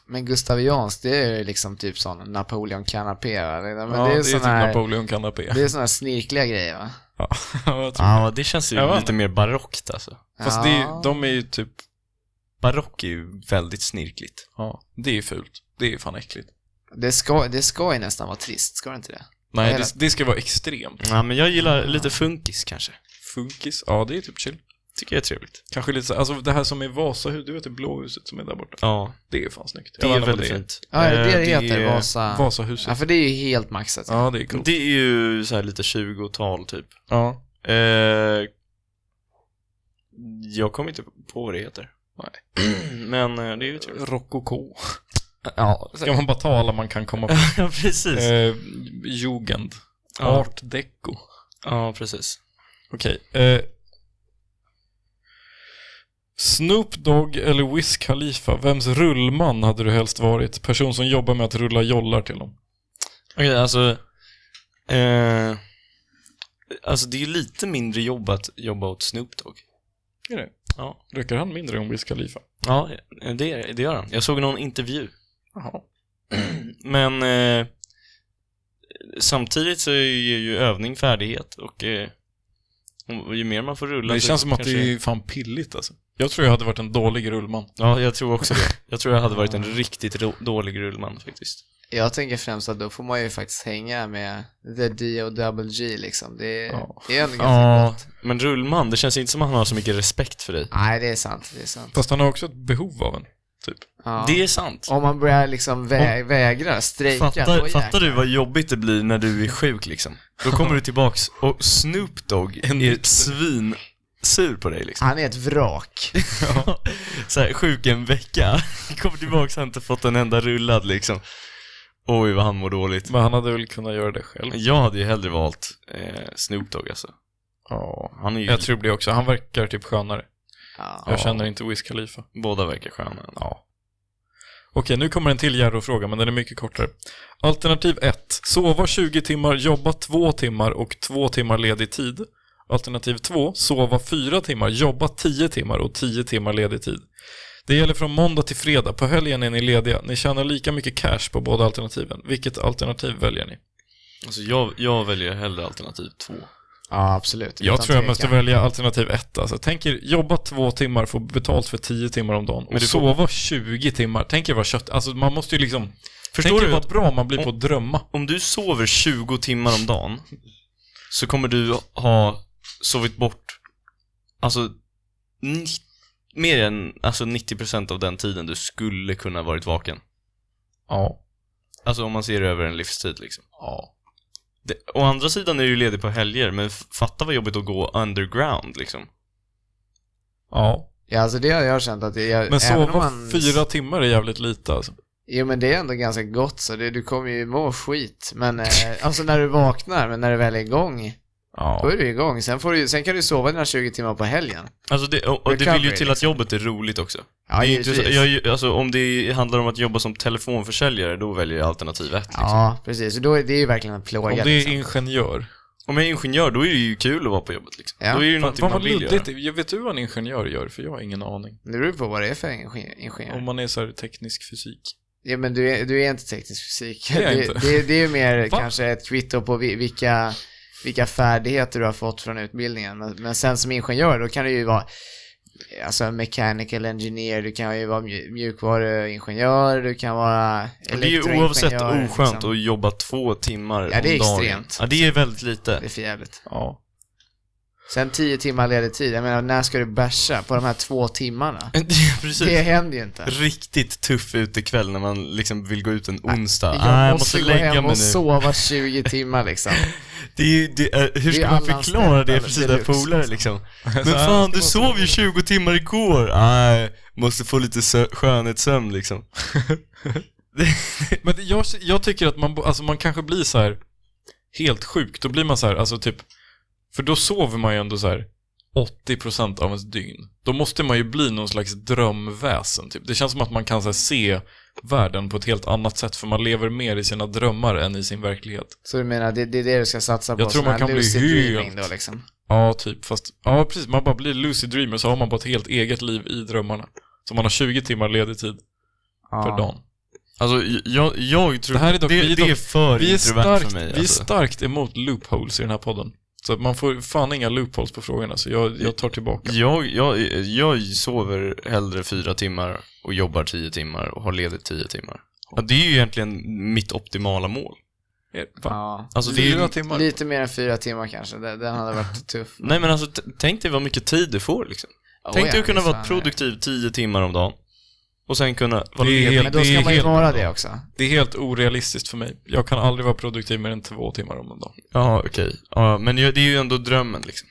C: Men Gustavians, det är ju liksom typ sån Napoleon-kanapé va? Det- Men
B: Ja,
C: det är
B: typ
C: sån här...
B: Napoleon Canapé.
C: Det är såna här snirkliga grejer va?
B: E. Ja, jag tror.
A: Ja, det känns ju
B: Ja, va?
A: lite mer barockt alltså.
B: Fast det är, de är ju typ,
A: Barock är ju väldigt snirkligt.
B: ja, det är fult. Det är fan äckligt.
C: Det ska, det ska ju nästan vara trist, ska det inte det?
B: Nej,
C: Vad är
B: det, det ska vara extremt.
A: Ja, men jag gillar lite funkis kanske.
B: Funkis, ja det är typ chill.
A: Tycker jag är trevligt.
B: Kanske lite så, alltså det här som är Vasahus, du vet det blå huset som är där borta.
A: Ja,
B: Det är fan snyggt.
A: det
B: Jag
A: är
B: vet inte vad
A: väldigt fint.
C: Ja, är det
A: Eh,
C: det det heter?
A: är-
C: Vasa...
B: Vasahuset.
C: Ja, för det är ju helt maxat.
B: Ja, det är coolt.
A: Det är ju så här lite 20-tal typ.
B: Ja.
A: Eh, jag kommer inte på vad det heter. Men eh, det är ju trevligt.
B: Rokoko.
A: Ja,
B: Ska man bara ta alla man kan komma på?
A: ja precis.
B: Eh, jugend.
A: Ja.
B: Art deco.
A: Ja, precis.
B: Okej. Eh, Snoop Dogg eller Wiz Khalifa, vems rullman hade du helst varit? Person som jobbar med att rulla jollar till dem.
A: Okej, alltså... Eh, alltså, det är lite mindre jobb att jobba åt Snoop Dogg.
B: Är det?
A: Ja.
B: Röker han mindre än Wiz Khalifa?
A: Ja, Eh, det, det gör han. Jag såg någon intervju.
B: Jaha.
A: Men eh, samtidigt så ger ju övning färdighet och eh, och ju mer man får rulla
B: Det
A: så
B: känns som att
A: kanske-
B: det är fan pilligt alltså. Jag tror jag hade varit en dålig rullman.
A: Ja, jag tror också det. Jag tror jag hade varit en riktigt ro- dålig rullman faktiskt.
C: Jag tänker främst att då får man ju faktiskt hänga med the D och double G liksom. Det är,
B: Ja.
C: det är ändå ganska
A: Ja,
C: gott.
A: men rullman, det känns inte som att han har så mycket respekt för dig.
C: Nej, det är sant. Det är sant.
B: Fast han har också ett behov av en, typ.
C: Ja.
A: Det är sant.
C: Om man börjar liksom vä- vägra, strejka, då
A: Fattar,
C: jäklar.
A: fattar du vad jobbigt det blir när du är sjuk liksom? Då kommer du tillbaks och Snoop Dogg är ett svin sur på dig liksom.
C: Han är ett vrak.
A: så här, sjuk en vecka. Kommer tillbaka och har inte fått en enda rullad liksom. Oj, vad han mår dåligt.
B: Men han hade väl kunnat göra det själv.
A: Jag hade ju hellre valt eh, Snoop Dogg alltså.
B: Ja.
A: Han är ju,
B: Jag tror det också. Han verkar typ skönare.
C: Ja.
B: Jag känner inte Wiz Khalifa.
A: båda verkar sköna.
B: Ja. Okej, nu kommer en till Jarro-fråga, men den är mycket kortare. Alternativ 1. Sova 20 timmar, jobba 2 timmar och 2 timmar ledig tid. Alternativ 2. Sova 4 timmar, jobba 10 timmar och 10 timmar ledig tid. Det gäller från måndag till fredag. På helgen är ni lediga. Ni tjänar lika mycket cash på båda alternativen. Vilket alternativ väljer ni?
A: Alltså jag, jag väljer hellre alternativ två.
C: ja, absolut.
B: Jag
C: Utan
B: tror jag
C: tvekan.
B: måste välja alternativ 1. Alltså, tänk er jobba 2 timmar, få betalt för 10 timmar om dagen och
A: Men du får-
B: sova 20 timmar. Tänk er vad kött... Alltså man måste ju liksom...
A: Förstår
B: Tänk er
A: du
B: vad
A: att
B: bra man blir på att drömma.
A: om du sover 20 timmar om dagen så kommer du ha sovit bort alltså ni- mer än alltså 90% av den tiden du skulle kunna ha varit vaken.
B: Ja.
A: Alltså om man ser över en livstid liksom.
B: ja.
A: Det, å andra sidan är du ju ledig på helger, men f- fatta vad jobbigt att gå underground liksom.
B: Ja.
C: Ja, alltså det har jag känt att jag...
B: Men
C: även om
B: sova fyra timmar är jävligt lite alltså.
C: Jo men det är ändå ganska gott så det, du kommer ju må skit. Men eh, alltså när du vaknar, men när du väl är igång, då
B: Ja.
C: är du igång. Sen, får du, sen kan du sova dina 20 timmar på helgen.
A: Alltså det, och, och det
C: Recovery,
A: vill ju till att jobbet är roligt också.
C: Ja,
A: det är ju inte
C: givetvis.
A: så, jag, är ju- alltså, om det handlar om att jobba som telefonförsäljare, då väljer jag alternativ ett. Liksom.
C: Ja, precis. Så Då är det är ju verkligen en
B: Om
C: plåga.
B: det är
C: liksom.
B: ingenjör.
A: Om jag är ingenjör, då är det ju kul att vara på jobbet liksom.
C: Ja.
A: Då är det ju
B: Fan
A: någonting
B: fan
A: man
B: vad
A: vill göra.
B: luddigt. Jag vet du vad en ingenjör gör? För jag har ingen aning.
C: Det beror på vad det är för ingen- ingenjör.
B: Om man är så här teknisk fysik.
C: Ja, men du är, du är inte teknisk fysik.
B: Det är jag
C: det,
B: inte.
C: Det, det är ju mer
B: Va?
C: kanske ett kvitto på vi- vilka, vilka färdigheter du har fått från utbildningen. Men, men sen som ingenjör, då kan du ju vara alltså en mechanical engineer, du kan ju vara mju- mjukvaruingenjör, du kan vara
A: Och Det är ju oavsett
C: elektroingenjör,
A: oskönt
C: liksom.
A: att jobba två timmar
C: Ja, det är
A: om dagen.
C: extremt.
A: Ja, det är väldigt
C: Det
A: lite.
C: är för jävligt.
B: Ja.
C: Sen tio timmar ledig tid, jag menar när ska du bärsa på de här två timmarna?
B: Typ.
A: Precis.
C: Det händer ju inte.
A: Riktigt tuff utekväll när man liksom vill gå ut en onsdag.
C: Jag
A: Ah,
C: måste, gå hem och sova 20 timmar liksom.
A: Det är, ju- det är, hur
C: Det är
A: ska man
C: alla
A: förklara det för
C: anställda
A: sina
C: deluxe,
A: polare
C: liksom.
A: liksom? Men fan, du sov ju 20 timmar igår. Nej, måste få lite sö- skönhetssömn liksom.
B: Men det- jag, jag tycker att man, bo- alltså, man kanske blir så här helt sjuk. Då blir man så här, alltså typ. För då sover man ju ändå så här 80% av ens dygn. Då måste man ju bli någon slags drömväsen. Typ. Det känns som att man kan så här, se världen på ett helt annat sätt. För man lever mer i sina drömmar än i sin verklighet.
C: Så du menar, det, det är det du ska satsa på?
B: Jag tror
C: sån
B: man
C: här
B: kan bli
C: lucid dreaming
B: helt-
C: Då, liksom.
B: Ja, typ. Fast, ja, precis. Man bara blir lucid dreamer så har man bara ett helt eget liv i drömmarna. Så man har 20 timmar ledig tid
C: Ja.
B: för dagen.
A: Alltså, jag, jag tror...
B: Det här är dock-
A: det,
B: vi är
A: det är
B: dock-
A: för
B: Vi är,
A: introvert
B: starkt,
A: för mig. alltså.
B: vi är starkt emot loopholes i den här podden. Så att man får fan inga loopholes på frågorna, så jag, jag tar tillbaka.
A: Jag, jag, jag sover hellre fyra timmar och jobbar tio timmar och har ledigt tio timmar. Ja, det är ju egentligen mitt optimala mål.
B: Fan.
C: Ja.
A: Alltså, det är ju,
B: Fyra timmar.
C: Lite mer än fyra timmar kanske, den, den hade varit tuff.
A: nej men alltså, t- tänk dig vad mycket tid du får liksom.
C: Oh,
A: tänk dig
C: ja,
A: att kunna
C: det
A: vara
C: fan är-
A: produktiv tio timmar om dagen. Och sen kunna vara
B: Det är
A: ledig.
B: helt-
C: Men då ska
B: är
C: man ju
B: helt-
C: vara det också.
B: Det är helt orealistiskt för mig. Jag kan aldrig vara produktiv mer än två timmar om en dag.
A: Ja, okej. Ja, men ju- det är ju ändå drömmen liksom.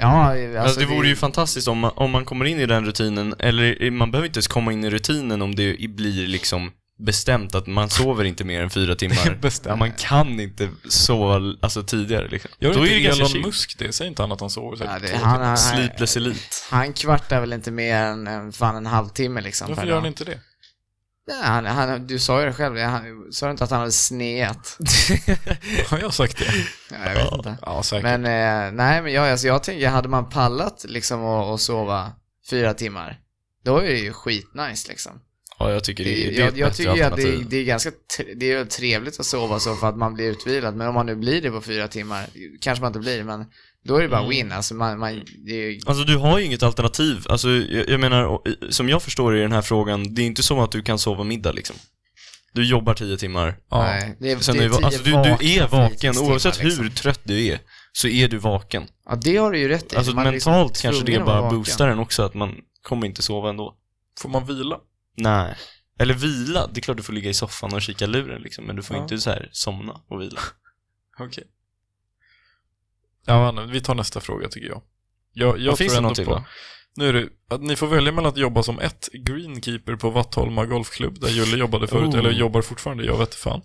C: Ja, alltså,
A: Alltså, det vore ju fantastiskt om man, om man kommer in i den rutinen, eller i- man behöver inte ens komma in i rutinen om det i- blir liksom bestämt att man sover inte mer än fyra timmar.
B: Bestämt.
A: Man kan inte sova l- alltså, tidigare liksom.
B: Gör
A: Då är det
B: inte
A: ganska
B: Elon
A: chill.
B: Musk det? Säg inte han att han sover
C: Ja,
B: säkert
C: det,
B: två
C: han,
B: timmar.
C: han,
A: Sleepless Elite.
C: han kvartar väl inte mer än, än fan en halvtimme liksom
B: Varför
C: per
B: gör han
C: dag.
B: inte det?
C: Nej, han, han, du sa ju det själv, han, sa du inte att han hade sneat?
B: Har jag sagt det?
C: Ja, jag vet inte.
B: Ja, säkert.
C: Men eh, nej, men jag, alltså, jag tänker, hade man pallat liksom att att sova fyra timmar, då är det ju skitnice liksom.
A: Ja, jag tycker det, det, är ett
C: jag, jag
A: bättre
C: tycker ju att det,
A: alternativ.
C: det är ganska tre- det är väl trevligt att sova så för att man blir utvilad, men om man nu blir det på fyra timmar, kanske man inte blir, men då är det
A: Mm.
C: bara win. Alltså man, man, det är ju,
A: Alltså du har ju inget alternativ. Alltså jag, jag menar, och- i- som jag förstår i den här frågan, det är inte så att du kan sova middag liksom. Du jobbar tio timmar.
B: ja.
C: nej, det är,
A: Sen
C: det
A: är,
C: är tio
A: alltså, du, du är
C: vakna
A: vaken,
C: fritidstimmar,
A: oavsett
C: liksom.
A: hur trött du är, så är du vaken.
C: Ja, det har du ju rätt i.
A: Alltså
C: Man är liksom
A: mentalt kanske det
C: tvungen att vara
A: bara
C: vaken.
A: boostar en också, att man kommer inte sova ändå.
B: Får man vila?
A: Nej. Eller vila, det är klart du får ligga i soffan och kika luren liksom, men du får
B: Ja.
A: inte så här somna och vila.
B: Okej. Ja, Anna, vi tar nästa fråga tycker jag. Jag, jag
A: Vad finns
B: tror
A: det
B: ändå
A: någonting
B: på,
A: då?
B: Nu är det, att ni får välja mellan att jobba som ett greenkeeper på Vattholma golfklubb där Julle jobbade förut,
A: Oh.
B: eller jobbar fortfarande, jag vet fan.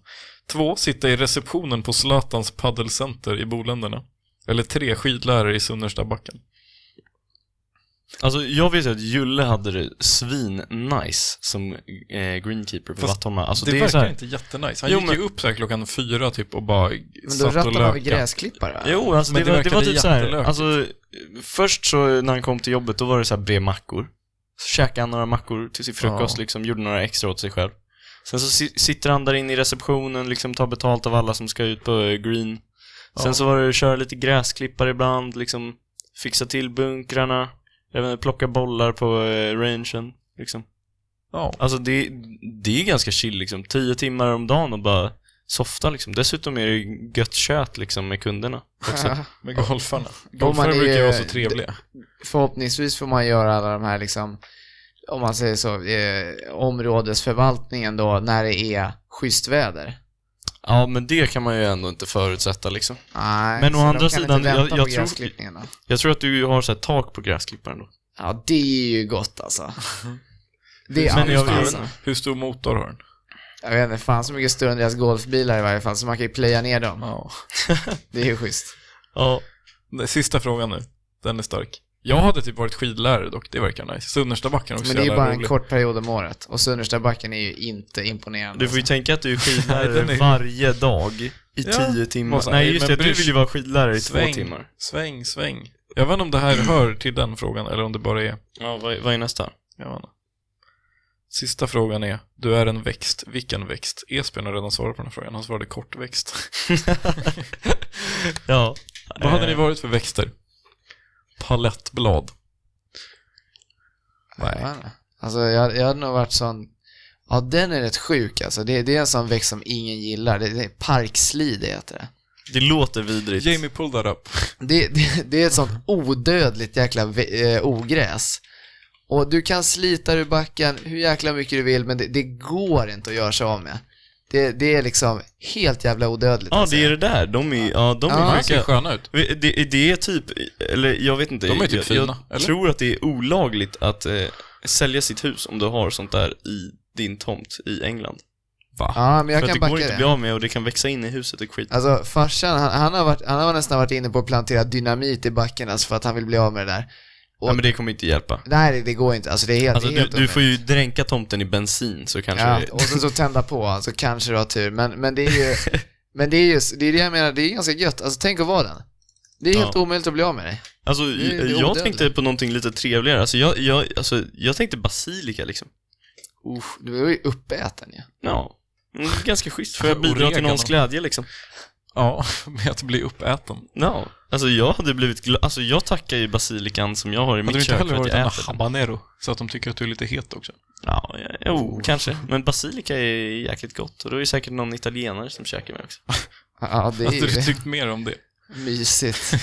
B: Två, sitta i receptionen på Zlatans paddelcenter i Boländerna. Eller tre, skidlärare i Sunnerstabacken.
A: Alltså jag vet ju att Julle hade det svin-nice som eh, greenkeeper på
B: Fast
A: Vattholma. Alltså
B: det,
A: det, är så
B: verkar
A: här,
B: inte jättenice. Han
A: Jo,
B: gick ju upp så här klockan fyra typ och bara
C: Men då
B: satt och
C: rattar man väl
B: lökade.
C: gräsklippare? va?
A: Jo, alltså
B: Men
A: det,
B: det
A: var, det var
B: verkade
A: typ så här,
B: jättelökigt.
A: alltså eh, först så när han kom till jobbet då var det så här bred mackor. Så käkade han några mackor till sin frukost
B: Ja.
A: liksom, gjorde några extra åt sig själv. Sen så si- sitter han där inne i receptionen, liksom tar betalt av alla som ska ut på eh, green. Sen
B: Ja.
A: så var det att köra lite gräsklippare ibland, liksom fixa till bunkrarna, jag vet inte, plocka bollar på eh, rangen, liksom.
B: Ja.
A: Alltså det, det är ganska chill liksom. Tio timmar om dagen och bara softa liksom. Dessutom är det gött kött liksom med kunderna.
B: Med golfarna.
C: man
B: Golfarna
C: är-
B: brukar ju vara så trevliga.
C: Förhoppningsvis får man göra alla de här liksom, om man säger så, eh, områdesförvaltningen då när det är schysst väder.
A: Ja, men det kan man ju ändå inte förutsätta liksom.
C: Nej,
A: Men å
C: så de
A: andra
C: kan
A: sidan,
C: inte vänta
A: jag- jag
C: på
A: tror-
C: gräsklippningen då.
A: Jag tror att du har så här tak på gräsklipparen då.
C: Ja, det är ju gott alltså. Det är
B: Men
C: allt
B: jag,
C: alltså.
B: hur stor motor har den?
C: Jag vet inte, fan så mycket större än deras golfbilar i varje fall, så man kan ju playa ner dem.
B: Ja.
C: Det är ju schysst.
A: Ja.
B: Nej, Sista frågan nu. Den är stark. Jag hade typ varit skidlärare dock, det verkar nice. Sunnerstabacken är också
C: Men det är ju
B: jävla
C: bara en
B: rolig.
C: kort period om året. Och Sunnerstabacken är ju inte imponerande.
A: Du får ju tänka att du är
B: Nej, den
A: skidlärare
B: är-
A: varje dag i
B: Ja.
A: tio timmar.
B: Måste-
A: Nej,
B: Nej,
A: just
B: men
A: det. Du
B: bryr-
A: vill ju vara skidlärare i
B: Sväng.
A: två timmar.
B: Sväng, sväng. Jag vet inte om det här hör till den frågan eller om det bara är...
A: Ja, vad, vad är nästa?
B: Jag vet inte. Sista frågan är, du är en växt. Vilken växt? Esbjörn har redan svarat på den här frågan. Han svarade kortväxt.
A: ja.
B: Vad hade
A: Eh.
B: ni varit för växter? Palettblad. Nej.
C: Nej. Alltså jag, jag hade nog varit sån... Ja, den är rätt sjuk alltså. Det, det är en sån växt som ingen gillar. Det, det är parkslide heter det.
A: Det låter vidrigt.
B: Jamie pull that up.
C: Det, det, det är ett sånt odödligt jäkla vä- eh, ogräs. Och du kan slita ur backen hur jäkla mycket du vill, men det, det går inte att göra sig av med. Det, det är liksom helt jävla odödligt.
A: Ja,
C: alltså.
A: det är det där. De är, ja, de är
C: Ja.
B: De ser
A: sjuka.
B: sköna ut.
A: Vi- Det, det är typ, eller jag vet inte.
B: De är typ
A: jag,
B: fina,
A: Jag
B: eller?
A: tror att det är olagligt att eh, sälja sitt hus om du har sånt där i din tomt i England.
B: Va?
C: Ja, men jag
A: För att
C: kan
A: det
C: backa
A: går inte
C: det.
A: att bli av med och det kan växa in i huset och skit.
C: Alltså farsan, han, han, har varit, han har nästan varit inne på att plantera dynamit i backen alltså för att han vill bli av med det där.
A: Ja, men det kommer inte hjälpa.
C: Nej, det, det går inte. Alltså det är helt,
A: Alltså,
C: det är
A: du,
C: helt
A: du får
C: omöjligt.
A: ju dränka tomten i bensin så kanske
C: Ja,
A: det...
C: och sen så tända på, alltså kanske du har tur. Men, men det är ju, men det är just, det är det jag menar, det är ganska gött. Alltså tänk att vara den. Det är helt
A: Ja.
C: omöjligt att bli av med dig.
A: Alltså,
C: det är
A: jag
C: odödligt.
A: tänkte på någonting lite trevligare. Alltså, jag, jag, alltså, jag tänkte basilika liksom.
C: Uff, du är ju uppäten ju.
A: Ja. Mm, ganska schysst. Får jag bidra till
B: Oregano.
A: någons glädje liksom?
B: Ja, med att bli uppäten.
A: Ja. Alltså jag hade blivit gla- Alltså jag tackar ju basilikan som jag har i
B: Hade
A: mitt
B: du inte
A: kök
B: hellre
A: för att
B: varit
A: jag
B: en
A: äter den.
B: habanero? Så att de tycker att du är lite het också.
A: Ja, ja, jo, kanske. Men basilika är jäkligt gott och då är det säkert någon italienare som käkar mig också.
C: Ja,
A: Alltså,
C: det är
B: Hade du
C: ju
B: tyckt mer om det?
C: mysigt.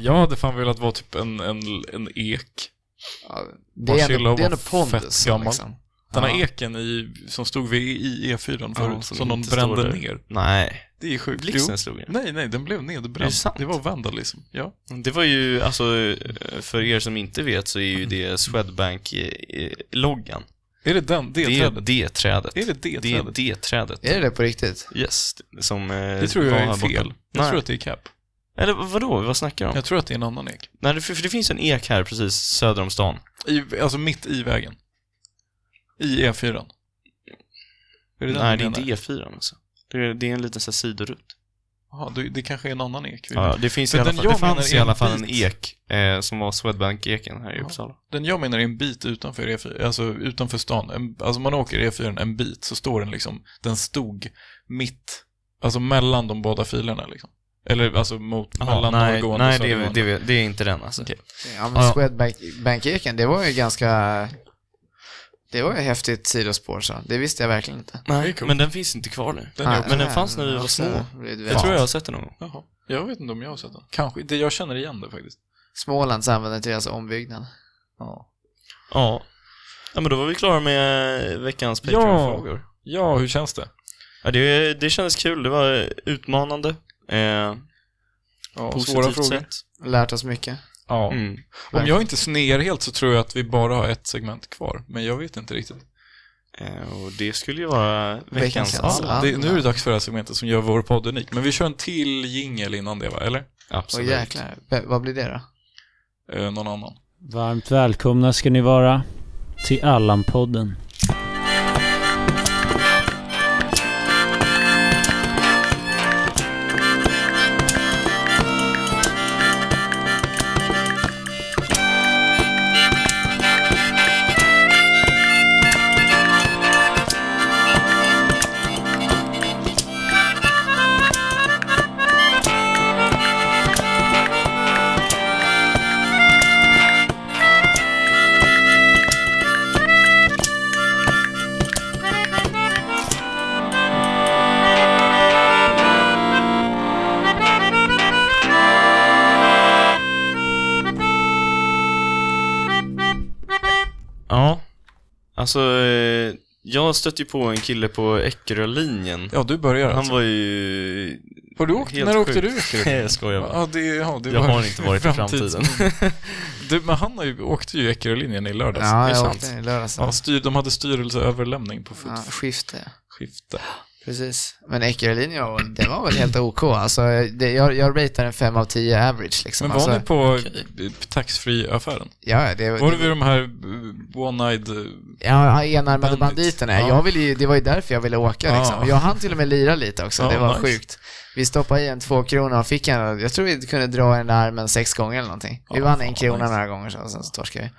B: Jag hade fan velat vara typ en, en, en ek.
C: Ja, det är
B: Marcello
C: ändå, det är
B: var
C: ändå
B: fett
C: pondus.
B: gammal.
C: Liksom.
B: Den här
C: Ja.
B: eken i, som stod vid i E4 förut,
A: Ja,
B: som,
A: som
B: någon
A: inte står
B: brände
A: där.
B: ner.
A: Nej.
B: Det är sjukt.
A: Blixten slog den.
B: Nej, nej, den blev
A: Är det
B: nedbränd.
A: sant?
B: Det var vandalism. Ja.
A: Det var ju, alltså, för er som inte vet så är ju det Swedbank-loggan.
B: Är det den? Det,
A: Det är
B: trädet?
A: det trädet.
B: Är det det
A: Det är
B: trädet?
A: det trädet.
C: Är det det på riktigt?
A: Yes, som eh,
B: Det tror jag
A: var
B: är
A: här borta.
B: fel. Jag
A: Nej.
B: tror att det är cap.
A: Eller vadå, vad snackar du om?
B: Jag tror att det är en annan ek.
A: Nej, det, för för det finns en ek här precis söder om stan.
B: I, alltså mitt i vägen. I E4. Är
A: Nej,
B: den du
A: det är inte
B: menar?
A: E4 alltså. Det är, det är en liten så här, sidorutt.
B: Jaha, du- det kanske är en annan ek. vi-
A: Ja, ja, det finns i
B: För
A: alla
B: den
A: fall,
B: jag
A: det
B: menar
A: fanns
B: är
A: i
B: en
A: alla fall en
B: bit.
A: ek eh, som var Swedbank-eken här i
B: Ja.
A: Uppsala.
B: Den jag menar är en bit utanför E4, alltså utanför stan. En, alltså man åker E4 en bit så står den liksom, den stod mitt, alltså mellan de båda filerna liksom. Eller alltså mot,
A: Jaha,
B: mellan
A: nej,
B: norrgående
A: nej
B: och
A: det, är,
B: södergående.
A: det, är, det är inte den alltså.
B: Okej.
C: Ja, men
A: Ja.
C: Swedbank-eken, det var ju ganska... Det var ju ett häftigt sidospår så. Det visste jag verkligen inte.
B: Det är
A: Nej,
B: coolt.
A: men den finns inte kvar nu.
B: Den är
C: Nej,
B: också-
A: men den fanns när vi var
C: alltså,
A: små.
C: det är
A: Jag
C: ett
A: tror jag
C: väldigt-
A: har sett den någon gång.
B: Jaha. Jag vet inte om jag har sett den. Kanske, det, jag känner igen det faktiskt.
C: Smålands använder till deras ombyggnad.
B: Ja.
A: Ja. Ja, men då var vi klara med eh, veckans
B: Ja.
A: Patreon-frågor.
B: ja, hur känns det?
A: Ja, det, det kändes kul. Det var utmanande. Eh,
B: Ja, svåra
A: Positivt
B: frågor.
A: sätt.
C: Lärt oss mycket.
B: Ja.
A: Mm.
B: Om jag inte snear helt så tror jag att vi bara har ett segment kvar, men jag vet inte riktigt.
A: Eh, Och det skulle ju vara
C: Veckans
A: veckans
C: all.
A: all.
C: Ja.
B: Det, nu är det dags för det här segmentet som gör vår podd unik, men vi kör en till jingel innan det va, eller?
C: Åh
A: Absolut.
C: jäklar. V- vad blir det då?
B: Eh, någon annan.
G: Varmt välkomna ska ni vara till Allan-podden.
A: Ja. Alltså, eh, jag stötte ju på en kille på Eckerölinjen.
B: Ja, du börjar
A: Han
B: alltså.
A: var ju...
B: Har du åkt?
A: helt
B: När åkte
A: sjuk.
B: du ut?
A: Nej, jag skojar bara.
B: Ja, det, ja, det
A: Jag
B: var-
A: har inte varit i framtiden.
B: du, men han har ju, åkte ju Eckerölinjen i lördags.
C: Ja,
B: Alltså, det är
C: jag
B: sant.
C: åkte i lördags.
B: Ja, styr, de hade styrelseöverlämning på
C: Ja, skifte. ja.
B: fotskifte.
C: Precis. Men Eckerölinjen var, det var väl helt OK. Alltså, det, jag, jag ratear en 5 av 10 average liksom.
B: Men var
C: alltså,
B: ni på taxfree-affären?
C: Ja, det,
B: Var det
C: det,
B: vid de här eh, one-eyed...
C: ja, enarmade
B: Bandit.
C: banditerna.
B: Ja.
C: Jag ville ju, det var ju därför jag ville åka
B: Ja.
C: liksom. Jag hann till och med lira lite också.
B: Ja,
C: det var
B: nice.
C: sjukt. Vi stoppade i en två krona och fick en. Jag tror vi kunde dra den där armen sex gånger eller någonting. Vi
B: Ja,
C: vann
B: fan,
C: en krona
B: nice.
C: några gånger sen, sen så torskade vi.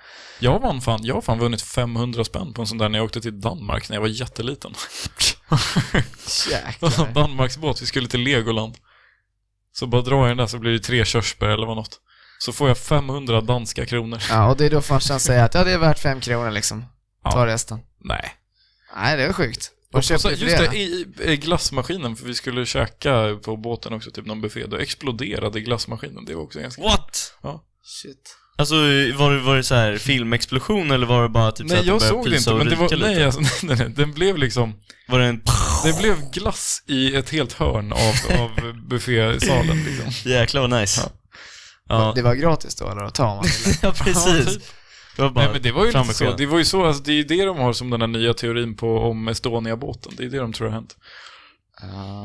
B: Jag, vann fan, jag har fan vunnit 500 spänn på en sån där när jag åkte till Danmark när jag var jätteliten. Det var en
C: Jäklar.
B: Danmarksbåt, vi skulle till Legoland. Så bara drar jag den där så blir det tre körsbär eller vad något. Så får jag 500 danska kronor.
C: Ja, och det är då farsan säger att ja, det är värt fem kronor liksom.
B: Ja.
C: Ta resten.
B: Nej.
C: Nej, det var sjukt. Vad
B: Och så,
C: köpte du
B: just
C: för det?
B: det,
C: då?
B: i, i glassmaskinen, för vi skulle käka på båten också, typ någon buffé, då exploderade glassmaskinen. Det var också ganska...
A: What?
C: Shit.
A: Alltså, var det, var det så här filmexplosion eller var det bara typ så
B: Nej,
A: att
B: jag
A: den började
B: såg
A: pysa
B: det inte,
A: och
B: men det
A: ryka
B: var...
A: lite?
B: Nej, alltså, nej, nej, den blev liksom...
A: Var det en...
B: Det blev glass i ett helt hörn av, av buffésalen liksom.
A: Jäklar vad nice. Ja,
C: Det var gratis då eller? Att ta om man ville.
A: ja
B: Ja,
A: precis.
B: typ.
A: Det var bara
B: Nej men det var ju
A: fram
B: lite
A: med
B: så.
A: skeden.
B: Det var ju så, alltså, det är ju det de har som den här nya teorin på om Estonia-båten. Det är det de tror har hänt.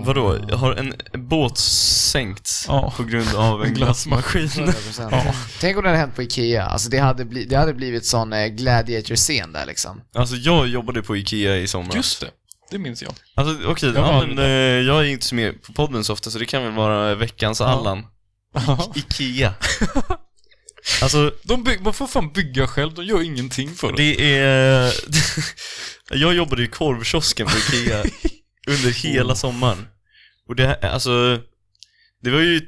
A: Vadå? Har en båt sänkts
B: Ja.
A: på grund av en glassmaskin?
C: 100%.
B: Ja.
C: Tänk om det hade hänt på Ikea. Alltså det hade, bli, det hade blivit sån eh, gladiator-scen där liksom.
A: alltså, jag jobbade på Ikea i somras.
B: Just det. Det minns jag.
A: Alltså okej,
B: Jag
A: ja,
B: var
A: men, eh, jag är inte så med på podden så ofta så det kan väl vara veckans Allan. Ikea. alltså,
B: De bygg, man får fan bygga själv, de gör ingenting för det.
A: det är... jag jobbade i korvkiosken på Ikea under hela sommaren. Och det, här- alltså, det var ju eh,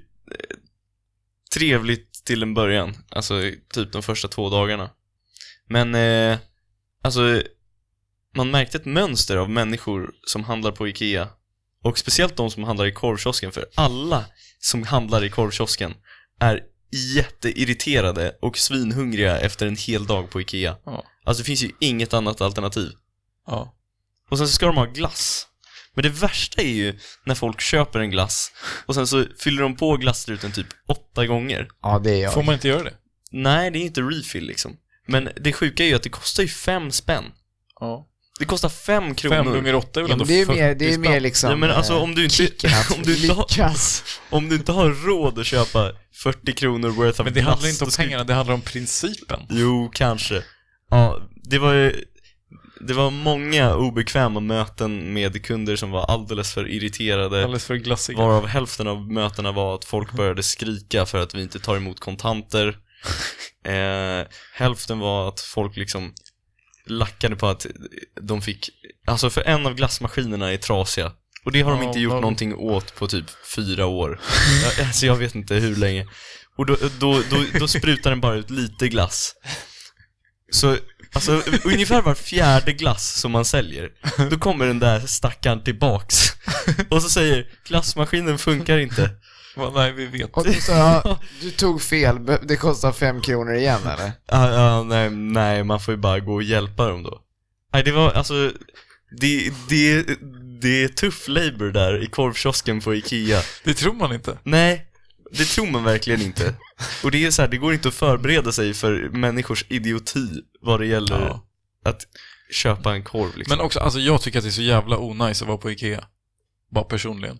A: trevligt till en början, alltså typ de första två dagarna. Men, eh, alltså, man märkte ett mönster av människor som handlar på Ikea. Och speciellt de som handlar i korvkiosken, för alla som handlar i korvkiosken är jätteirriterade och svinhungriga efter en hel dag på Ikea.
B: Ja.
A: Alltså det finns ju inget annat alternativ.
B: Ja.
A: Och sen så ska de ha glass. Men det värsta är ju när folk köper en glass och sen så fyller de på glasstruten typ åtta gånger.
C: Ja, det är jag.
B: Får man inte göra det?
A: Nej, det är inte refill liksom. Men det sjuka är ju att det kostar ju fem spänn.
B: Ja.
A: Det kostar fem kronor.
B: Fem gånger åtta är väl
C: Ja,
B: ändå
C: men det är ju
B: 40
C: mer, det är ju mer
B: spänn?
C: liksom...
A: Ja, men alltså
C: eh,
A: om du inte,
C: kicken att
A: om du inte, har,
C: lyckas.
A: om du inte har råd att köpa 40 kronor worth av
B: Men det
A: glass,
B: handlar inte om
A: då ska-
B: pengarna, det handlar om principen.
A: Jo, kanske. Ja, det var ju... Det var många obekväma möten med kunder som var alldeles för
C: Eh,
A: irriterade.
B: Alldeles för Mm. glassiga.
A: Varav hälften av mötena var att folk började skrika för att vi inte tar emot kontanter. Eh, hälften var att folk liksom lackade på att de fick, alltså för en av glassmaskinerna är trasiga. Och det har de
B: Ja,
A: inte gjort
B: vad-
A: någonting åt på typ fyra år. Jag- alltså jag vet inte hur länge. Och då, då, då, då sprutar den bara ut lite glass. Så alltså, ungefär var fjärde glass som man säljer, då kommer den där stackaren tillbaks och så säger glassmaskinen funkar inte.
B: Va, Nej, vi vet.
C: Och du sa, ja, du tog fel, Be- det kostar fem kronor igen eller?
A: Ja, ja, nej, nej, man får ju bara gå och hjälpa dem då. Nej, det var alltså, det, det, det är tuff labor där i korvkiosken på Ikea.
B: Det tror man inte.
A: Nej, det tror man verkligen inte. Och det är så här, det går inte att förbereda sig för människors idioti vad det gäller
B: Ja.
A: att köpa en korv liksom.
B: Men också, alltså jag tycker att det är så jävla onajs att vara på Ikea. Bara personligen.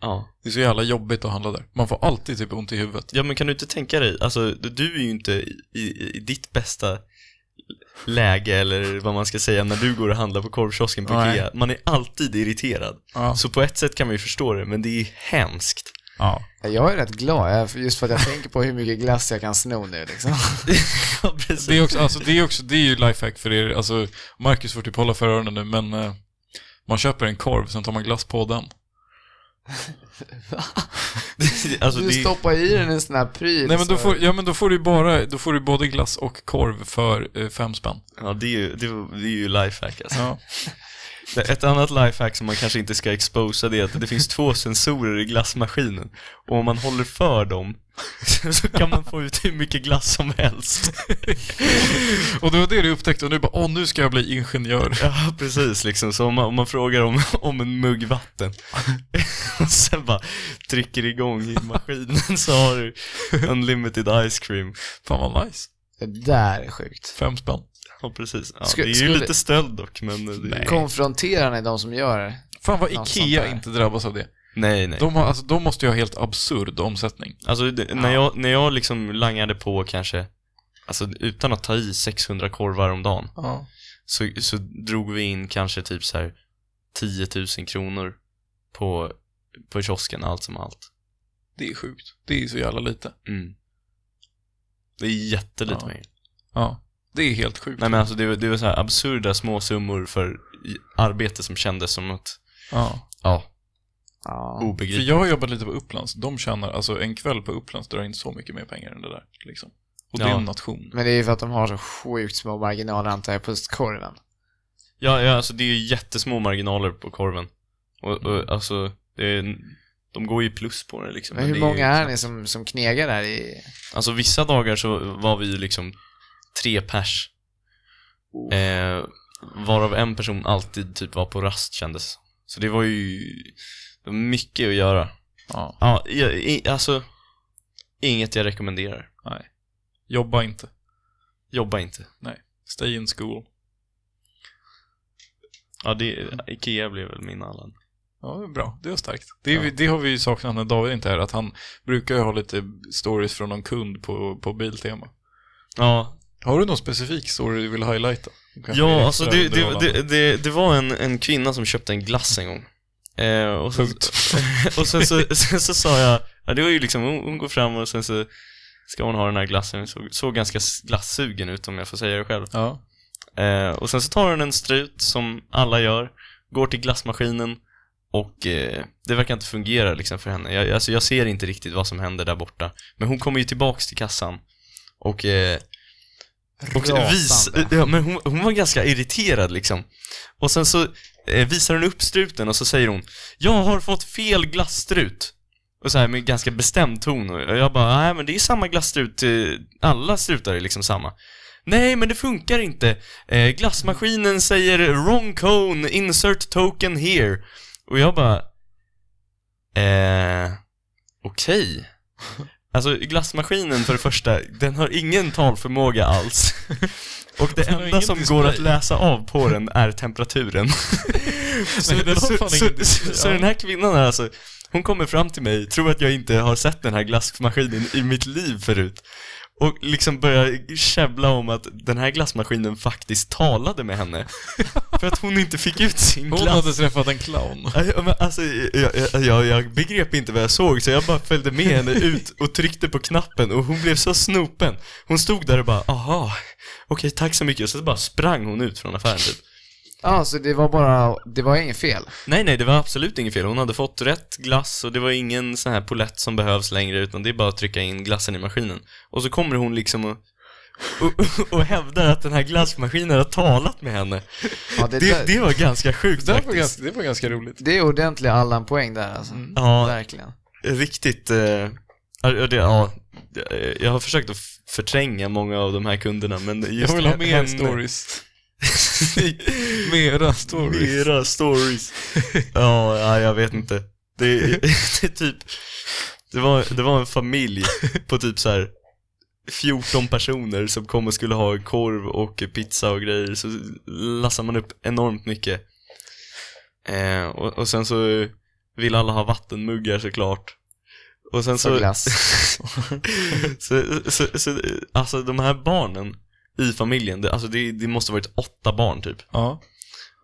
A: ja.
B: Det är så jävla jobbigt att handla där. Man får alltid typ ont i huvudet.
A: ja, men kan du inte tänka dig, alltså du är ju inte i, i, i ditt bästa läge eller vad man ska säga när du går och handlar på korvkiosken på
B: Nej.
A: Ikea. Man är alltid irriterad.
B: Ja.
A: Så på ett sätt kan man ju förstå det, men det är hemskt.
B: ja.
C: Jag är rätt glad, jag- just för att jag tänker på hur mycket glass jag kan sno nu liksom.
A: Alltså, ja, precis.
B: Det är också, alltså det är också, det är ju lifehack för er. Alltså, Marcus får typ hålla för öronen nu, men eh, man köper en korv, sen tar man glass på den.
A: alltså,
C: du
A: det är...
C: stoppar i den en sån här pryl.
B: Nej men då
C: så-
B: får, ja men då får du ju bara, då får du både glass och korv för eh, fem spänn.
A: Ja, det är ju, det är, det är ju lifehack alltså.
B: Ja.
A: Det- Ett annat lifehack som man kanske inte ska exposa det är att det finns två sensorer i glassmaskinen och om man håller för dem så kan man få ut hur mycket glass som helst.
B: Och det var det du upptäckte och nu bara, åh nu ska jag bli ingenjör.
A: Ja, precis liksom. Så om man, om man frågar om, om en mugg vatten och sen bara trycker igång i maskinen så har du unlimited ice cream.
B: Fan vad nice.
C: Det där är sjukt.
B: Fem spänn.
A: Ja, precis. Ja,
C: Skulle-
A: det är ju
C: skulle-
A: lite stöld dock, men det är...
C: Konfronterande de som gör det.
B: Fan vad
C: Något sånt
B: Ikea
C: där.
B: inte drabbas av det.
A: Nej, nej.
B: De, har, alltså, de måste ju ha helt absurd omsättning.
A: Alltså det, när, jag, när jag liksom langade på kanske, alltså utan att ta i 600 korvar om dagen,
B: Ja.
A: så, så drog vi in kanske typ så här 10 000 kronor på, på kiosken allt som allt.
B: Det är sjukt. Det är så jävla lite.
A: Mm. Det är jättelite
B: Ja.
A: pengar.
B: Ja. Det är helt sjukt.
A: Nej men alltså det, var- det var så här absurda småsummor för i- arbete som kändes som att,
B: ja.
A: ja,
C: Ja.
B: För
A: obegripligt.
B: jag har jobbat lite på Upplands. De tjänar, alltså en kväll på Upplands drar in så mycket mer pengar än det där. Liksom. Och det är
A: Ja.
B: en nation.
C: Men det är ju för att de har så sjukt små marginaler antar jag på just korven.
A: Ja, ja, alltså det är ju jättesmå marginaler på korven. Och, och alltså, det är, de går ju plus på det liksom.
C: Mm. Men hur
A: det ju
C: många är
A: knappt-
C: ni som, som knegar där i...
A: Alltså vissa dagar så var vi liksom tre pers. Eh, varav en person alltid typ var på rast kändes. Så det var ju det var mycket att göra.
B: Ja.
A: Ja, i, i, alltså inget jag rekommenderar.
B: Jobba inte.
A: Jobba inte.
B: Stay in school.
A: Ja, det, Ikea blev väl min Allan.
B: Ja, det är bra. Det är starkt. Det, är, det har vi ju saknat när David inte är här, att han brukar ju ha lite stories från någon kund på, på Biltema.
A: Ja,
B: Har du någon specifik story du vill highlighta? Kanske
A: ja
B: extra
A: alltså det, det,
B: underhållande.
A: det, det, det var en, en kvinna som köpte en glass en gång. Eh, och sen,
B: Punkt.
A: och sen, så, sen så sa jag, ja, det var ju liksom, hon, hon går fram och sen så ska hon ha den här glassen. Hon såg, såg ganska s- glassugen ut om jag får säga det själv.
B: Ja.
A: Eh, och sen så tar hon en strut som alla gör, går till glassmaskinen och eh, det verkar inte fungera liksom för henne. Jag, alltså, jag ser inte riktigt vad som händer där borta. Men hon kommer ju tillbaks till kassan och, eh, och vis, eh,
C: Rasande.
A: ja, men hon, hon var ganska irriterad liksom. Och sen så eh, visar hon upp struten och så säger hon Jag har fått fel glasstrut. Och så här med ganska bestämd ton. Och jag bara, nej men det är samma glasstrut, eh, alla strutar är liksom samma. Nej, men det funkar inte. Eh, glassmaskinen säger wrong cone, insert token here. Och jag bara, eh, okej. Alltså glassmaskinen för det första, den har ingen talförmåga alls. Och det
B: Den har
A: enda
B: ingen
A: som
B: display.
A: går att läsa av på den är temperaturen. så,
B: Nej, den har
A: så,
B: fan
A: så,
B: ingen display.
A: så, så den här kvinnan är alltså, hon kommer fram till mig, tror att jag inte har sett den här glassmaskinen i mitt liv förut. Och liksom börjar käbbla om att den här glassmaskinen faktiskt talade med henne. För att hon inte fick ut sin
B: Hon
A: glass.
B: hade träffat en clown.
A: Ja, men Alltså, jag, jag- jag, jag begrep inte vad jag såg så jag bara följde med henne ut och tryckte på knappen och hon blev så snopen. Hon stod där och bara aha, okej tack så mycket och så bara sprang hon ut från affären typ.
C: Ja, så det var bara, det var inget fel.
A: Nej nej, det var absolut inget fel. Hon hade fått rätt glass och det var ingen sån här polett som behövs längre utan det är bara att trycka in glassen i maskinen. Och så kommer hon liksom och, och, och hävdar att den här glassmaskinen har talat med henne.
C: Ja, det,
A: Det,
C: det,
A: det var ganska sjukt
B: Det var,
A: faktiskt.
B: ganska, det var ganska roligt.
C: det är ordentliga Allan-poäng där alltså.
A: Ja,
C: Verkligen.
A: riktigt... Eh, ja, det, ja, jag har försökt att f- förtränga många av de här kunderna, men just
B: Jag vill ha mer
A: henne-
B: stories. Mera stories.
A: Mera stories. ja, ja, jag vet inte. Det, är- det är typ... Det var, det var en familj på typ så här 14 personer som kom och skulle ha korv och pizza och grejer, så lassade man upp enormt mycket. Eh, och, och sen så vill alla ha vattenmuggar såklart. Och sen
C: Och
A: så,
C: glass.
A: så, så, så, alltså de här barnen i familjen, det, alltså det, det måste ha varit åtta barn typ.
B: Ja.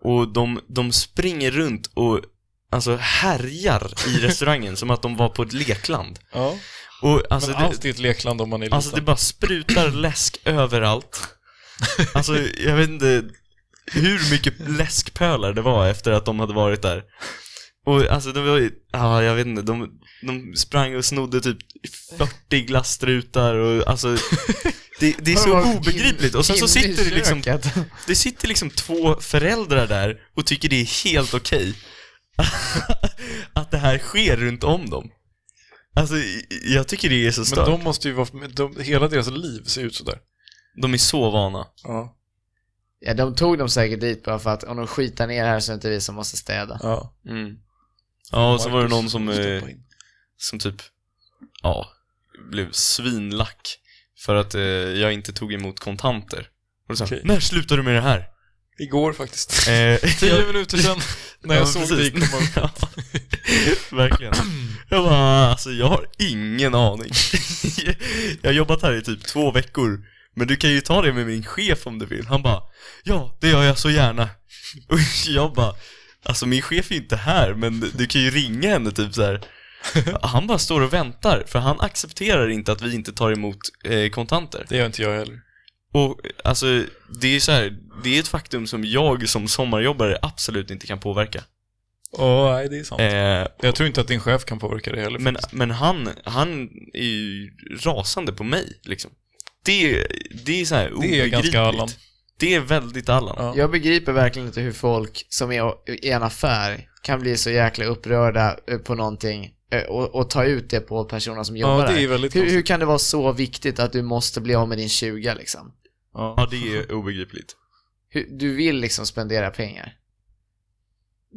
A: Och de, de springer runt och alltså härjar i restaurangen som att de var på ett lekland.
B: ja.
A: Och alltså,
B: Men
A: det,
B: allt är ett lekland om man är liten.
A: alltså det bara sprutar läsk överallt. Alltså jag vet inte hur mycket läskpölar det var efter att de hade varit där. Och alltså de var ju, ja jag vet inte, de, de sprang och snodde typ 40 glasstrutar och alltså det, det är så obegripligt. Och sen så sitter det liksom det sitter liksom två föräldrar där och tycker det är helt okej att det här sker runt om dem. Alltså, jag tycker det är så
B: Men
A: stört.
B: de måste ju vara, de, hela deras liv ser ut sådär.
A: De... är så vana.
B: Ja.
C: Ja, de tog dem säkert dit bara för att om de skitar ner här så är det inte vi som måste städa.
B: ja.
A: Ja, och så var det
B: Marcus,
A: någon som, eh,
B: stoppa in.
A: som typ, ja, blev svinlack för att eh, jag inte tog emot kontanter. Och då sa
B: Okej.
A: han, när slutar du med det här?
B: Igår faktiskt.
A: Eh,
B: Tio
A: jag-
B: minuter sedan, när jag
A: Ja,
B: såg
A: precis.
B: dig komma upp.
A: Ja, Verkligen. Jag bara, alltså jag har ingen aning. Jag har jobbat här i typ två veckor, men du kan ju ta det med min chef om du vill. Han bara, ja det gör jag så gärna. Och jag bara, alltså min chef är ju inte här, men du kan ju ringa henne typ så här. Han bara står och väntar, för han accepterar inte att vi inte tar emot eh, kontanter.
B: Det gör inte jag heller.
A: Och alltså, det är så här, det är ett faktum som jag som sommarjobbare absolut inte kan påverka.
B: Åh, nej, det är sant.
A: Eh,
B: Jag tror inte att din chef kan påverka det heller.
A: Men, men han, han är ju rasande på mig liksom. Det, det är så här
B: det är
A: obegripligt.
B: ganska Allan.
A: Det är väldigt Allan.
B: Ja.
C: Jag begriper verkligen inte hur folk som är i en affär kan bli så jäkla upprörda eh, på någonting eh, och, och ta ut det på personer som jobbar
B: Ja, det
C: där.
B: är väldigt
C: Hur,
B: konstigt.
C: hur kan det vara så viktigt att du måste bli av med din 20 liksom?
A: Ja,
B: Ja.
A: det är obegripligt.
C: Hur, du vill liksom spendera pengar.
A: Eh.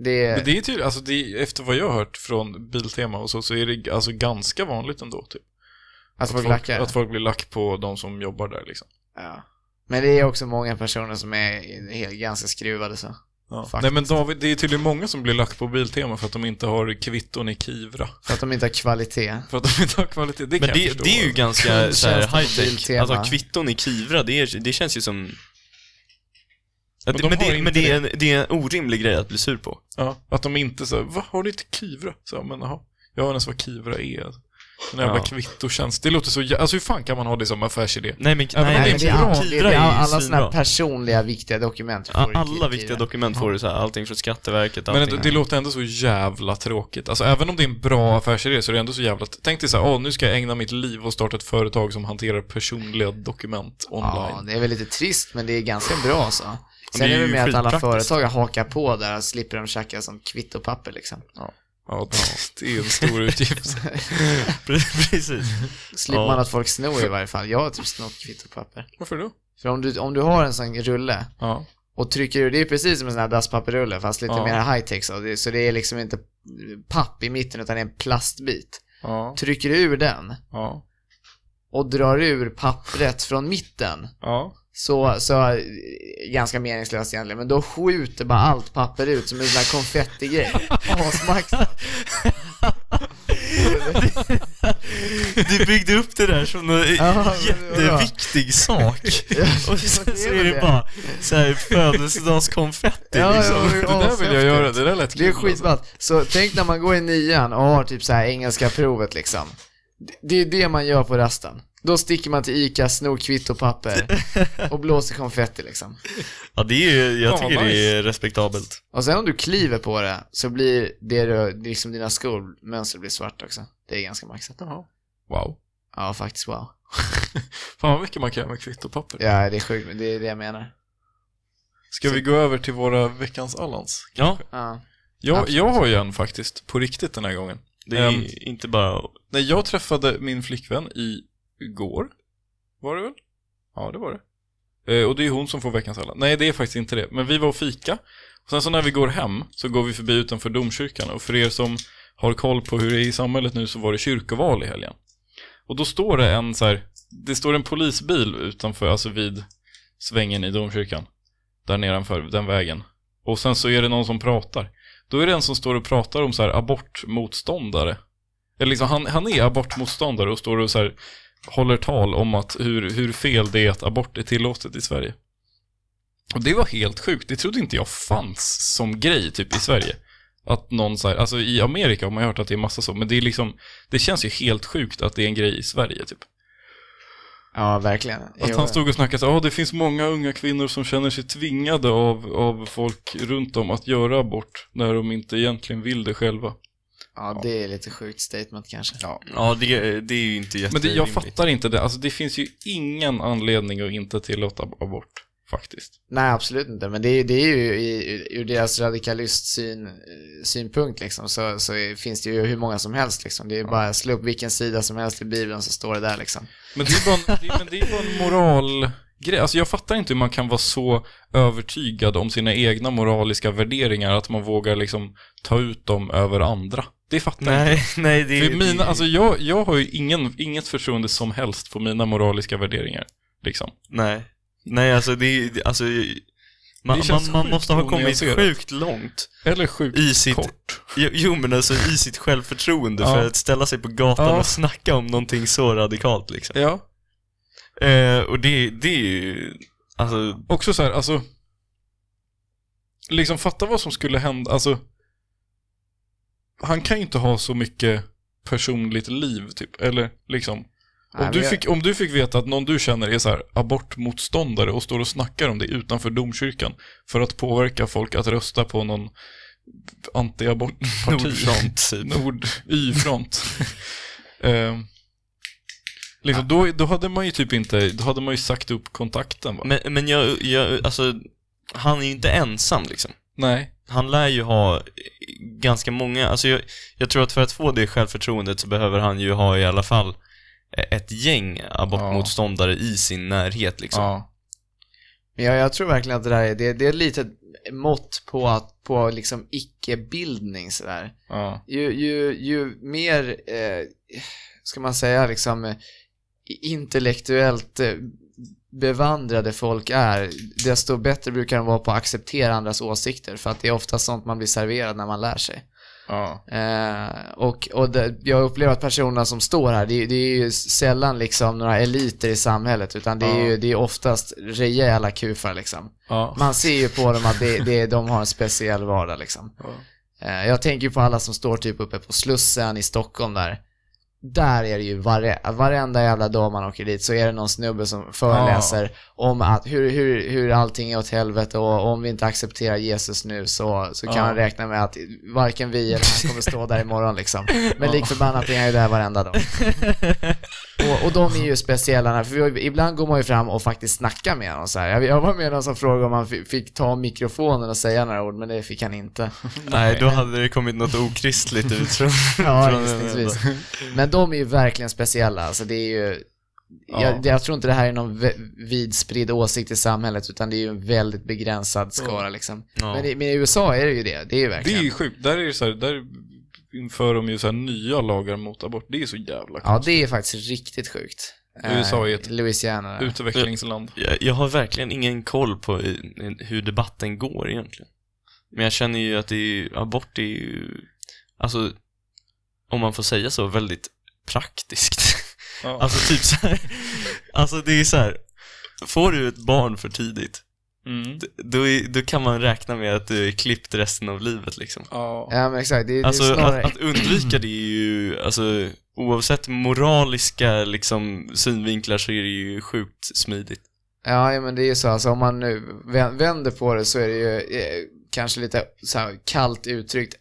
C: Det,
B: Men det är tydligt, alltså det är, efter vad jag har hört från Biltema och så, så är det alltså ganska vanligt ändå typ.
C: alltså
B: att,
C: folk
B: folk,
C: lackar.
B: att folk blir lack på de som jobbar där liksom.
C: Ja. Men det är också många personer som är helt, ganska skruvade så.
B: Ja.
C: Faktiskt.
B: Nej men David, det är tydligen många som blir lack på Biltema för att de inte har kvitton i Kivra.
C: För att de inte har kvalitet.
B: För att de inte har kvalitet, det
A: Men
B: kan
A: det,
B: jag förstå.
A: det är ju ganska så här,
C: Kundtjänst på
A: high tech.
C: mobiltema.
A: Alltså kvitton i Kivra, det, är, det känns ju som... Ja,
B: Men
A: det-
B: de
A: Men,
B: har
A: det,
B: inte
A: men det, är en, det är en orimlig grej att bli sur på.
B: Ja, att de inte så här, va, har ni inte Kivra? Så här, men jaha, jag vet inte ens vad Kivra är. alltså. Den jävla
A: Ja.
B: kvittotjänst, det låter så jä- Alltså hur fan kan man ha det som affärsidé?
A: Nej men,
B: Ja,
A: nej,
B: men det är
A: nej,
C: men det är,
B: bra.
C: all- det är, det är
A: Kivra
C: all-
A: är ju
C: alla sådana
A: svinbra.
C: personliga viktiga dokument. du får i
A: Alla
C: Kivra.
A: viktiga dokument får du så här, allting från Skatteverket,
B: Men
A: allting.
B: det, det låter ändå så jävla tråkigt. Alltså även om det är en bra affärsidé så är det ändå så jävla... Tänk dig så här, åh nu ska jag ägna mitt liv och starta ett företag som hanterar personliga dokument
C: Ja,
B: online.
C: det är väl lite trist men det är ganska bra så.
A: det är
C: Sen är det
A: ju
C: med att alla
A: skitpraktiskt.
C: företag hakar på där och slipper de tjacka som kvittopapper liksom.
B: Ja, det är en stor utgift.
A: Precis.
C: Slipper
A: Ja.
C: man att folk snor i varje fall. Jag har typ snott kvittopapper.
B: Varför då?
C: För om du, om du har en sån rulle
B: Ja.
C: och trycker ur, det är precis som en sån här dasspapperrulle fast lite
B: Ja.
C: mer high tech så. Det, så det är liksom inte papp i mitten utan det är en plastbit.
B: Ja.
C: Trycker du ur den
B: Ja.
C: och drar ur pappret från mitten
B: Ja.
C: Så, så eh, ganska meningslöst egentligen, men då skjuter bara allt papper ut som en sån här konfettigrej. Asmaxat.
A: Du byggde upp det där som en
C: Ja, men det var bra.
A: jätteviktig sak. Och sen så är det bara så här födelsedagskonfetti
C: Ja,
A: liksom.
C: ja,
B: Det där vill jag göra, det där lät
C: Det är
B: kul, alltså.
C: skitballt. Så tänk när man går i nian och har typ så här engelska provet liksom. Det- Det är det man gör på rasten. Då sticker man till ICA, snor kvittopapper och blåser konfetti liksom.
A: Ja, det är ju, jag
B: Fan,
A: tycker det
B: nice.
A: är respektabelt.
C: Och sen om du kliver på det så blir det du- liksom dina skolmönster blir svart också. Det är ganska maxat.
B: Jaha. Wow.
C: Ja, faktiskt wow.
B: Fan vad mycket man kan göra med kvittopapper.
C: Ja, det är sjukt, men det är det jag menar.
B: Ska vi gå över till våra veckans Allans?
A: Ja,
C: Ja.
B: Jag,
C: Absolut.
B: jag har ju en faktiskt, på riktigt den här gången.
A: det är
B: Ehm,
A: inte bara...
B: Nej, jag träffade min flickvän i går. Var det väl? Ja, det var det. Eh, och det är hon som får veckans alla. Nej, det är faktiskt inte det. Men vi var och fika. Och sen så när vi går hem så går vi förbi utanför domkyrkan. Och för er som har koll på hur det är i samhället nu så var det kyrkoval i helgen. Och då står det en så här, det står en polisbil utanför, alltså vid svängen i domkyrkan. Där nedanför, den vägen. Och sen så är det någon som pratar. Då är det en som står och pratar om så här abortmotståndare. Eller liksom, han, han är abortmotståndare och står och så här håller tal om att hur, hur fel det är att abort är tillåtet i Sverige. Och det var helt sjukt. Det trodde inte jag fanns som grej typ i Sverige. Att någon så här, alltså i Amerika har man ju hört att det är massa så, men det är liksom, det känns ju helt sjukt att det är en grej i Sverige typ.
C: Ja, verkligen.
B: Att
C: Jo.
B: han stod och snackade så ja det finns många unga kvinnor som känner sig tvingade av, av folk runt om att göra abort när de inte egentligen vill det själva.
C: Ja, det är lite sjukt statement kanske. Ja.
A: Ja, det, det är ju inte
B: Men det,
A: jätterimligt.
B: jag fattar inte det, alltså det finns ju ingen anledning att inte tillåta ab- abort, faktiskt.
C: Nej, absolut inte. Men det är, det är ju i, ur deras radikalistsyn synpunkt liksom, så, så är- finns det ju hur många som helst liksom. Det är bara att slå upp vilken sida som helst i Bibeln så står det där liksom.
B: Men det är bara en, det, men det är bara en moralgrej. Alltså jag fattar inte hur man kan vara så övertygad om sina egna moraliska värderingar att man vågar liksom ta ut dem över andra. Det fattar jag
A: Nej, nej det
B: inte. För
A: är...
B: mina,
A: det-
B: alltså jag, jag har ju ingen, inget förtroende som helst för mina moraliska värderingar. Liksom.
A: Nej. Nej, alltså det är... Alltså, man,
B: Det känns
A: man, man
B: sjukt
A: måste ha kommit
B: onyanserat.
A: sjukt långt
B: Eller sjukt
A: i sitt...
B: kort.
A: Jo, Jo, men alltså i sitt självförtroende
B: Ja.
A: för att ställa sig på gatan
B: Ja.
A: och snacka om någonting så radikalt liksom.
B: Ja.
A: Eh, och det, det är ju... Alltså,
B: Också så här, alltså... Liksom fatta vad som skulle hända, alltså... Han kan ju inte ha så mycket personligt liv typ, eller liksom...
C: Nej,
B: Om
C: men
B: du,
C: jag-
B: fick, om du fick veta att någon du känner är så här abortmotståndare och står och snackar om det utanför domkyrkan för att påverka folk att rösta på någon antiabortparti.
A: nordfront typ.
B: Nord, Y-front. eh, liksom, då, då hade man ju typ inte, då hade man ju sagt upp kontakten va?
A: Men, men jag, jag, alltså, han är ju inte ensam liksom.
B: Nej.
A: Han lär ju ha eh, ganska många, alltså jag, jag tror att för att få det självförtroendet så behöver han ju ha i alla fall eh, ett gäng abortmotståndare i sin närhet liksom.
B: Ja.
C: Men jag, jag tror verkligen att det där är, det, det är lite ett mått på att, på liksom icke-bildning sådär.
B: Ja.
C: ju, ju, ju mer, eh, ska man säga, liksom eh, intellektuellt eh, bevandrade folk är, desto bättre brukar de vara på att acceptera andras åsikter, för att det är ofta sånt man blir serverad när man lär sig.
B: ja.
C: Eh, och och det, jag upplever att personerna som står här, det, är- det är ju sällan liksom några eliter i samhället, utan det är
B: Ja.
C: ju det är oftast rejäla kufar liksom.
B: ja.
C: Man ser ju på dem att det, det, de har en speciell vardag liksom. Eh, Jag tänker ju på alla som står typ uppe på Slussen i Stockholm där. Där är det ju vare, varenda jävla dag man åker dit så är det någon snubbe som föreläser om att hur, hur, hur allting är åt helvete och om vi inte accepterar Jesus nu så, så kan
B: Ja.
C: man räkna med att varken vi eller han kommer stå där imorgon liksom. Men lik förbannat är han ju där varenda dag. Och, och de är ju speciella, för vi, ibland går man ju fram och faktiskt snackar med dem så här. Jag, jag var med någon som frågade om han fi- fick ta mikrofonen och säga några ord, men det fick han inte.
A: Nej, då hade det kommit något okristligt ut från...
C: Ja,
A: från-
C: gissningsvis. Men de är ju verkligen speciella. Alltså det är ju, jag, jag tror inte det här är någon ve- vidspridd åsikt i samhället, utan det är ju en väldigt begränsad skara liksom.
A: Ja.
C: Men, i, men i USA är det ju det. Det är ju
B: Det
C: verkligen.
B: är ju sjukt. Där är det så här, där inför de ju så här nya lagar mot abort. Det är så jävla
C: Ja,
B: konstigt.
C: det är faktiskt riktigt sjukt.
B: USA är ett-
C: Eh, Louisiana. där.
B: Utvecklingsland.
A: Jag, jag har verkligen ingen koll på eh, hur debatten går egentligen. Men jag känner ju att det är, ju- abort är ju, alltså, om man får säga så, väldigt praktiskt.
B: Ja.
A: Alltså typ så här. Alltså det är så här. Får du ett barn för tidigt,
B: Mm.
A: d- då, är, då kan man räkna med att du är klippt resten av livet liksom.
B: Ja.
C: Ja, men exakt. Det, är- det är
A: Alltså
C: snarare...
A: att, att undvika det är ju, alltså oavsett moraliska liksom synvinklar så är det ju sjukt smidigt.
C: Ja, ja, men det är ju så. Alltså, om man nu vä- vänder på det så är det ju eh, kanske lite så här, kallt uttryckt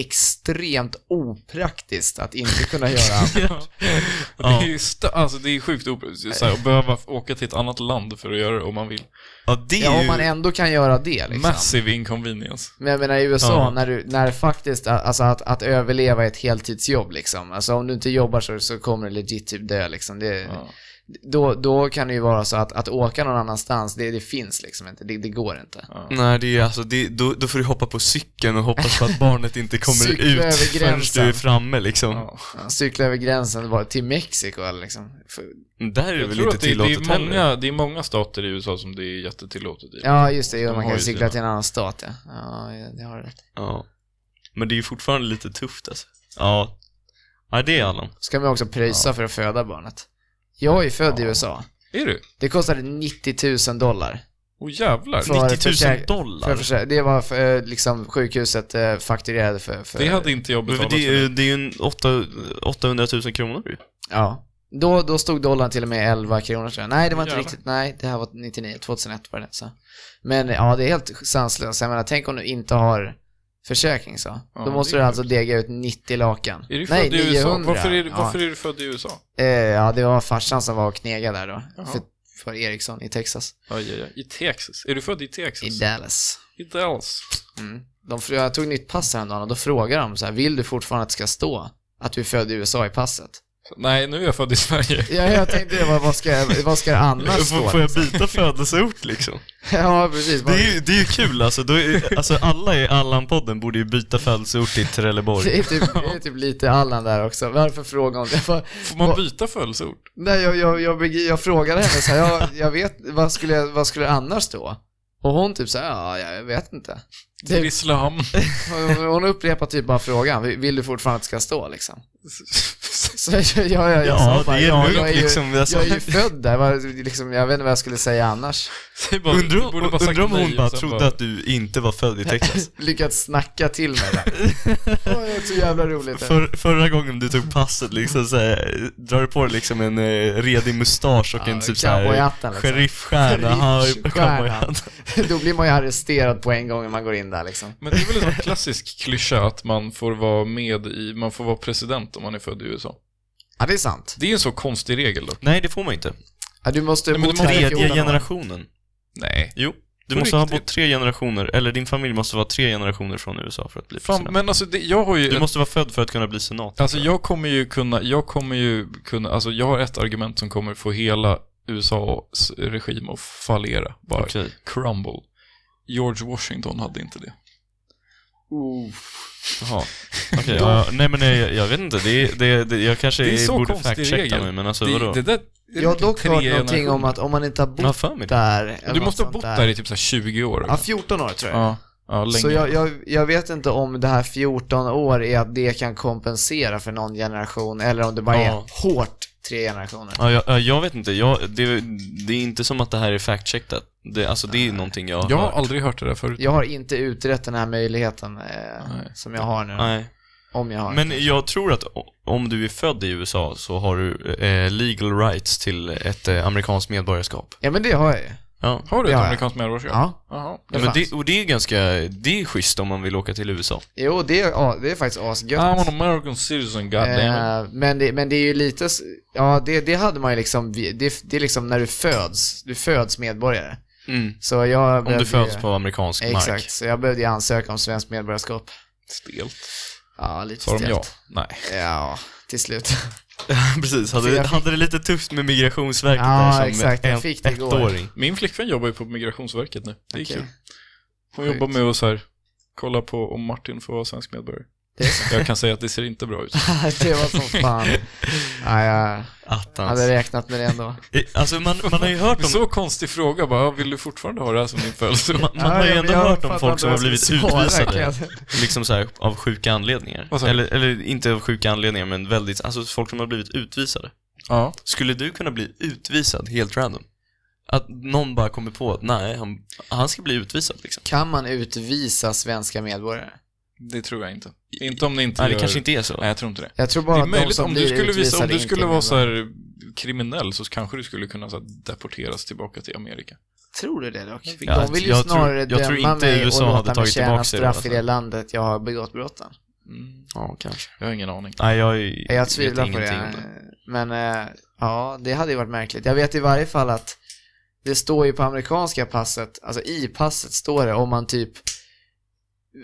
C: extremt opraktiskt att inte kunna göra
B: Det är ju st- alltså det är sjukt opraktiskt. Så här, att behöva f- åka till ett annat land för att göra det om man vill.
A: Ja, det
C: Ja,
A: är
C: om man
A: ju,
C: ändå kan göra det liksom.
B: Massive inconvenience.
C: Men jag menar i USA,
A: Ja.
C: när, du, när faktiskt, alltså att, att överleva är ett heltidsjobb liksom. Alltså om du inte jobbar så, så kommer du legit typ dö liksom. Det,
B: Ja.
C: då, då kan det ju vara så att, att åka någon annanstans, det, det finns liksom inte, det, det går inte.
A: Nej, det är alltså, det, då, då får du hoppa på cykeln och hoppas på att barnet inte kommer
C: Cykla
A: ut
C: över
A: förrän du är
C: gränsen.
A: framme liksom.
B: Ja.
C: Cykla över gränsen bara till Mexiko eller liksom. För,
A: Där är det
B: Jag
A: väl
B: tror
A: inte
B: att det, det,
A: tillåtet
B: är
A: heller?
B: många, det är många stater i USA som det är jättetillåtet i.
C: ja, just det, jo,
B: De
C: man
B: har
C: kan
B: ju
C: cykla
B: sina.
C: till en annan stat ja. Ja, det har du rätt.
A: Ja. Men det är ju fortfarande lite tufft alltså. Ja. Ja, det är Allan.
C: Ska man också pröjsa för att föda barnet. Jag är ju född i USA.
B: Är du?
C: Det kostade 90 000 dollar.
B: Åh jävlar.
C: För-
A: 90 000
C: försäk- För
A: dollar?
C: att försöka, det var för, eh, liksom sjukhuset eh, fakturerade för, för...
B: Det hade inte jag
A: Men
B: betalat
A: det, är
B: för.
A: ju- det är ju en åtta- 800 000 kronor ju.
C: Ja. Då, då stod dollarn till och med 11 kronor tror jag. Nej, det var inte
B: Jävlar.
C: riktigt. Nej, det här var 99, 2001 var det. Så. Men ja, det är helt sanslöst. Jag menar, tänk om du inte har försäkring så.
B: Ja,
C: då måste
B: det är
C: du alltså dega ut 90 lakan.
B: Är du
C: Nej,
B: född i USA?
C: 900.
B: Varför är, du-
C: Ja.
B: varför är du född i USA?
C: Eh, ja, det var farsan som var och knegade där då.
B: Jaha.
C: För, för Eriksson i Texas.
B: Aj, aj, aj. I Texas. Är du född i
C: I
B: Texas?
C: Dallas.
B: I Dallas.
C: Mm. De, fr- jag tog nytt pass häromdagen och då frågade de så här, vill du fortfarande att det ska stå att du är född i USA i passet?
B: Nej, nu är jag född i Sverige.
C: Ja, jag tänkte det, vad, vad, ska, vad ska det annars
A: Får,
C: stå?
A: får jag byta födelseort liksom?
C: Ja, precis.
A: Det är ju, det är ju kul alltså. Då är, alltså alla i Allan-podden borde ju byta födelseort till Trelleborg.
C: Det är, typ, det är typ lite Allan där också. Varför fråga om det? För,
B: Får man byta födelseort?
C: nej, jag, jag, jag, begri- jag frågade henne så här, jag, jag vet, vad skulle, jag- vad skulle det annars stå? Och hon typ så här, ja, jag vet inte. Det,
B: Grisslehamn.
C: hon- hon upprepar typ bara frågan, vill du fortfarande att det ska stå liksom? Så jag, jag, jag, jag
A: Ja,
C: sa
A: det
C: bara,
A: är
C: ja, jag är
A: lugnt
C: ju,
A: liksom. Alltså.
C: jag är ju född där, vad- liksom, jag vet inte vad jag skulle säga annars.
B: Säg bara- du
A: Undrar
B: borde bara sagt
A: undra om hon
B: nej
A: bara
B: och sen
A: trodde
B: bara-
A: att du inte var född i Texas.
C: Lyckats snacka till mig där. Det var så jävla roligt.
A: För, förra gången du tog passet liksom så här, drar du på dig liksom en eh, redig mustasch och en
C: Ja,
A: typ såhär
C: cowboyhatten, liksom.
A: sheriffstjärna. Ja,
C: Sheriffstjärna.
A: cowboyhatt.
C: Då blir man ju arresterad på en gång när man går in där liksom.
B: Men det är väl en sån här klassisk klyscha att man får vara med i, man får vara president om man är född i USA.
C: Ja, det är sant.
B: Det är en så konstig regel då.
A: Nej, det får man inte.
C: Ja, du måste
B: Nej, men
C: bo
B: det måste-
C: här i
A: Tredje
C: 14 år.
A: generationen.
B: Nej.
A: Jo. Du
B: På
A: måste ha
B: riktigt?
A: bott tre generationer, eller din familj måste vara tre generationer från USA för att bli
B: Fan,
A: president.
B: men alltså det, jag har ju
A: Du
B: en-
A: måste vara född för att kunna bli senator.
B: Alltså jag kommer ju kunna, jag kommer ju kunna, alltså jag har ett argument som kommer få hela USAs regim att fallera. Bara
A: Okej.
B: crumble. George Washington hade inte det.
A: Jaha. Okej, ja, nej men jag, jag vet inte, det, det, det, jag kanske
B: Det är så
A: borde
B: konstig
A: fact-checka
B: regel.
A: mig men alltså
B: det,
A: vadå?
B: det där, det
C: Jag har
B: är
C: dock
B: tre
C: hört någonting
B: generationer.
C: om att om man inte har bott
A: jag har för mig det.
C: där. eller
B: Du
C: något
B: måste ha
C: sånt
B: bott där i typ så här 20 år.
C: Ja, 14 år tror jag.
B: ja, ja, länge.
C: Så jag, jag, jag vet inte om det här 14 år är att det kan kompensera för någon generation eller om det bara
A: Ja.
C: är hårt tre generationer.
A: Ja, jag, ja, jag vet inte, jag, det, det är inte som att det här är fact-checkat. Det, alltså det är någonting jag har
B: jag har
A: hört.
B: aldrig hört det där förut.
C: Jag har inte utrett den här möjligheten eh,
B: Nej.
C: som jag har nu.
A: Nej.
C: Om jag har.
A: Men jag tror att o- om du är född i USA så har du eh, legal rights till ett eh, amerikanskt medborgarskap.
C: Ja, men det har jag ju.
A: Ja.
B: Har du ett
C: Ja, ja.
B: amerikanskt medborgarskap?
C: Ja.
B: Jaha.
C: Det
A: Men
C: fanns.
A: det, och det är ganska, det är schysst om man vill åka till USA.
C: Jo, det är, ja, det är faktiskt asgött.
B: I'm an American citizen, goddammit.
C: Eh, men, det, men det är ju lite, s- ja det, det hade man ju liksom, vi- det, det är liksom när du föds, du föds medborgare.
B: Mm.
C: Så jag
A: Om
C: behövde
A: du
C: ju-
A: föds på amerikansk mark.
C: Exakt, så jag behövde ju ansöka om svenskt medborgarskap.
B: Stelt.
C: Ja, lite
B: Sa de ja?
C: stelt.
B: Nej.
C: Ja, till slut.
A: Precis, hade,
C: jag
A: hade det lite tufft med Migrationsverket
C: Ja,
A: där som
C: exakt, jag
A: en,
C: fick det igår.
A: ettåring.
B: Min flickvän jobbar ju på Migrationsverket nu. Det är
C: Okej.
B: kul. Hon jobbar med att så här, kolla på om Martin får vara svensk medborgare.
C: Det är så.
B: Jag kan säga att det ser inte bra ut.
C: det var som fan. Ja, jag
A: Attans.
C: hade räknat med det ändå.
A: Eh, Alltså man, man har ju hört
B: Det är
A: om,
B: så konstig fråga bara, "Ja, vill du fortfarande ha det här som din födelsedag?
A: man, man har ju
C: Ja,
A: ändå
C: jag
A: hört om
C: fattar
A: folk
C: inte
A: som
C: vad
A: har
C: jag
A: blivit
C: ska svara, kan
A: utvisade.
C: jag säga.
A: Liksom så här, av sjuka anledningar.
B: Vad sa du?
A: Eller, eller inte av sjuka anledningar, men väldigt, alltså folk som har blivit utvisade.
B: Ja.
A: Skulle du kunna bli utvisad helt random? Att någon bara kommer på att nej, han, han ska bli utvisad liksom.
C: Kan man utvisa svenska medborgare?
B: Det tror jag inte. Inte om det inte
A: Nej,
B: gör...
A: det kanske inte är så.
B: Nej, jag tror inte det.
C: Jag tror
B: Det
C: bara
B: är
C: att de
B: möjligt
C: som
B: om
C: blir
B: du skulle visa,
C: utvisade
B: om du
C: inte
B: skulle
C: är
B: vara så
C: medborgare.
B: här kriminell så kanske du skulle kunna så här, deporteras tillbaka till Amerika.
C: Tror du det dock?
A: Ja,
C: de vill ju
A: jag tror-
C: snarare
A: jag tror
C: döma
A: inte
C: mig
A: USA
C: och
A: hade
C: låta mig
A: tagit
C: tjäna
A: tillbaka det i alla
C: straff i det
A: fall.
C: landet jag har begått brotten.
B: Mm.
A: Ja, kanske.
B: Jag har ingen aning.
A: Nej, jag, jag,
C: Jag
A: vet
C: tvivlar på
A: ingenting
C: det.
A: om
C: Men eh, ja, det hade ju varit märkligt. Jag vet i varje fall att det står ju på amerikanska passet, alltså i passet står det om man typ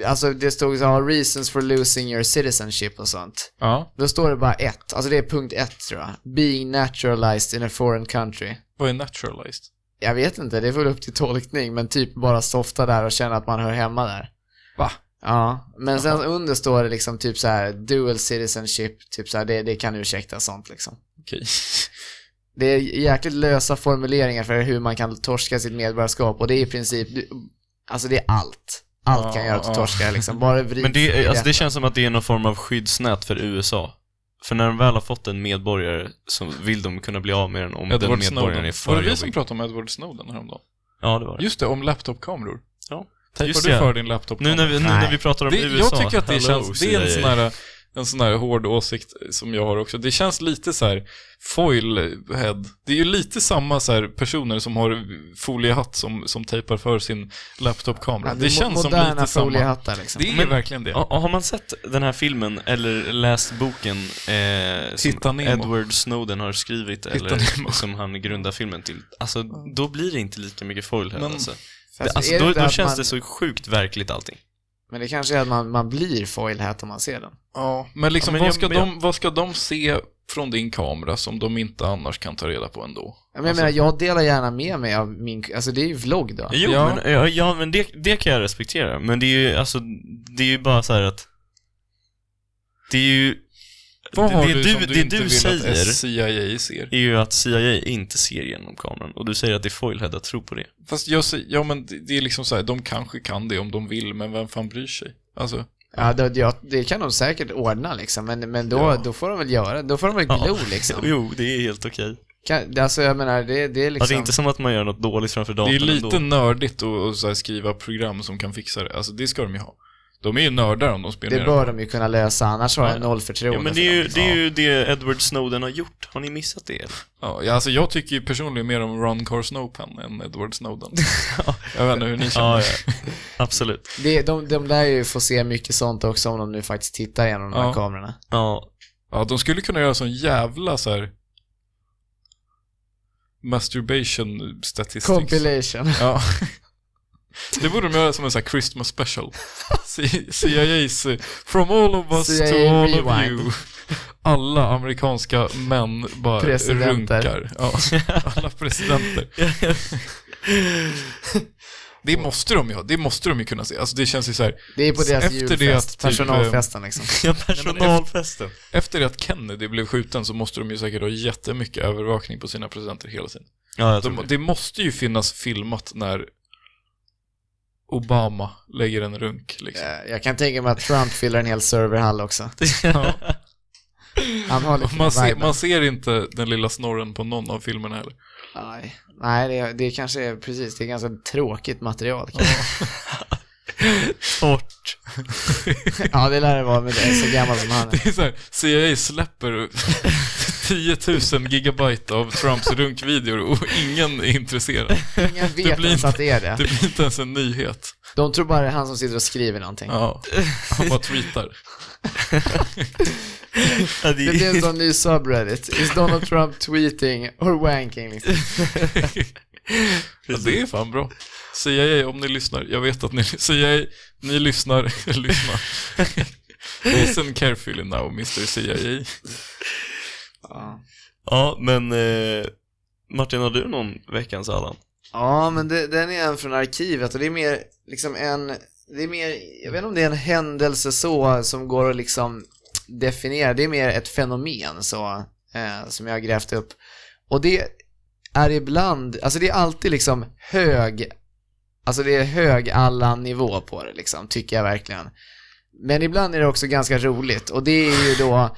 C: alltså det stod så här, reasons for losing your citizenship och sånt.
B: Ja.
C: Då står det bara ett, alltså det är punkt ett tror jag. Being naturalized in a foreign country.
B: Vad är naturalized?
C: Jag vet inte, det är väl upp till tolkning, men typ bara softa där och känna att man hör hemma där.
B: Va?
C: Ja, men sen under står det liksom typ så här dual citizenship, typ så här, det, det kan ursäkta sånt liksom.
B: Okej.
C: Det är jäkligt lösa formuleringar för hur man kan torska sitt medborgarskap och det är i princip, du- alltså det är allt. Allt kan
B: Ja,
C: göra att du
B: ja.
C: torskar liksom, bara vrids
A: Men det,
C: i
A: är- alltså, det
C: rätt.
A: känns som att det är någon form av skyddsnät för USA. För när de väl har fått en medborgare så vill de kunna bli av med den om den
B: Edward
A: medborgaren
B: Snowden.
A: är
B: Var
A: för
B: det vi som
A: jobbig.
B: pratade om Edward Snowden häromdagen?
A: Ja, det var det.
B: Just det, om laptopkameror.
A: Ja.
B: Tejpar
A: Just
B: du
A: det.
B: för din laptopkamera?
A: Nu när vi, nu
C: Nej.
A: när vi pratar om
B: det,
A: USA,
B: jag tycker att det
A: hello,
B: känns, det är en
A: CIA.
B: sån, här, en sån här hård åsikt som jag har också. Det känns lite så här foilhead. Det är ju lite samma så här personer som har foliehatt som, som tejpar för sin laptopkamera.
C: Ja,
B: det känns som
C: moderna
B: lite samma.
C: foliehattar, liksom.
B: Det är
A: Men-
B: verkligen det.
A: Ja, Har man sett den här filmen eller läst boken eh,
B: Hitta
A: som
B: Nemo.
A: Edward Snowden har skrivit
B: Hitta
A: eller
B: Nemo. Mm.
A: som han grundar filmen till? Alltså, då blir det inte lika mycket foilhead
B: Men-
A: alltså.
C: Fast
A: Det- alltså
C: är det
A: då,
C: inte
A: då
C: att
A: känns
C: man,
A: det så sjukt verkligt allting.
C: Men det kanske är att man, man blir foilhat om man ser den.
B: Ja, men liksom,
A: Ja, men
B: vad,
A: jag-
B: ska
A: men jag-
B: de, vad ska de se från din kamera som de inte annars kan ta reda på ändå?
C: Ja, Men jag menar, jag delar gärna med mig av min, alltså det är ju vlogg då.
A: Jo,
B: Ja.
A: men, ja, ja, men det, det kan jag respektera. Men det är ju, alltså, det är ju bara så här att... Det är ju...
B: Vad har
A: det
B: du, som
A: det
B: du inte
A: du
B: vill
A: säger
B: att CIA ser?
A: är ju att CIA inte ser genom kameran. Och du säger att det är foilhead att tro på det.
B: Fast jag säger, ja men det, det är liksom så här, de kanske kan det om de vill, men vem fan bryr sig? Alltså,
C: Ja, det, ja, det kan de säkert ordna liksom, men, men då,
B: Ja.
C: då får de väl göra Då får de väl glo liksom.
A: Jo, det är helt okej.
C: Kan, alltså jag menar, det, det är
A: Ja,
C: liksom...
A: det är inte som att man gör något dåligt framför datorn
B: det är lite
A: ändå.
B: nördigt att att så här, skriva program som kan fixa det. Alltså det ska de ju ha. De är ju nördar om de
C: det
B: spionerar.
C: bör de ju kunna lösa, annars har
A: Ja.
C: jag noll förtroende
A: Ja, men det
C: för
A: är,
C: dem,
A: ju,
C: liksom.
A: det är ju det Edward Snowden har gjort. Har ni missat det?
B: Ja, ja, alltså jag tycker ju personligen mer om Ron Carl Snowpen än Edward Snowden. jag vet inte hur ni känner.
A: Ja, ja. Absolut.
C: Det, de, de lär ju få se mycket sånt också om de nu faktiskt tittar igenom de här
B: Ja.
C: kamerorna.
A: Ja,
B: Ja, de skulle kunna göra sån jävla så här masturbation statistics.
C: Compilation.
B: Ja. Det borde de göra som en sån här Christmas special. C- CIA's eh, From all of us
C: CIA
B: to all of
C: rewind.
B: you. Alla amerikanska män bara
C: Presidenter.
B: runkar. Ja, alla presidenter. Det måste de ju ha. Det måste de ju kunna se. Alltså det känns ju så här.
C: Det är på deras
B: Efter det att
C: julfest,
B: typ,
C: personalfesten liksom.
A: ja personalfesten.
B: Efter det att Kennedy blev skjuten så måste de ju säkert ha jättemycket övervakning på sina presidenter hela tiden.
A: Ja, jag tror
B: De,
A: det.
B: det måste ju finnas filmat när Obama lägger en runk liksom.
C: Eh, Jag kan tänka mig att Trump fyller en hel serverhall också.
B: Ja.
C: Han har
B: Och
C: lite
B: Man ser,
C: vibe.
B: man ser inte den lilla snorren på någon av filmerna heller.
C: Nej, Nej det, det kanske är precis, det är ganska tråkigt material kanske.
A: Torrt.
C: Ja, det lär det vara med dig, så gammal som han är.
B: Det är så här, CIA släpper 10 000 gigabyte av Trumps runkvideor och ingen är intresserad.
C: Ingen vet
B: blir
C: ens att det är det.
B: Det blir inte ens en nyhet.
C: De tror bara det är han som sitter och skriver någonting.
B: Ja, han bara tweetar.
A: Ja,
C: Det blir en sån ny subreddit. Is Donald Trump tweeting or wanking? Liksom.
B: Ja, det är fan bra. CIA, om ni lyssnar. Jag vet att ni CIA, ni lyssnar. lyssna. Listen carefully now, Mr CIA.
C: Ja.
A: Ja, men eh, Martin, har du någon veckans Allan?
C: Ja, men det, den är en från arkivet och det är mer liksom en, det är mer, jag vet inte om det är en händelse så som går att liksom definiera, det är mer ett fenomen så, eh, som jag har grävt upp. Och det är ibland, alltså det är alltid liksom hög, alltså det är hög alla nivå på det liksom, tycker jag verkligen. Men ibland är det också ganska roligt och det är ju då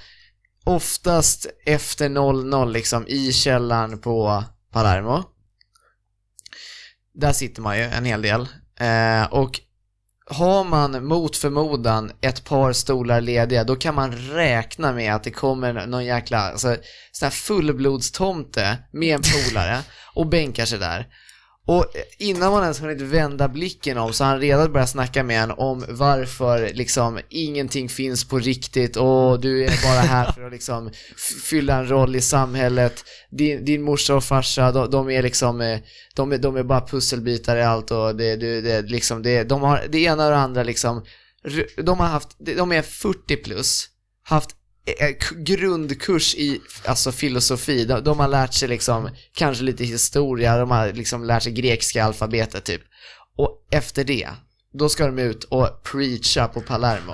C: oftast efter 00 liksom i källaren på Palermo där sitter man ju en hel del. Eh, och har man mot förmodan ett par stolar lediga, då kan man räkna med att det kommer någon jäkla alltså, sån här fullblodstomte med en polare och bänkar sig där. Och innan man ens hunnit vända blicken om så har han redan börjat snacka med en om varför liksom ingenting finns på riktigt och du är bara här för att liksom f- fylla en roll i samhället. Din, din morsa och farsa, de, de är liksom eh, de, är- de är bara pusselbitar i allt och det, det, det, liksom det, de har det ena och det andra liksom r- de har haft, de är 40 plus, haft eh, k- grundkurs i alltså filosofi. De, de har lärt sig liksom, kanske lite historia, de har liksom lärt sig grekiska alfabetet typ. Och efter det, då ska de ut och preacha på Palermo.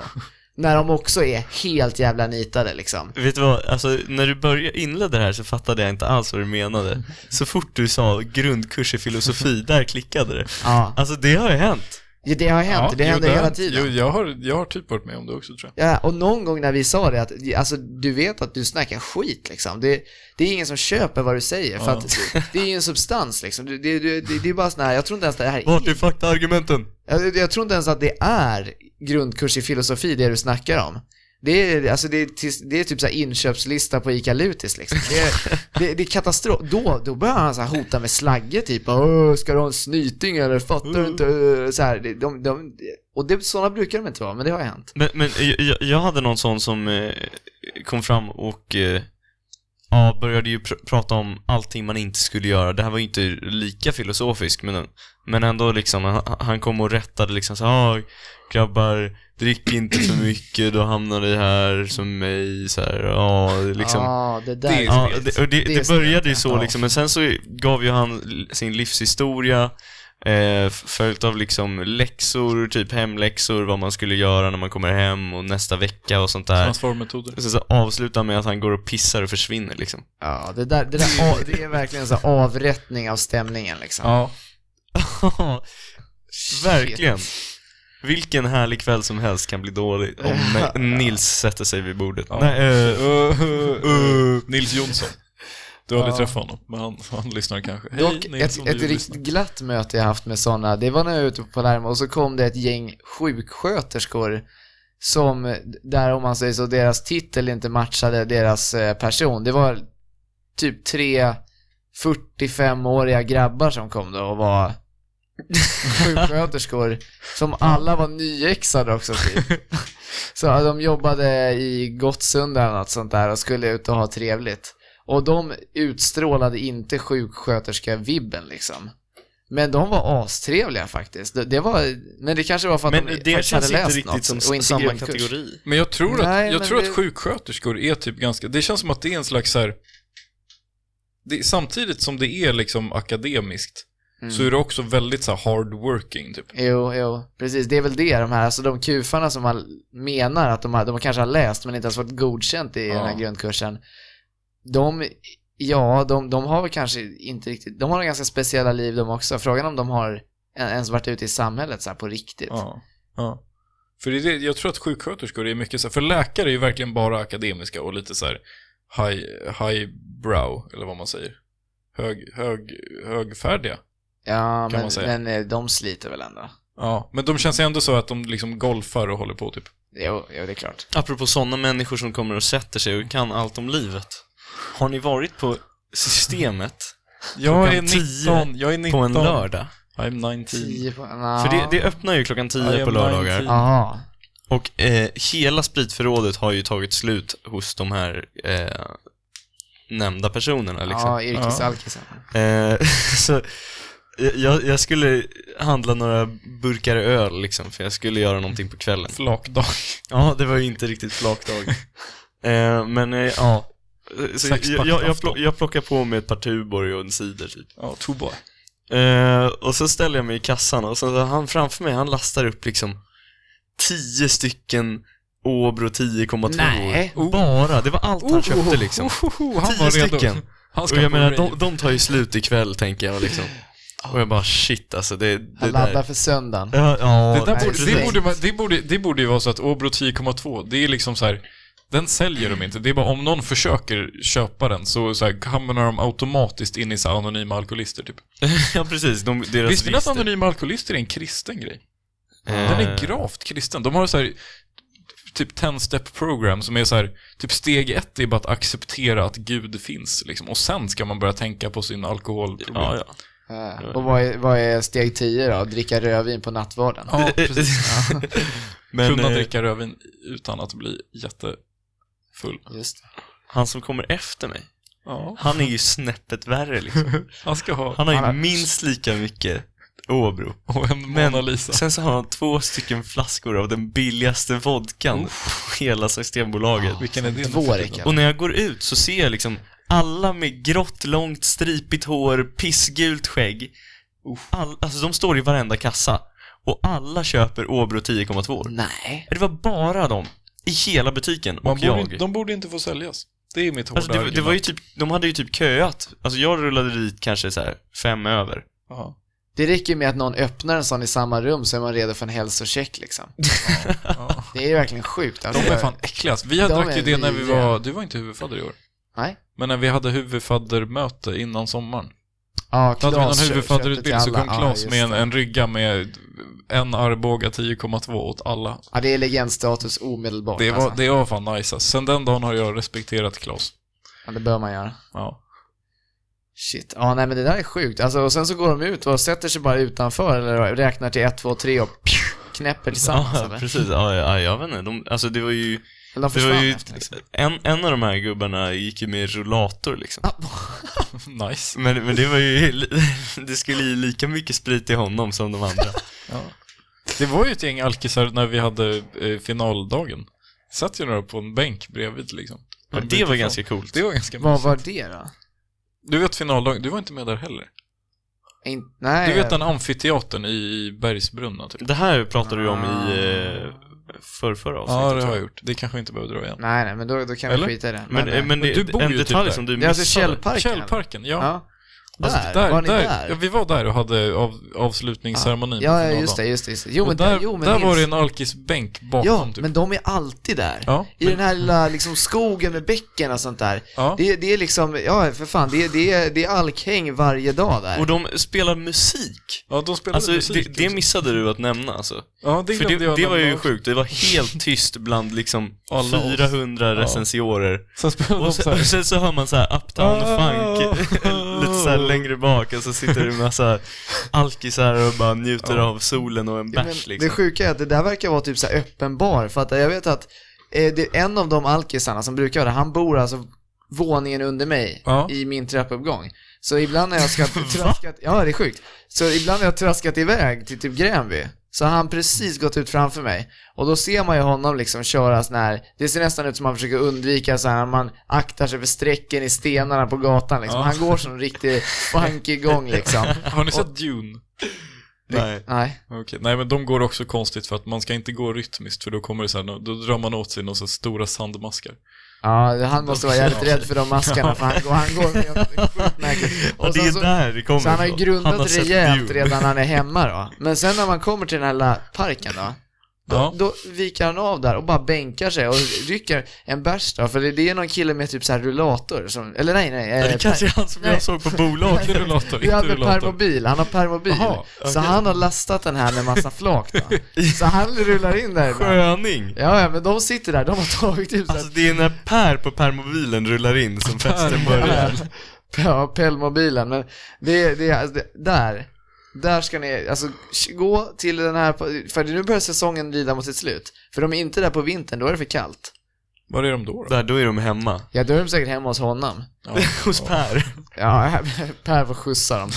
C: När de också är helt jävla nitade liksom.
A: Vet du vad, alltså när du började, inledde det här så fattade jag inte alls vad du menade. Så fort du sa grundkurs i filosofi, där klickade det.
C: Ja,
A: Alltså det har ju hänt.
C: Ja, det har hänt. det
B: jo,
C: händer
B: har
C: hela
B: hänt.
C: tiden.
B: Jo, jag, har, jag har typ varit med om det också tror jag.
C: Ja, och någon gång när vi sa det att, alltså du vet att du snackar skit liksom. Det, det är ingen som köper vad du säger för
B: Ja.
C: att det är ju en substans liksom. Det, det, det, det är bara sån här, jag tror inte ens det här
A: Vart är
C: är,
A: faktaargumenten?
C: jag, jag tror inte ens att det är grundkurs i filosofi det du snackar om. Det är, alltså det är, tis- det är typ så här inköpslista på ICA Lutis liksom. Det är, det, det är katastrof. Då, då börjar han så här hota med slagge typ. Åh, ska du ha en snyting eller fattar du inte? Åh, Så här, det- de, de, och det, sådana brukar de inte vara, men det har hänt.
A: Men, men jag- jag, jag hade någon sån som eh, kom fram och eh, ja, började ju pr- prata om allting man inte skulle göra. Det här var ju inte lika filosofiskt, men, men ändå liksom, han, han kom och rättade liksom så här, "Ah, grabbar, drick inte för mycket, då hamnar ni här som mig, så här, ja, liksom.
C: ah, det där.
B: Det är
A: Ja,
B: Vet.
A: det, och det,
C: Det är
A: det började ju
C: spännande.
A: så
C: Ja.
A: liksom, men sen så gav ju han l- sin livshistoria eh, f- följt av liksom läxor, typ hemläxor, vad man skulle göra när man kommer hem och nästa vecka och sånt där.
B: Transformmetoder.
A: Sen så avslutar han med att han går och pissar och försvinner liksom.
C: Ja, det där, det där av- det är verkligen så här avrättning av stämningen liksom.
B: Ja.
A: Verkligen. Vilken härlig kväll som helst kan bli dålig om Ni- Nils sätter sig vid bordet.
B: Ja. Uh,
A: Nej, eh,
B: Nils Jonsson. Du har aldrig
C: Ja.
B: träffat honom, men han, han lyssnar kanske. Hej,
C: Dock ett,
B: Nilsson,
C: ett
B: du
C: riktigt
B: lyssnar.
C: glatt möte jag haft med sådana, det var när jag var ute på Palermo och så kom det ett gäng sjuksköterskor som, där om man säger så, deras titel inte matchade deras eh, person. Det var typ tre 45-åriga grabbar som kom då och var sjuksköterskor som alla var nyexade också typ. Så ja, de jobbade i Gottsunda eller något sånt där och skulle ut och ha trevligt. Och de utstrålade inte sjuksköterska-vibben liksom. Men de var astrevliga faktiskt. Det, det var, men det kanske var för att
A: men
C: de
A: det
C: faktiskt hade
A: känns inte
C: läst
A: riktigt
C: något
A: som
C: och inte
A: samma
C: grundkurs.
A: kategori.
B: Men jag tror,
C: Nej,
B: att, jag
C: men
B: tror
C: det-
B: att sjuksköterskor är typ ganska, det känns som att det är en slags så här, det, samtidigt som det är liksom akademiskt,
C: Mm.
B: så är det också väldigt så här hard working typ.
C: Jo, jo, precis. Det är väl det de här, alltså de kufarna som man menar att de, har, de kanske har läst men inte ens fått godkänt i den här
B: Ja.
C: grundkursen. De, ja, de, de har väl kanske inte riktigt, de har en ganska speciella liv de också. Frågan om de har en- ens varit ute i samhället så här på riktigt.
B: Ja. ja. För det är det, jag tror att sjuksköterskor är mycket så här, för läkare är ju verkligen bara akademiska och lite så här high, high brow, eller vad man säger. Hög, hög, högfärdiga.
C: Ja,
B: man
C: men,
B: säga.
C: men eh, de sliter väl ändå.
B: Ja, men de känns ändå så att de liksom golfar och håller på typ.
C: Jo, jo det är klart.
A: Apropå sådana människor som kommer och sätter sig och kan allt om livet. Har ni varit på Systemet
B: Jag är
A: Klockan
B: 19, jag är 19.
A: på en lördag?
B: I'm 19.
C: Tio på, na.
A: För det, det öppnar ju klockan 10
B: Ja, jag
A: på
B: blir
A: lördagar.
B: arg.
C: Jaha.
A: Och eh, hela spritförrådet har ju tagit slut hos de här eh, nämnda personerna liksom.
C: Ja, yrkesalkisen.
A: Eh, så jag, jag skulle handla några burkar öl liksom, för jag skulle göra någonting på kvällen.
B: Flakdag.
A: Ja, det var ju inte riktigt flakdag. eh, men eh, ja. Så jag,
B: Sexpack
A: jag, jag,
B: afton.
A: plock, jag plockar på mig ett par Tuborg och en cider typ.
B: Ja, tobak.
A: Eh, och så ställer jag mig i kassan och så han framför mig, han lastar upp liksom 10 stycken Åbro 10,2
C: Nej.
A: Oh. Bara, det var allt
B: Oh.
A: han köpte liksom.
B: han
A: Tio
B: var redo.
A: stycken.
B: Han ska
A: Och jag
B: på
A: menar,
B: rave.
A: de, de tar ju slut ikväll tänker jag liksom. Och jag bara shit alltså, det, det
C: Han laddar
A: där.
C: för söndagen.
A: Ja, ja,
B: Det, där borde,
C: Nej,
B: det,
C: precis.
B: borde, man- det, borde, det borde ju vara så att Åbro 10,2, det är liksom så här, den säljer de inte. Det är bara om någon försöker köpa den så, så här, hamnar de automatiskt in i så här, anonyma alkoholister typ.
A: ja precis. De, deras
B: Visste ni att
A: register.
B: anonyma alkoholister är en kristen grej? Den är
A: Eh,
B: gravt kristen. De har så här typ 10-step program som är så här, typ steg ett är bara att acceptera att Gud finns liksom. Och sen ska man börja tänka på sin alkoholproblem.
A: Ja, ja.
C: Ja. Och vad är, vad är steg 10 då? Dricka rödvin på nattvarden?
B: Ja, precis.
A: Men
B: Kunna
A: eh,
B: dricka rödvin utan att bli jättefull.
C: Just det.
A: han som kommer efter mig,
B: Ja.
A: han är ju snäppet värre liksom.
B: Han ska ha...
A: Han har ju
C: Han har-
A: minst lika mycket Åbro.
B: Och en Mona
A: Men
B: Lisa.
A: sen så har han två stycken flaskor av den billigaste vodkan på hela Systembolaget.
B: Vilken är det?
C: Dvårika.
A: Och när jag går ut så ser jag liksom alla med grått, långt, stripigt hår, pissgult skägg. All, alltså de står i varenda kassa. Och alla köper Åbro 10,2.
C: Nej.
A: Det var bara de. I hela butiken.
B: Man
A: och
B: borde,
A: jag.
B: inte- de borde inte få säljas. Det är mitt hårda
A: Alltså det, det var ju typ, de hade ju typ köat. Alltså jag rullade dit kanske så här fem över.
B: Ja,
C: Det räcker ju med att någon öppnar en sån i samma rum så är man redo för en hälsocheck liksom.
B: ja.
C: Det är ju verkligen sjukt.
B: De
C: Alltså.
B: är fan äckligast. Vi hade
C: De
B: drack
C: är
B: ju det när vi
C: vidriga.
B: var, du var inte huvudfadder i år.
C: Nej.
B: Men när vi hade huvudfaddermöte innan sommaren.
C: Ja,
B: Då hade vi någon
C: Klas köpte till
B: huvudfadderutbildning så
C: alla.
B: kom Claes
C: ja,
B: med
C: just
B: en,
C: det.
B: en rygga med en Arboga 10,2 åt alla.
C: Ja, det är legendstatus omedelbart.
B: Det var,
C: alltså.
B: det var fan nice. alltså. Sen den dagen har jag respekterat Claes.
C: Ja, det bör man göra.
B: Ja.
C: Shit. Ja, nej men det där är sjukt. Alltså, och sen så går de ut och sätter sig bara utanför eller räknar till ett, två, tre och pju, knäpper tillsammans.
A: Ja,
C: eller?
A: precis. Ja, ja, jag vet inte. De, alltså det var ju,
C: Eller de
A: det var
C: försvann
A: ju
C: efter, liksom.
A: en, en av de här gubbarna gick ju med rullator liksom.
B: Nice.
A: Men, men det var ju, det skulle ju lika mycket sprit i honom som de andra.
B: Det var ju ett gäng alkisar när vi hade eh, finaldagen. Satt ju några på en bänk bredvid liksom.
A: Ja,
B: En bit
A: det var
B: ifrån.
A: ganska coolt.
B: Det var ganska
C: Vad
B: mysigt.
C: var det då?
B: Du vet finaldagen, du var inte med där heller.
C: In... Nej.
B: Du vet den amfiteatern i Bergsbrunna typ?
A: Det här pratade du om i eh, förrförra avsnittet.
B: Ah. Ja, det
A: tror
B: har jag gjort. Det kanske jag inte behöver dra igen.
C: Nej, nej, men då, då kan
B: Eller?
C: vi skita i det.
A: Men, eh, men, men det,
B: du bor
A: en
B: ju typ
A: detalj
B: där.
A: som du
C: Det är
A: missade.
C: alltså Källparken?
B: Källparken, ja.
C: Ja. Där,
B: Alltså, där,
C: var ni där?
B: Ja, vi var där och hade av, avslutningsceremonin på
C: Ja, ja,
B: finalen.
C: just det, just det. Just det. Jo,
B: och
C: men
B: där,
C: jo, men
B: där var
C: minst.
B: det en alkisbänk bakom
C: Ja,
B: typ.
C: men de är alltid där.
B: Ja,
C: I den här lilla liksom, skogen med bäcken och sånt där.
B: ja.
C: Det, det är liksom, ja för fan, det, det, det är alkhäng varje dag där.
A: Och de spelar musik.
B: ja, de spelade
A: Alltså,
B: musik.
A: det, det missade du att nämna alltså.
B: ja, det
A: För
B: glömde
A: det,
B: jag
A: det var
B: nämna
A: ju
B: också.
A: sjukt. Det var helt tyst bland liksom
B: Alla oss.
A: 400
B: Ja.
A: recensiorer.
B: Sen spelade de
A: Och
B: så här.
A: sen, och sen så hör man så här uptown
B: Ah.
A: funk lite så här längre bak och så sitter det en massa alkisar och bara njuter av solen och en
C: Ja, men
A: bärs
C: Det
A: liksom.
C: sjuka är att det där verkar vara typ så här öppen bar, för att jag vet att eh, det är en av de alkisarna som brukar göra det, han bor alltså våningen under mig
B: Ja.
C: i min trappuppgång. Så ibland när jag ska traskat, ja det är sjukt. Så ibland när jag traskat iväg till typ Gränby, så har han precis gått ut framför mig. Och då ser man ju honom liksom köra sån här, det ser nästan ut som han försöker undvika så här, man aktar sig för strecken i stenarna på gatan liksom.
B: Ja.
C: Han går som en riktig funky gång liksom.
B: Har ni sett Dune?
A: Nej.
C: Nej.
B: Okej, Nej men de går också konstigt för att man ska inte gå rytmiskt för då kommer det så här, då drar man åt sig några så här stora sandmaskar.
C: Ja, han måste vara jävligt
B: Ja.
C: rädd för de maskarna för han, går- han går med en sjukt märkligt.
A: Och det
C: sen
A: är
C: så,
A: där det kommer
C: Alltså, så han har ju
A: ifrån.
C: grundat
A: Han har sett
C: rejält
A: Dune.
C: redan när han är hemma då. Men sen när man kommer till den här lilla parken då, då,
B: Ja.
C: då viker han av där och bara bänkar sig och rycker en bärs då, för det, det är någon kille med typ så här rullator som, eller nej nej,
A: Ja,
C: eh,
A: Det kanske är han som jag
C: Nej.
A: såg på bolaget.
B: Inte rullator,
C: vi
B: inte
C: hade
B: rullator.
C: permobil, han har permobil.
B: Jaha,
C: Så han har lastat den här med massa flak då. Så han rullar in där. ibland.
A: Sköning.
C: Ja, ja, men de sitter där, de har tagit typ så här
A: Alltså det är när Per på permobilen rullar in som festen börjar.
C: Ja, Pellmobilen. Men det, det, alltså, det, där, där ska ni, alltså sh- gå till den här, för nu börjar säsongen rida mot sitt slut. För de är inte där på vintern, då är det för kallt.
B: Var är de då? då?
A: Där, då är de hemma.
C: Ja, då är de säkert hemma hos honom.
B: Ja,
A: Hos Per.
C: Ja, Per får skjutsa dem.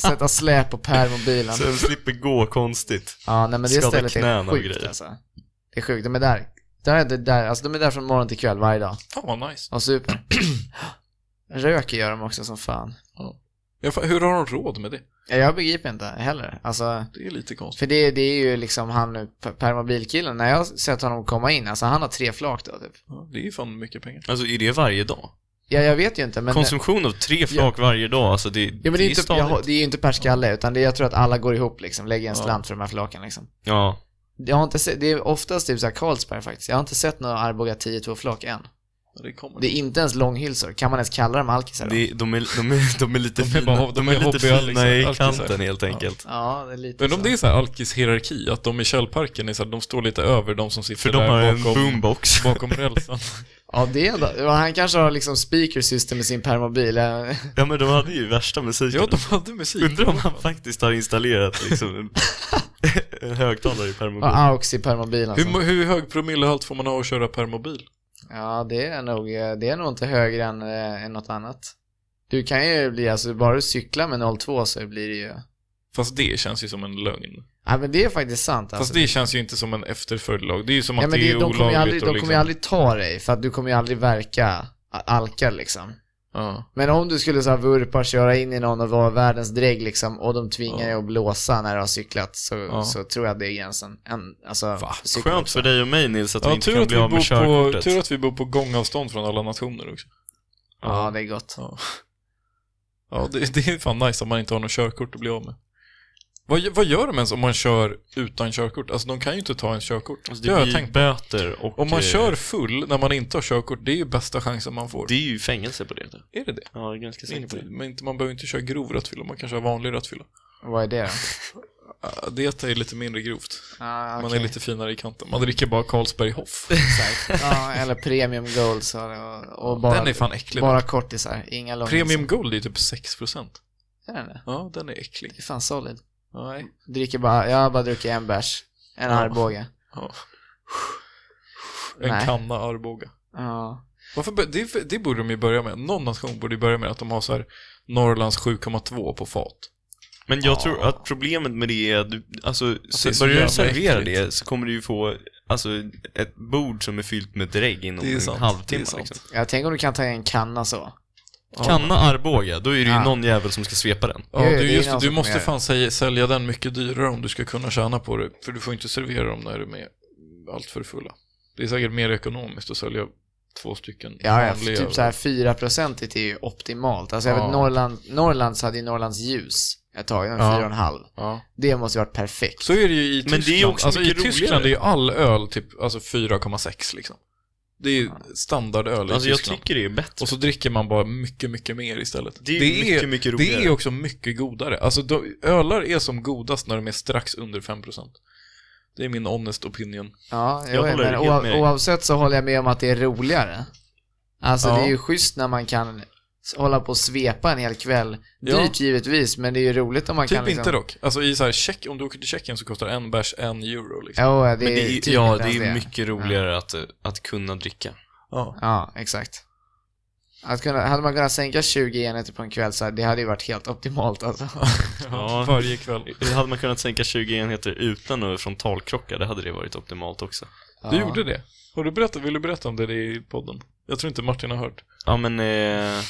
C: Sätta släp på Pellmobilen.
A: Så de slipper gå konstigt.
C: Ja, nej men det
A: skada
C: stället är
A: knäna och
C: sjukt
A: grejer.
C: alltså. Det är sjukt, de är där. Där är det där, alltså de är där från morgon till kväll varje dag.
B: fan vad nice.
C: Och super. Röker gör de också som fan.
B: Ja, fan, hur har de råd med det?
C: Ja, Jag begriper inte heller. Alltså,
B: Det är lite konstigt.
C: För det, det är ju liksom han, P- permobilkillen, när jag har sett honom komma in, alltså han har tre flak då typ.
B: Ja, det är ju fan mycket pengar.
A: Alltså är det varje dag?
C: Ja, jag vet ju inte men...
A: Konsumtion av tre flak varje dag, alltså det,
C: ja, men det, är inte,
A: stadigt.
C: jag, det är ju inte per skalle, utan det, jag tror att alla går ihop liksom, lägger en slant för de här flaken liksom.
A: Ja.
C: Jag har inte sett, det är oftast typ såhär Carlsberg faktiskt. Jag har inte sett några Arboga 10-2 flak än.
B: Ja, det kommer.
C: Det är inte ens långhylsor, kan man ens kalla dem alkisar då?
A: Det, de, är, de, är, de är lite
B: De är
A: fina,
B: bara- de
A: de
B: är liksom.
A: är lite
B: hobby-
A: fina i
B: alkisar.
A: kanten helt
B: Ja.
A: enkelt.
C: Ja, det är lite
B: Undra om
C: så.
B: det är så här alkis-hierarki, att de i Källparken är så här, de står lite över de som sitter
A: För de
B: där
A: har en
B: bakom,
A: boombox.
B: bakom rälsen.
C: Ja, det är då. Ja, Han kanske har liksom speaker system i sin permobil. eh, Ja,
A: Ja men de hade ju värsta musiken.
B: ja, de hade musik.
A: Undrar om han faktiskt har installerat liksom en, en högtalare i permobil.
C: Och aux i permobilen.
B: hur,
C: Alltså.
B: mo- hur hög promillehalt får man ha att köra per mobil?
C: Ja, det är nog, eh, det är nog inte högre än, eh, än något annat. Du kan ju bli, alltså bara du cyklar med 02 så blir det ju...
B: Fast det känns ju som en lögn.
C: Ja, men det är faktiskt sant alltså.
B: Fast det känns ju inte som en efterföljd lag. Det är ju som att
C: ja, men
B: det
C: det,
B: är
C: de kommer ju
B: olagligt
C: aldrig,
B: och
C: de kommer
B: liksom...
C: ju aldrig ta dig, för att du kommer ju aldrig verka a- alkad liksom.
B: Ja.
C: Men om du skulle så här vurpa, köra in i någon och vara världens drägg liksom, och de tvingar dig att blåsa när du har cyklat, så,
B: Ja.
C: så tror jag det är gränsen. En, alltså,
B: Va,
C: cykel-
A: Skönt för dig och mig Nils att vi
B: Ja,
A: inte
B: tur,
A: kan
B: att vi
A: bli av med
B: bor på,
A: körkortet.
B: tur att vi bor på gångavstånd från alla nationer också.
C: Ja, det är gott.
B: Ja, ja det, det är fan nice om man inte har något körkort att bli av med. Vad, gö- vad gör de ens om man kör utan körkort? Alltså de kan ju inte ta ens körkort.
A: Alltså,
B: det har
A: det
B: jag
A: blir ju
B: tänkt.
A: böter och...
B: Om man
A: eh,
B: kör full när man inte har körkort, det är ju bästa chansen man får.
A: Det är ju fängelse på det. typ.
B: Är det det?
A: Ja, jag är ganska säker på
B: Inte,
A: det.
B: men inte, man behöver inte köra grov rattfylla, man kan köra vanlig rattfylla.
C: Vad är det då?
B: Ah, Det är lite mindre grovt.
C: Ah,
B: Man
C: okej.
B: är lite finare i kanten. Man dricker bara Carlsberg Hoff.
C: Exakt. Ja, eller premium gold så, och, och bara,
B: Den är fan äcklig.
C: bara kortisar, inga långdisar.
B: Premium Gold är ju typ 6%.
C: Är den det?
B: Ja, den är äcklig.
C: Det är fan solid.
B: Nej.
C: Dricker bara, jag har bara druckit en bärs, en Arboga.
B: Ja. En
C: Nej.
B: kanna Arboga.
C: Ja.
B: Varför, bör- det, det borde de ju börja med. Någon nation borde ju börja med att de har så här Norrlands 7,2 på fat.
A: Men jag tror att problemet med det är att du, alltså,
B: det är
A: se-
B: så
A: börjar du
B: jävla
A: servera
B: äckligt.
A: det så kommer du ju få, alltså, ett bord som är fyllt med drägg inom
B: Det är
A: en
B: sant.
A: halvtimme.
B: Det är sant.
A: Liksom.
C: Jag tänker om du kan ta en kanna så.
A: Kanna Arboga, då är det ju
C: Ja.
A: någon jävel som ska svepa den.
B: Ja,
C: Jo,
B: du,
C: det är
B: just,
C: någon
B: det. du
C: som
B: måste
C: kommer
B: fan säga, sälja den mycket dyrare om du ska kunna tjäna på det. För du får inte servera dem när de är allt för fulla. Det är säkert mer ekonomiskt att sälja två stycken
C: Ja, ja
B: vanliga.
C: typ så här 4% är ju optimalt. Alltså jag
B: Ja.
C: vet Norrland, Norrland så hade ju Norrlands ljus ett tag, en
B: Ja.
C: 4,5.
B: Ja.
C: Det måste ju varit perfekt.
B: Så är det ju i
A: Men det är
B: Tyskland.
A: också
B: alltså, I
A: mycket
B: Tyskland
A: roligare.
B: är ju all öl typ alltså 4,6 liksom. Det är ju standardöl
A: Alltså
B: i
A: jag
B: Tyskland.
A: tycker det är bättre.
B: Och så dricker man bara mycket, mycket mer istället.
A: Det är mycket, mycket roligare.
B: Det är också mycket godare. Alltså de, ölar är som godast när de är strax under 5%. Det är min honest opinion.
C: Ja,
A: Jag
C: jo,
A: håller
C: men
A: helt
C: oav,
A: med dig.
C: oavsett så håller jag med om att det är roligare. Alltså
B: Ja.
C: det är ju schysst när man kan s- hålla på och svepa en hel kväll.
B: Ja.
C: Dyrt givetvis, men det är ju roligt om man
B: typ
C: kan liksom...
B: inte dock. Alltså i så här, Tjeck, om du åker till Tjeckien så kostar en bärs en euro liksom.
C: Jo, det är,
A: Men det är,
C: typ
A: ja,
C: inte
A: det
C: ens
A: är mycket roligare att, eh, att kunna dricka.
B: Ja.
C: Ja, exakt. Att kunna, hade man kunnat sänka 20 enheter på en kväll så här, det hade ju varit helt optimalt alltså.
A: Ja.
B: Varje kväll.
A: Hade man kunnat sänka 20 enheter utan att frontalkrocka, det hade det varit optimalt också.
B: Du
C: Ja.
B: gjorde det. Har du berättat, vill du berätta om det i podden? Jag tror inte Martin har hört.
A: Ja men, eh,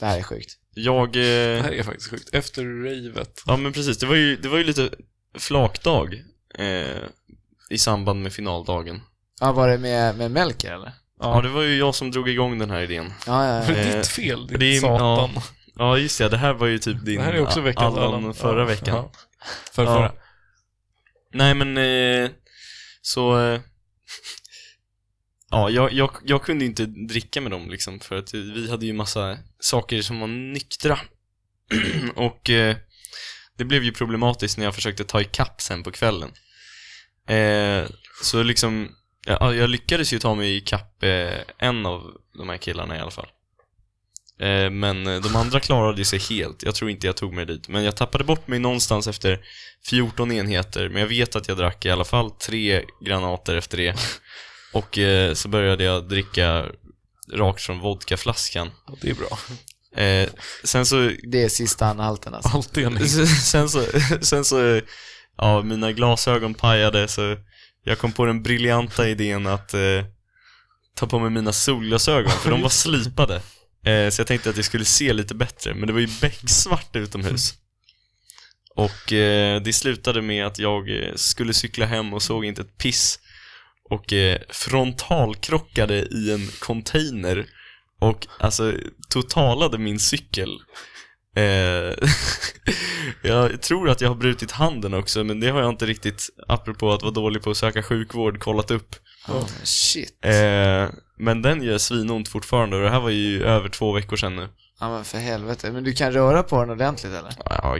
C: Det här är sjukt.
A: jag...
B: Det
A: Eh,
B: här är faktiskt sjukt. Efter ravet.
A: ja men precis, det var ju, det var ju lite flakdag eh, i samband med finaldagen.
C: Ja, var det med, med Melker eller?
A: Ja. det var ju jag som drog igång den här idén.
C: Ja, ja,
B: För
C: ja.
B: det är
A: Eh,
B: ditt fel, ditt
A: det är-
B: satan.
A: Ja just det, det här var ju typ din
B: Det här är också veckans
A: Allan förra
B: Ja.
A: veckan.
B: Ja. Förra,
A: Ja.
B: förra.
A: Nej men, eh, så... Eh, ja, jag, jag, jag kunde ju inte dricka med dem liksom, för att vi hade ju massa saker som var nyktra. och eh, det blev ju problematiskt när jag försökte ta ikapp sen på kvällen. Eh, så liksom, ja, jag lyckades ju ta mig ikapp eh, en av de här killarna i alla fall. Eh, men eh, de andra klarade sig helt. Jag tror inte jag tog mig dit. Men jag tappade bort mig någonstans efter 14 enheter, men jag vet att jag drack i alla fall tre granater efter det. Och eh, så började jag dricka rakt från vodkaflaskan.
B: Ja, det är bra.
A: Eh, sen så...
C: Det är sista anhalten alltså.
B: Allt är en
A: Sen så, sen så... Ja, mina glasögon pajade så jag kom på den briljanta idén att eh, ta på mig mina solglasögon, för de var slipade. Eh, så jag tänkte att det skulle se lite bättre, men det var ju becksvart utomhus. Och eh, det slutade med att jag eh, skulle cykla hem och såg inte ett piss och eh, frontalkrockade i en container och alltså totalade min cykel. Eh, jag tror att jag har brutit handen också, men det har jag inte riktigt, apropå att vara dålig på att söka sjukvård, kollat upp.
C: Oh, shit.
A: Eh, men den gör svinont fortfarande och det här var ju över två veckor sedan nu.
C: Ja men för helvete. Men du kan röra på den ordentligt eller?
A: Ja,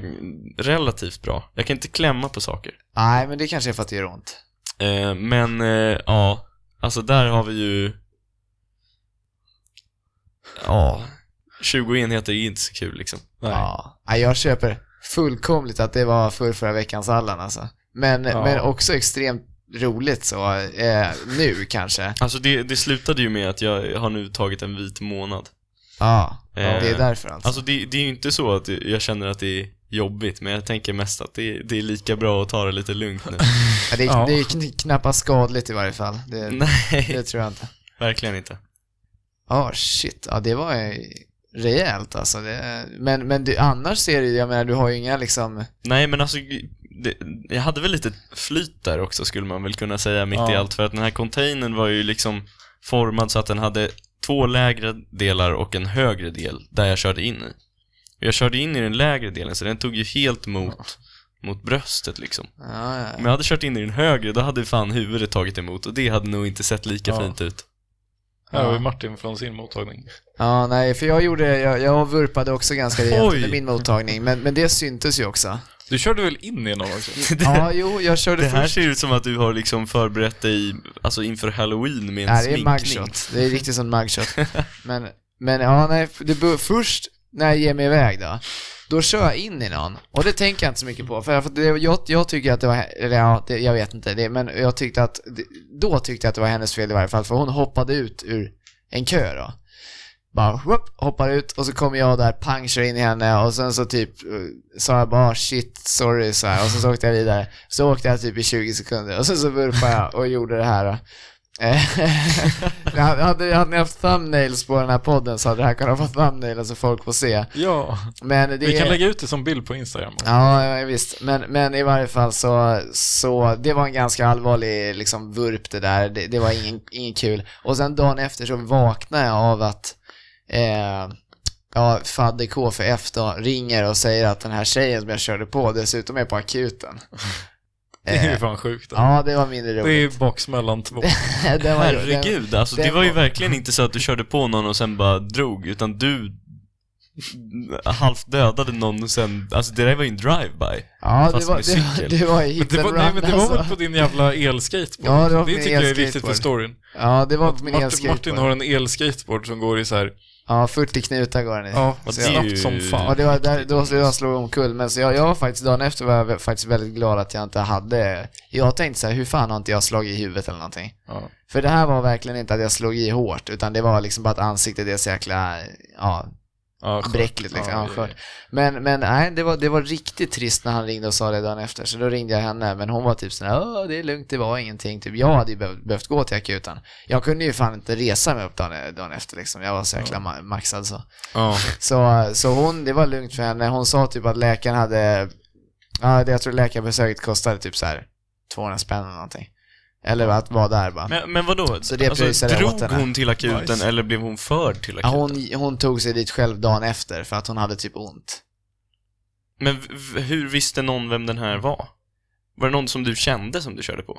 A: relativt bra. Jag kan inte klämma på saker.
C: Nej, men det kanske är för att det gör ont.
A: Eh, men eh, ja, alltså där har vi ju... Ja, 20 enheter är inte så kul liksom.
B: Nej.
C: Ja. Nej, jag köper fullkomligt att det var för förra veckans Allan alltså. Men,
B: Ja.
C: men också extremt roligt så, eh, nu kanske.
A: Alltså det, det slutade ju med att jag har nu tagit en vit månad.
C: Ja,
A: Eh,
C: det är därför alltså.
A: Alltså det, det är ju inte så att jag känner att det är jobbigt, men jag tänker mest att det, det är lika bra att ta det lite lugnt nu.
C: Ja, det, är,
B: Ja.
C: det är kn- knappast skadligt i varje fall. Det,
A: Nej,
C: det tror jag inte.
A: verkligen inte.
C: Ja, shit. Ja, det var ju rejält alltså. Det, men men du, annars ser du, jag menar, du har ju inga liksom...
A: Nej, men alltså, det, jag hade väl lite flyt där också skulle man väl kunna säga mitt i
B: Ja.
A: allt, för att den här containern var ju liksom formad så att den hade två lägre delar och en högre del där jag körde in i. Och Jag körde in i den lägre delen, så den tog ju helt mot, mot bröstet liksom.
C: Ja, ja.
A: Om jag hade kört in i den högre, då hade fan huvudet tagit emot och det hade nog inte sett lika
B: Ja.
A: fint ut.
B: Här har vi
C: Ja.
B: Martin från sin mottagning.
C: ja, nej, för jag gjorde, jag, jag vurpade också ganska rejält
A: Oj.
C: under min mottagning, men, men det syntes ju också.
B: Du körde väl in i någon också?
C: Ja, jo, jag körde
A: Det här
C: först.
A: ser ut som att du har liksom förberett dig alltså inför halloween med en
C: Nej, det är
A: sminkning.
C: mugshot. Det är riktigt sån mugshot. Men, men ja, nej, det bör, först när jag ger mig iväg då, då kör jag in i någon. Och det tänker jag inte så mycket på, för jag, för det, jag, jag tycker att det var, he- eller ja, det, jag vet inte, det, men jag tyckte att, det- då tyckte jag att det var hennes fel i varje fall, för hon hoppade ut ur en kö då. Bara whoop, hoppar ut och så kommer jag där, pang, kör in i henne och sen så typ eh, sa jag bara shit, sorry så här och sen så åkte jag vidare. Så åkte jag typ i 20 sekunder och sen så vurpade jag och gjorde det här då. Eh, hade, hade ni haft thumbnails på den här podden så hade det här kunnat vara thumbnails så folk får se.
B: Ja.
C: Men det
B: Vi kan
C: är-
B: lägga ut det som bild på Instagram.
C: Ja, ja, visst. Men, men i varje fall så, så det var en ganska allvarlig liksom, vurp det där. Det, det var ingen, ingen kul. Och sen dagen efter så vaknade jag av att eh, ja, Fadde K för F då, ringer och säger att den här tjejen som jag körde på dessutom är på akuten.
B: Det är ju
C: Eh,
B: fan sjukt.
C: ja, det var mindre
B: Det
C: roligt.
B: är baksmällan två.
C: Den var- den-
A: Herregud, alltså det
C: den
A: var ju
C: var-
A: verkligen inte så att du körde på någon och sen bara drog, utan du halvt dödade någon och sen, alltså det där var ju en drive-by.
C: Ja, det
A: fast
C: var,
A: med
C: det, var-
A: cykel.
C: det var hit
B: Det var,
C: and
B: nej,
C: run,
B: men det var väl
C: alltså.
B: på din jävla elskateboard?
C: Ja, det var på
B: det
C: min
B: tycker jag är viktigt för
C: elskateboard.
B: storyn.
C: Ja, det var på min
B: Martin, Martin
C: elskateboard.
B: har en elskateboard som går i så här,
C: Ja, 40 knutar går den i.
B: ja,
A: Och det är ju-
B: snabbt som
C: Ja,
B: fan.
C: det var där, då skulle jag slå omkull. Men så jag, jag var faktiskt, dagen efter var jag vä- faktiskt väldigt glad att jag inte hade... Jag tänkte så här, hur fan har inte jag slagit i huvudet eller någonting?
B: Ja.
C: För det här var verkligen inte att jag slog i hårt, utan det var liksom bara att ansiktet är så jäkla, ja,
B: Ja, skönt.
C: bräckligt liksom.
B: Ja,
C: Ja,
B: ja,
C: skört. Men, men nej, det var, det var riktigt trist när han ringde och sa det dagen efter. Så då ringde jag henne, men hon var typ sådär, Åh, det är lugnt, det var ingenting. Typ, jag hade ju behövt, behövt gå till akuten. Jag kunde ju fan inte resa mig upp dagen, dagen efter liksom. Jag var så jäkla ma- maxad så.
A: Ja.
C: Så, så hon, det var lugnt för henne. Hon sa typ att läkaren hade, ja, det jag tror läkarbesöket kostade typ så här 200 spänn eller någonting. Eller att vara där bara.
A: Men, men vadå?
C: Så det
A: alltså,
C: pröjsade jag
A: drog
C: åt henne.
A: hon till akuten
B: Nice.
A: eller blev hon förd till
C: Ja,
A: akuten?
C: hon, hon tog sig dit själv dagen efter för att hon hade typ ont.
A: Men v- v- hur visste någon vem den här var? Var det någon som du kände som du körde på?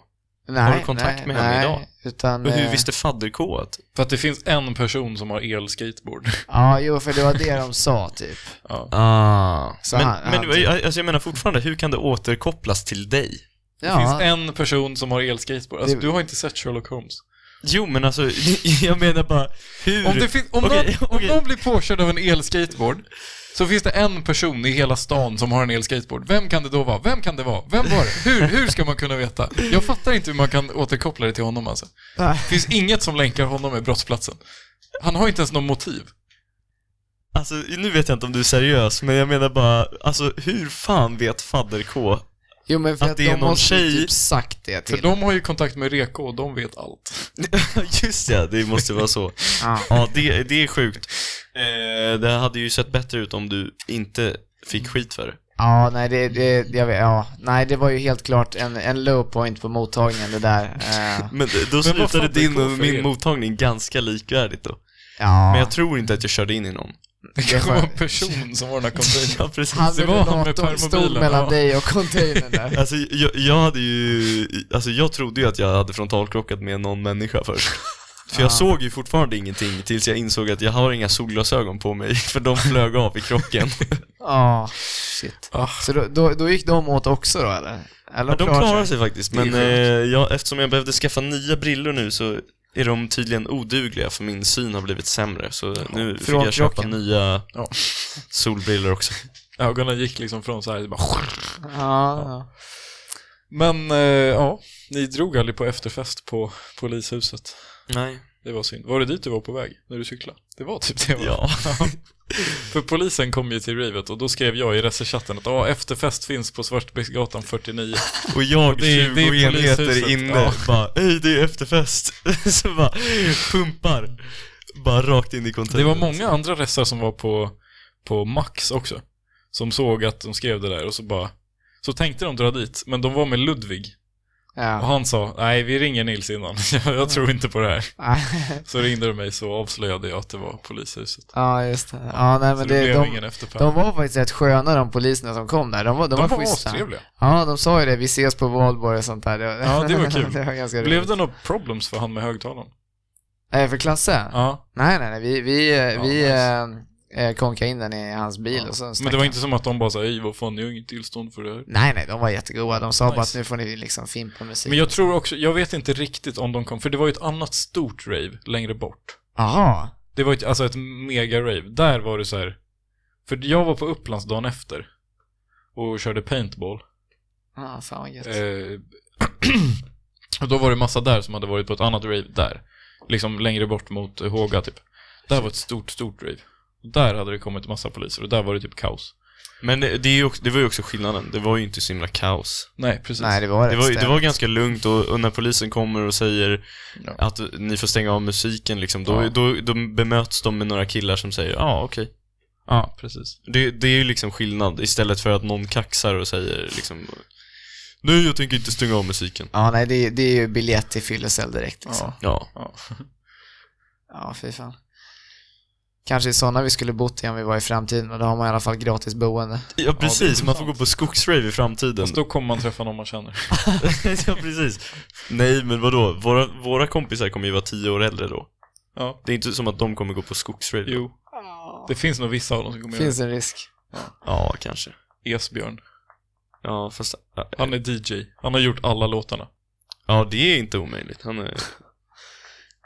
C: Nej,
A: du kontakt
C: nej,
A: med henne
C: nej,
A: idag?
C: Utan,
A: Och hur
C: eh,
A: visste fadder-K att...
B: För att det finns en person som har elskateboard.
C: Ja, jo, för det var det de sa typ.
B: Ja.
A: Ah.
C: Så
A: Men,
C: han-
A: men
C: han-
A: alltså, jag menar fortfarande, hur kan det återkopplas till dig?
B: Det finns
C: Ja,
B: en person som har elskateboard. Alltså,
C: Det-
B: du har inte sett Sherlock Holmes.
A: Jo, men alltså, jag menar bara hur...
B: Om, det fin- om,
A: Okej,
B: någon,
A: okej.
B: om någon blir påkörd av en elskateboard så finns det en person i hela stan som har en elskateboard. Vem kan det då vara? Vem kan det vara? Vem var det? Hur, hur ska man kunna veta? Jag fattar inte hur man kan återkoppla det till honom alltså.
C: Nej.
B: Det finns inget som länkar honom med brottsplatsen. Han har inte ens något motiv.
A: Alltså, nu vet jag inte om du är seriös, men jag menar bara, alltså hur fan vet fadder-K?
C: jo, men för
A: att
C: att,
A: det är
C: de
A: någon
C: måste ju
A: tjej-
C: typ sagt det
B: För
C: till.
B: de har ju kontakt med Reko och de vet allt.
A: Just ja, det måste vara så.
C: Ja.
A: Ja, det, det är sjukt. Eh, det hade ju sett bättre ut om du inte fick skit för det.
C: Ja, nej det, det, jag vet, ja. nej, det var ju helt klart en, en low point på mottagningen det där. Eh,
A: Men då slutade
B: fadder-K
A: din och
B: för
A: min
B: er?
A: mottagning ganska likvärdigt då.
C: ja.
A: Men jag tror inte att jag körde in i någon.
B: Det kanske
C: var-
B: var en person som var den här containern.
A: Ja, precis.
C: Han
B: Det var han med
C: datorn stod
B: permobilen,
C: mellan
B: ja.
C: dig och containern där.
A: Alltså jag, jag hade ju, alltså jag trodde ju att jag hade frontalkrockat med någon människa först. För jag
C: Ah.
A: såg ju fortfarande ingenting tills jag insåg att jag har inga solglasögon på mig, för de flög av i krocken.
C: Ja, shit.
B: Ah.
C: Så då, då, då gick de åt också då eller? eller
A: Men de klarar sig faktiskt,
C: Det är
A: men eh,
C: sjukt.
A: jag, eftersom jag behövde skaffa nya brillor nu så är de tydligen odugliga för min syn har blivit sämre, så nu fick jag köpa
C: krocken.
A: nya
B: Ja.
A: solbrillor också.
B: Ögonen gick liksom från så här, bara...
C: Ja, ja.
B: Men eh, ja, ni drog aldrig på efterfest på polishuset.
A: Nej.
B: Det var synd. Var det dit du var på väg när du cyklade? Det var typ det va?
A: Ja.
B: För polisen kom ju till rivet och då skrev jag i resechatten att "Ja, efterfest finns på Svartbäcksgatan 49.
A: Och jag
B: Det är-
A: 20
B: det är polishuset,
A: enheter inne,
B: ja.
A: bara Hej det är efterfest! så bara pumpar, bara rakt in i
B: Det
A: containern.
B: var många andra resar som var på, på Max också. Som såg att de skrev det där och så bara så tänkte de dra dit, men de var med Ludvig och
C: Ja.
B: han sa nej vi ringer Nils innan, jag, jag tror inte på det här. Så ringde de mig så avslöjade jag att det var polishuset.
C: ja, just det. Ja, nej,
B: Så
C: men
B: det,
C: det,
B: blev
C: de,
B: ingen efterfest.
C: de var faktiskt rätt sköna de poliserna som kom där. De var, de
B: De
C: var
B: var
C: schyssta.
B: astrevliga.
C: Ja, de sa ju det. Vi ses på valborg och sånt där.
B: Ja, det var kul.
C: det var ganska roligt.
B: Blev det några problems för han med högtalaren?
C: Eh, för Klasse?
B: Ja,
C: Nej, nej, nej. Vi, vi, eh,
B: Ja,
C: vi
B: nice.
C: eh, eh, konkade in den i hans bil och så
B: men
C: snackade
B: det var
C: vi.
B: inte som att de bara sa hej vad fan, ni har inget tillstånd för det här.
C: Nej, nej, de var jättegoda. De sa
B: Nice.
C: bara att nu får ni liksom fimpa musik.
B: Men jag tror också, jag vet inte riktigt om de kom, för det var ju ett annat stort rave längre bort.
C: Jaha.
B: Det var ett, alltså ett mega-rave. Där var det så här. För jag var på Upplands dagen efter och körde paintball.
C: ah, fan vad gött.
B: Eh, och då var det massa där som hade varit på ett annat rave där. Liksom längre bort mot Håga typ. Där var ett stort, stort rave. Och där hade det kommit massa poliser och där var det typ kaos.
A: Men det, det, är ju också, det var ju också skillnaden, det var ju inte så himla kaos.
B: Nej, precis.
C: nej, det var
A: Det
C: rätt
A: var, ju- det var
C: stämt.
A: ganska lugnt och, och när polisen kommer och säger
B: Ja.
A: att ni får stänga av musiken liksom, då,
B: Ja.
A: då, då bemöts de med några killar som säger ja ah, okej.
B: Ja, precis.
A: Det, det är ju liksom skillnad, istället för att någon kaxar och säger liksom Nej jag tänker inte stänga av musiken.
C: Ja, nej, det, det är ju biljett till fyllecell direkt liksom.
B: Ja.
A: Ja.
B: ja.
C: Ja, fy fan. Kanske i sådana vi skulle bott i om vi var i framtiden, men då har man i alla fall gratis boende.
A: Ja
B: det är
A: precis, man får gå
B: sant.
A: på skogsrave i framtiden.
B: Fast då kommer man träffa någon man känner.
A: ja, precis. Nej, men vadå? Våra, våra kompisar kommer ju vara tio år äldre då.
B: Ja.
A: Det är inte som att de kommer gå på skogsradio.
B: Jo. Det finns nog vissa av dem som kommer
C: Finns en risk.
A: Ja, kanske.
B: göra Esbjörn.
A: Ja, fast... ja,
B: Han är DJ. Han har gjort alla låtarna.
A: Ja, det är inte omöjligt. Han är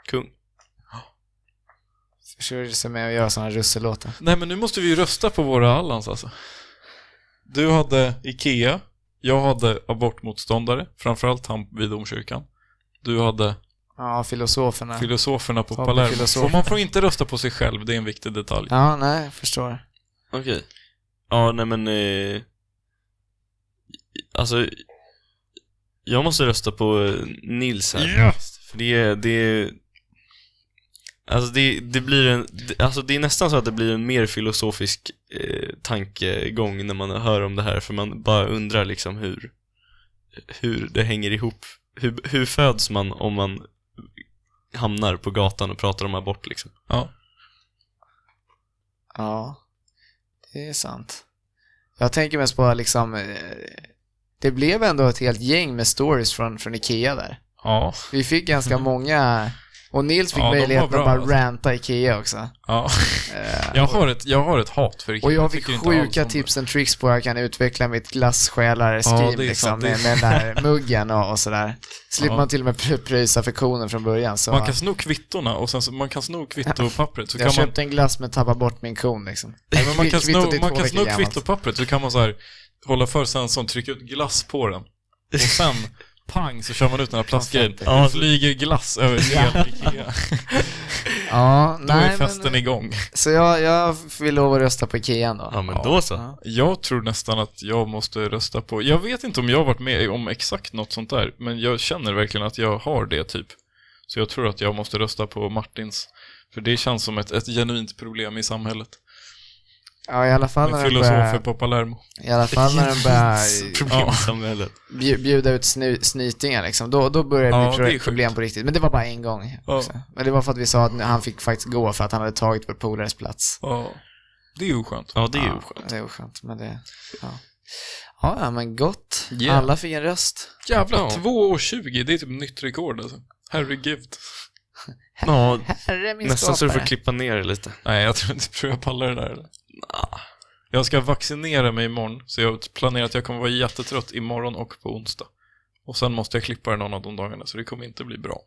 A: kung.
C: Försörjer sig med att göra sådana russellåtar.
B: Nej men nu måste vi ju rösta på våra Allans alltså. Du hade Ikea, jag hade abortmotståndare, framförallt han vid domkyrkan. Du hade
C: Ja, filosoferna.
B: filosoferna på
C: Ta på
B: Palermo.
C: filosoferna.
B: Och man får inte rösta på sig själv, det är en viktig detalj.
C: ja, nej, jag förstår.
A: Okej. Ja, nej men... Eh, alltså... Jag måste rösta på eh, Nils här.
B: Ja.
A: För det är... Det är Alltså det, det blir en, det- alltså det är nästan så att det blir en mer filosofisk eh, tankegång när man hör om det här för man bara undrar liksom hur, hur det hänger ihop. Hur, hur föds man om man hamnar på gatan och pratar om abort liksom?
B: Ja.
C: Ja, det är sant. Jag tänker mest på liksom, eh, det blev ändå ett helt gäng med stories från, från Ikea där.
B: Ja.
C: Vi fick ganska många, och Nils fick
B: Mm. Ja, de var
C: möjligheten
B: bra,
C: att bara
B: alltså.
C: ranta Ikea också.
B: ja.
C: Eh,
B: Jag, har ett, jag har ett hat för Ikea.
C: och jag fick
B: tycker inte alls
C: sjuka
B: om det.
C: tips and tricks på hur jag kan utveckla mitt glassjälare-scheme
B: Ja, det är
C: liksom,
B: sant.
C: med, med den där muggen och, och sådär. Slipper
B: Ja.
C: man till och med pr- pröjsa fiktionen från början. Så
B: Man kan sno kvittorna och sen så, man kan sno kvittopappret så
C: jag
B: kan man
C: köpte en glass men tappade bort min kon liksom.
B: Nej, men man kan
C: Kvittot
B: sno,
C: är
B: man kan
C: två veckor
B: sno
C: gammalt.
B: kvittopappret så kan man så här hålla för sensorn, trycka ut glass på den. Och sen, pang, så kör man ut den här plastgrejen.
C: fattar.
A: Ja,
B: Ja,
A: så-
B: flyger glass över hela Ikea.
C: Ja,
B: Då
C: nej,
B: är festen
C: men,
B: igång.
C: Så jag, jag vill lov att rösta på Ikea då.
A: Ja, men då så.
B: Jag tror nästan att jag måste rösta på... Jag vet inte om jag har varit med om exakt något sånt där, men jag känner verkligen att jag har det typ. Så jag tror att jag måste rösta på Martins. För det känns som ett, ett genuint problem i samhället.
C: Ja, i alla fall när
B: Med
C: den
B: filosofer
C: börjar,
B: på Palermo.
C: i alla fall när den börjar
A: Problem i samhället.
C: bju- bjuda ut snu, snytingar liksom. Då, då börjar det
B: Ja,
C: bli
B: det är
C: pro-
B: sjukt.
C: problem på riktigt. Men det var bara en gång
B: Ja.
C: också. Men det var för att vi sa att han fick faktiskt gå för att han hade tagit vår polares plats.
B: Ja. Det är oskönt.
A: Ja, det är
C: ja,
A: oskönt.
C: Det är oskönt, men det... Ja, ja, ja men gott.
B: Yeah.
C: Alla fick en röst.
B: Jävlar, 2 år 20, det är typ nytt rekord alltså. Herregud.
A: Ja,
C: Herre min
A: nästan så du
C: skapare.
A: får klippa ner det lite.
B: Nej, jag tror inte tror jag pallar det där eller? Jag ska vaccinera mig imorgon, så jag planerar att jag kommer vara jättetrött imorgon och på onsdag. Och sen måste jag klippa det någon av de dagarna, så det kommer inte bli bra.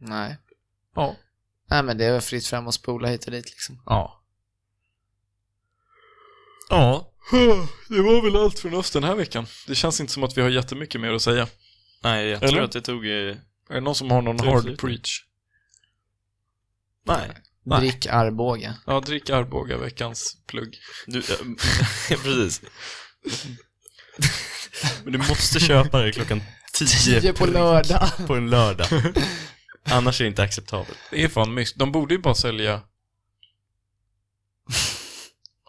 C: Nej.
B: Ja.
C: Nej, men det är väl fritt fram och spola hit och dit liksom.
B: Ja. Ja. Det var väl allt från oss den här veckan. Det känns inte som att vi har jättemycket mer att säga.
A: Nej, jag
B: Eller?
A: tror att det tog eh,
B: Är det någon som har någon
A: Absolut.
B: hard preach?
A: Nej.
B: Nej.
C: Drick Arboga.
B: Ja, drick Arboga, veckans plugg.
A: Du, eh, ja, precis. Men du måste köpa det klockan 10,
C: Tio på lördag.
A: på en lördag. Annars är det inte acceptabelt.
B: Det är fan mys. De borde ju bara sälja...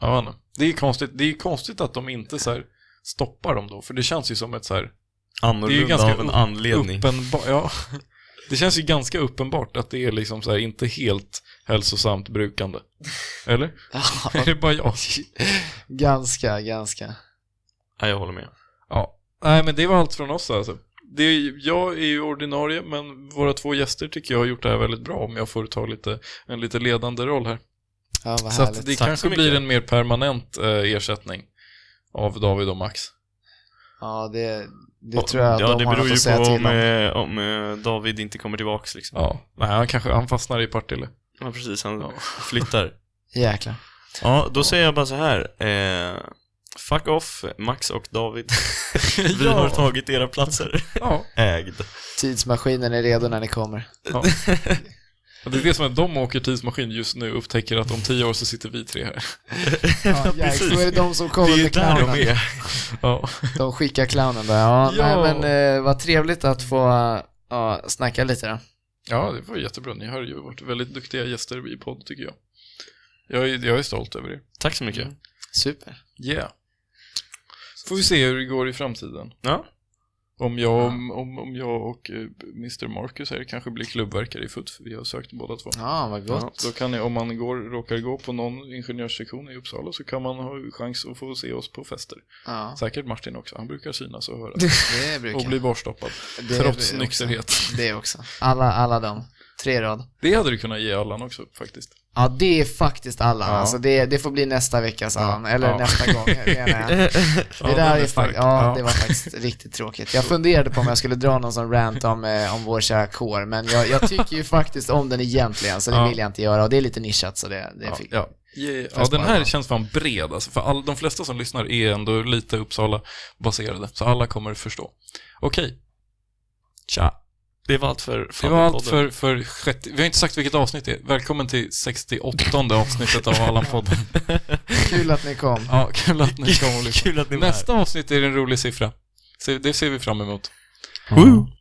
B: Jag vet inte. Det är ju konstigt. Det är ju konstigt att de inte så här stoppar dem då, för det känns ju som ett så här
A: Annorlunda
B: ganska
A: av en
B: upp-
A: anledning.
B: uppenbart... Ja. Det känns ju ganska uppenbart att det är liksom så här inte helt hälsosamt brukande. Eller? Är det bara jag?
C: ganska, ganska.
A: Ja, jag håller med.
B: Ja. Nej, men det var allt från oss alltså. Det är, ju- jag är ju ordinarie, men våra två gäster tycker jag har gjort det här väldigt bra om jag får ta lite, en lite ledande roll här.
C: Ja, vad
B: Så att
C: härligt.
B: det
A: Tack
B: kanske
A: så mycket.
B: blir en mer permanent eh, ersättning av David och Max.
C: Ja, det, det tror jag
A: ja,
C: de
A: det
C: har
A: beror
C: något
A: ju
C: att säga
A: på
C: till
A: om,
C: om.
A: eh, om eh, David inte kommer tillbaks liksom.
B: Ja, nej, han kanske han fastnar i Partille.
A: Ja, precis. Han
B: Ja.
A: flyttar.
C: Jäklar.
A: Ja, då säger jag bara så här. Eh, fuck off, Max och David. Vi
B: Ja.
A: har tagit era platser.
B: Ja,
A: Ägd.
C: Tidsmaskinen är redo när ni kommer.
B: det är det som är de åker tidsmaskin just nu och upptäcker att om tio år så sitter vi tre här.
C: Ja,
A: precis.
C: jäklar, då är det de som
A: Det
C: kommer
A: är ju
C: med
A: där
C: clownen.
A: de är.
B: Ja,
C: De skickar clownen där. Ja,
B: Ja.
C: Nej, men eh, vad trevligt att få ja, snacka lite då.
B: ja det var jättebra. Ni har ju varit väldigt duktiga gäster i podd tycker jag. Jag är, jag är stolt över er.
A: Tack så mycket.
C: Super.
B: Yeah. Får vi se hur det går i framtiden.
A: Ja.
B: Om jag, om, om, om jag och eh, Mr. Marcus här kanske blir klubbverkare i FUT, för vi har sökt båda två.
C: Ja, vad
B: Ja,
C: gott.
B: då kan ni, om man går, råkar gå på någon ingenjörssektion i Uppsala så kan man ha chans att få se oss på fester.
C: Ja,
B: Säkert Martin också, han brukar synas och höra.
C: det
B: Och
C: brukar
B: bli bortstoppad,
C: det
B: trots
C: också.
B: nykterhet.
C: Det också. Alla, alla de. Tre i rad.
B: Det hade du kunnat ge Allan också faktiskt.
C: Ja, det är faktiskt Allan.
B: Ja.
C: Alltså det, det får bli nästa veckas Allan, eller
B: Ja.
C: nästa gång menar jag.
B: Ja,
C: Det
B: den
C: där är
B: stark.
C: faktiskt, ja,
B: Ja.
C: det var faktiskt riktigt tråkigt. Jag funderade på om jag skulle dra någon sån rant om, eh, om vår kära kår, men jag, jag tycker ju faktiskt om den egentligen, så det
B: Ja.
C: vill jag inte göra. Och det är lite nischat, så det, det fick...
B: Ja, ja. ja, den här känns fan bred alltså, för all, de flesta som lyssnar är ändå lite Uppsala-baserade, så alla kommer förstå. Okej,
A: Tja. Det var allt för
B: det var allt
A: Fabian-podden.
B: för, för sjätte... Vi har inte sagt vilket avsnitt det är. Välkommen till 68 avsnittet av Allan-podden.
C: Kul att ni kom.
B: Ja, kul att ni kom och lyssnade.
A: Kul att ni var här.
B: Nästa avsnitt är en rolig siffra. Så Det ser vi fram emot.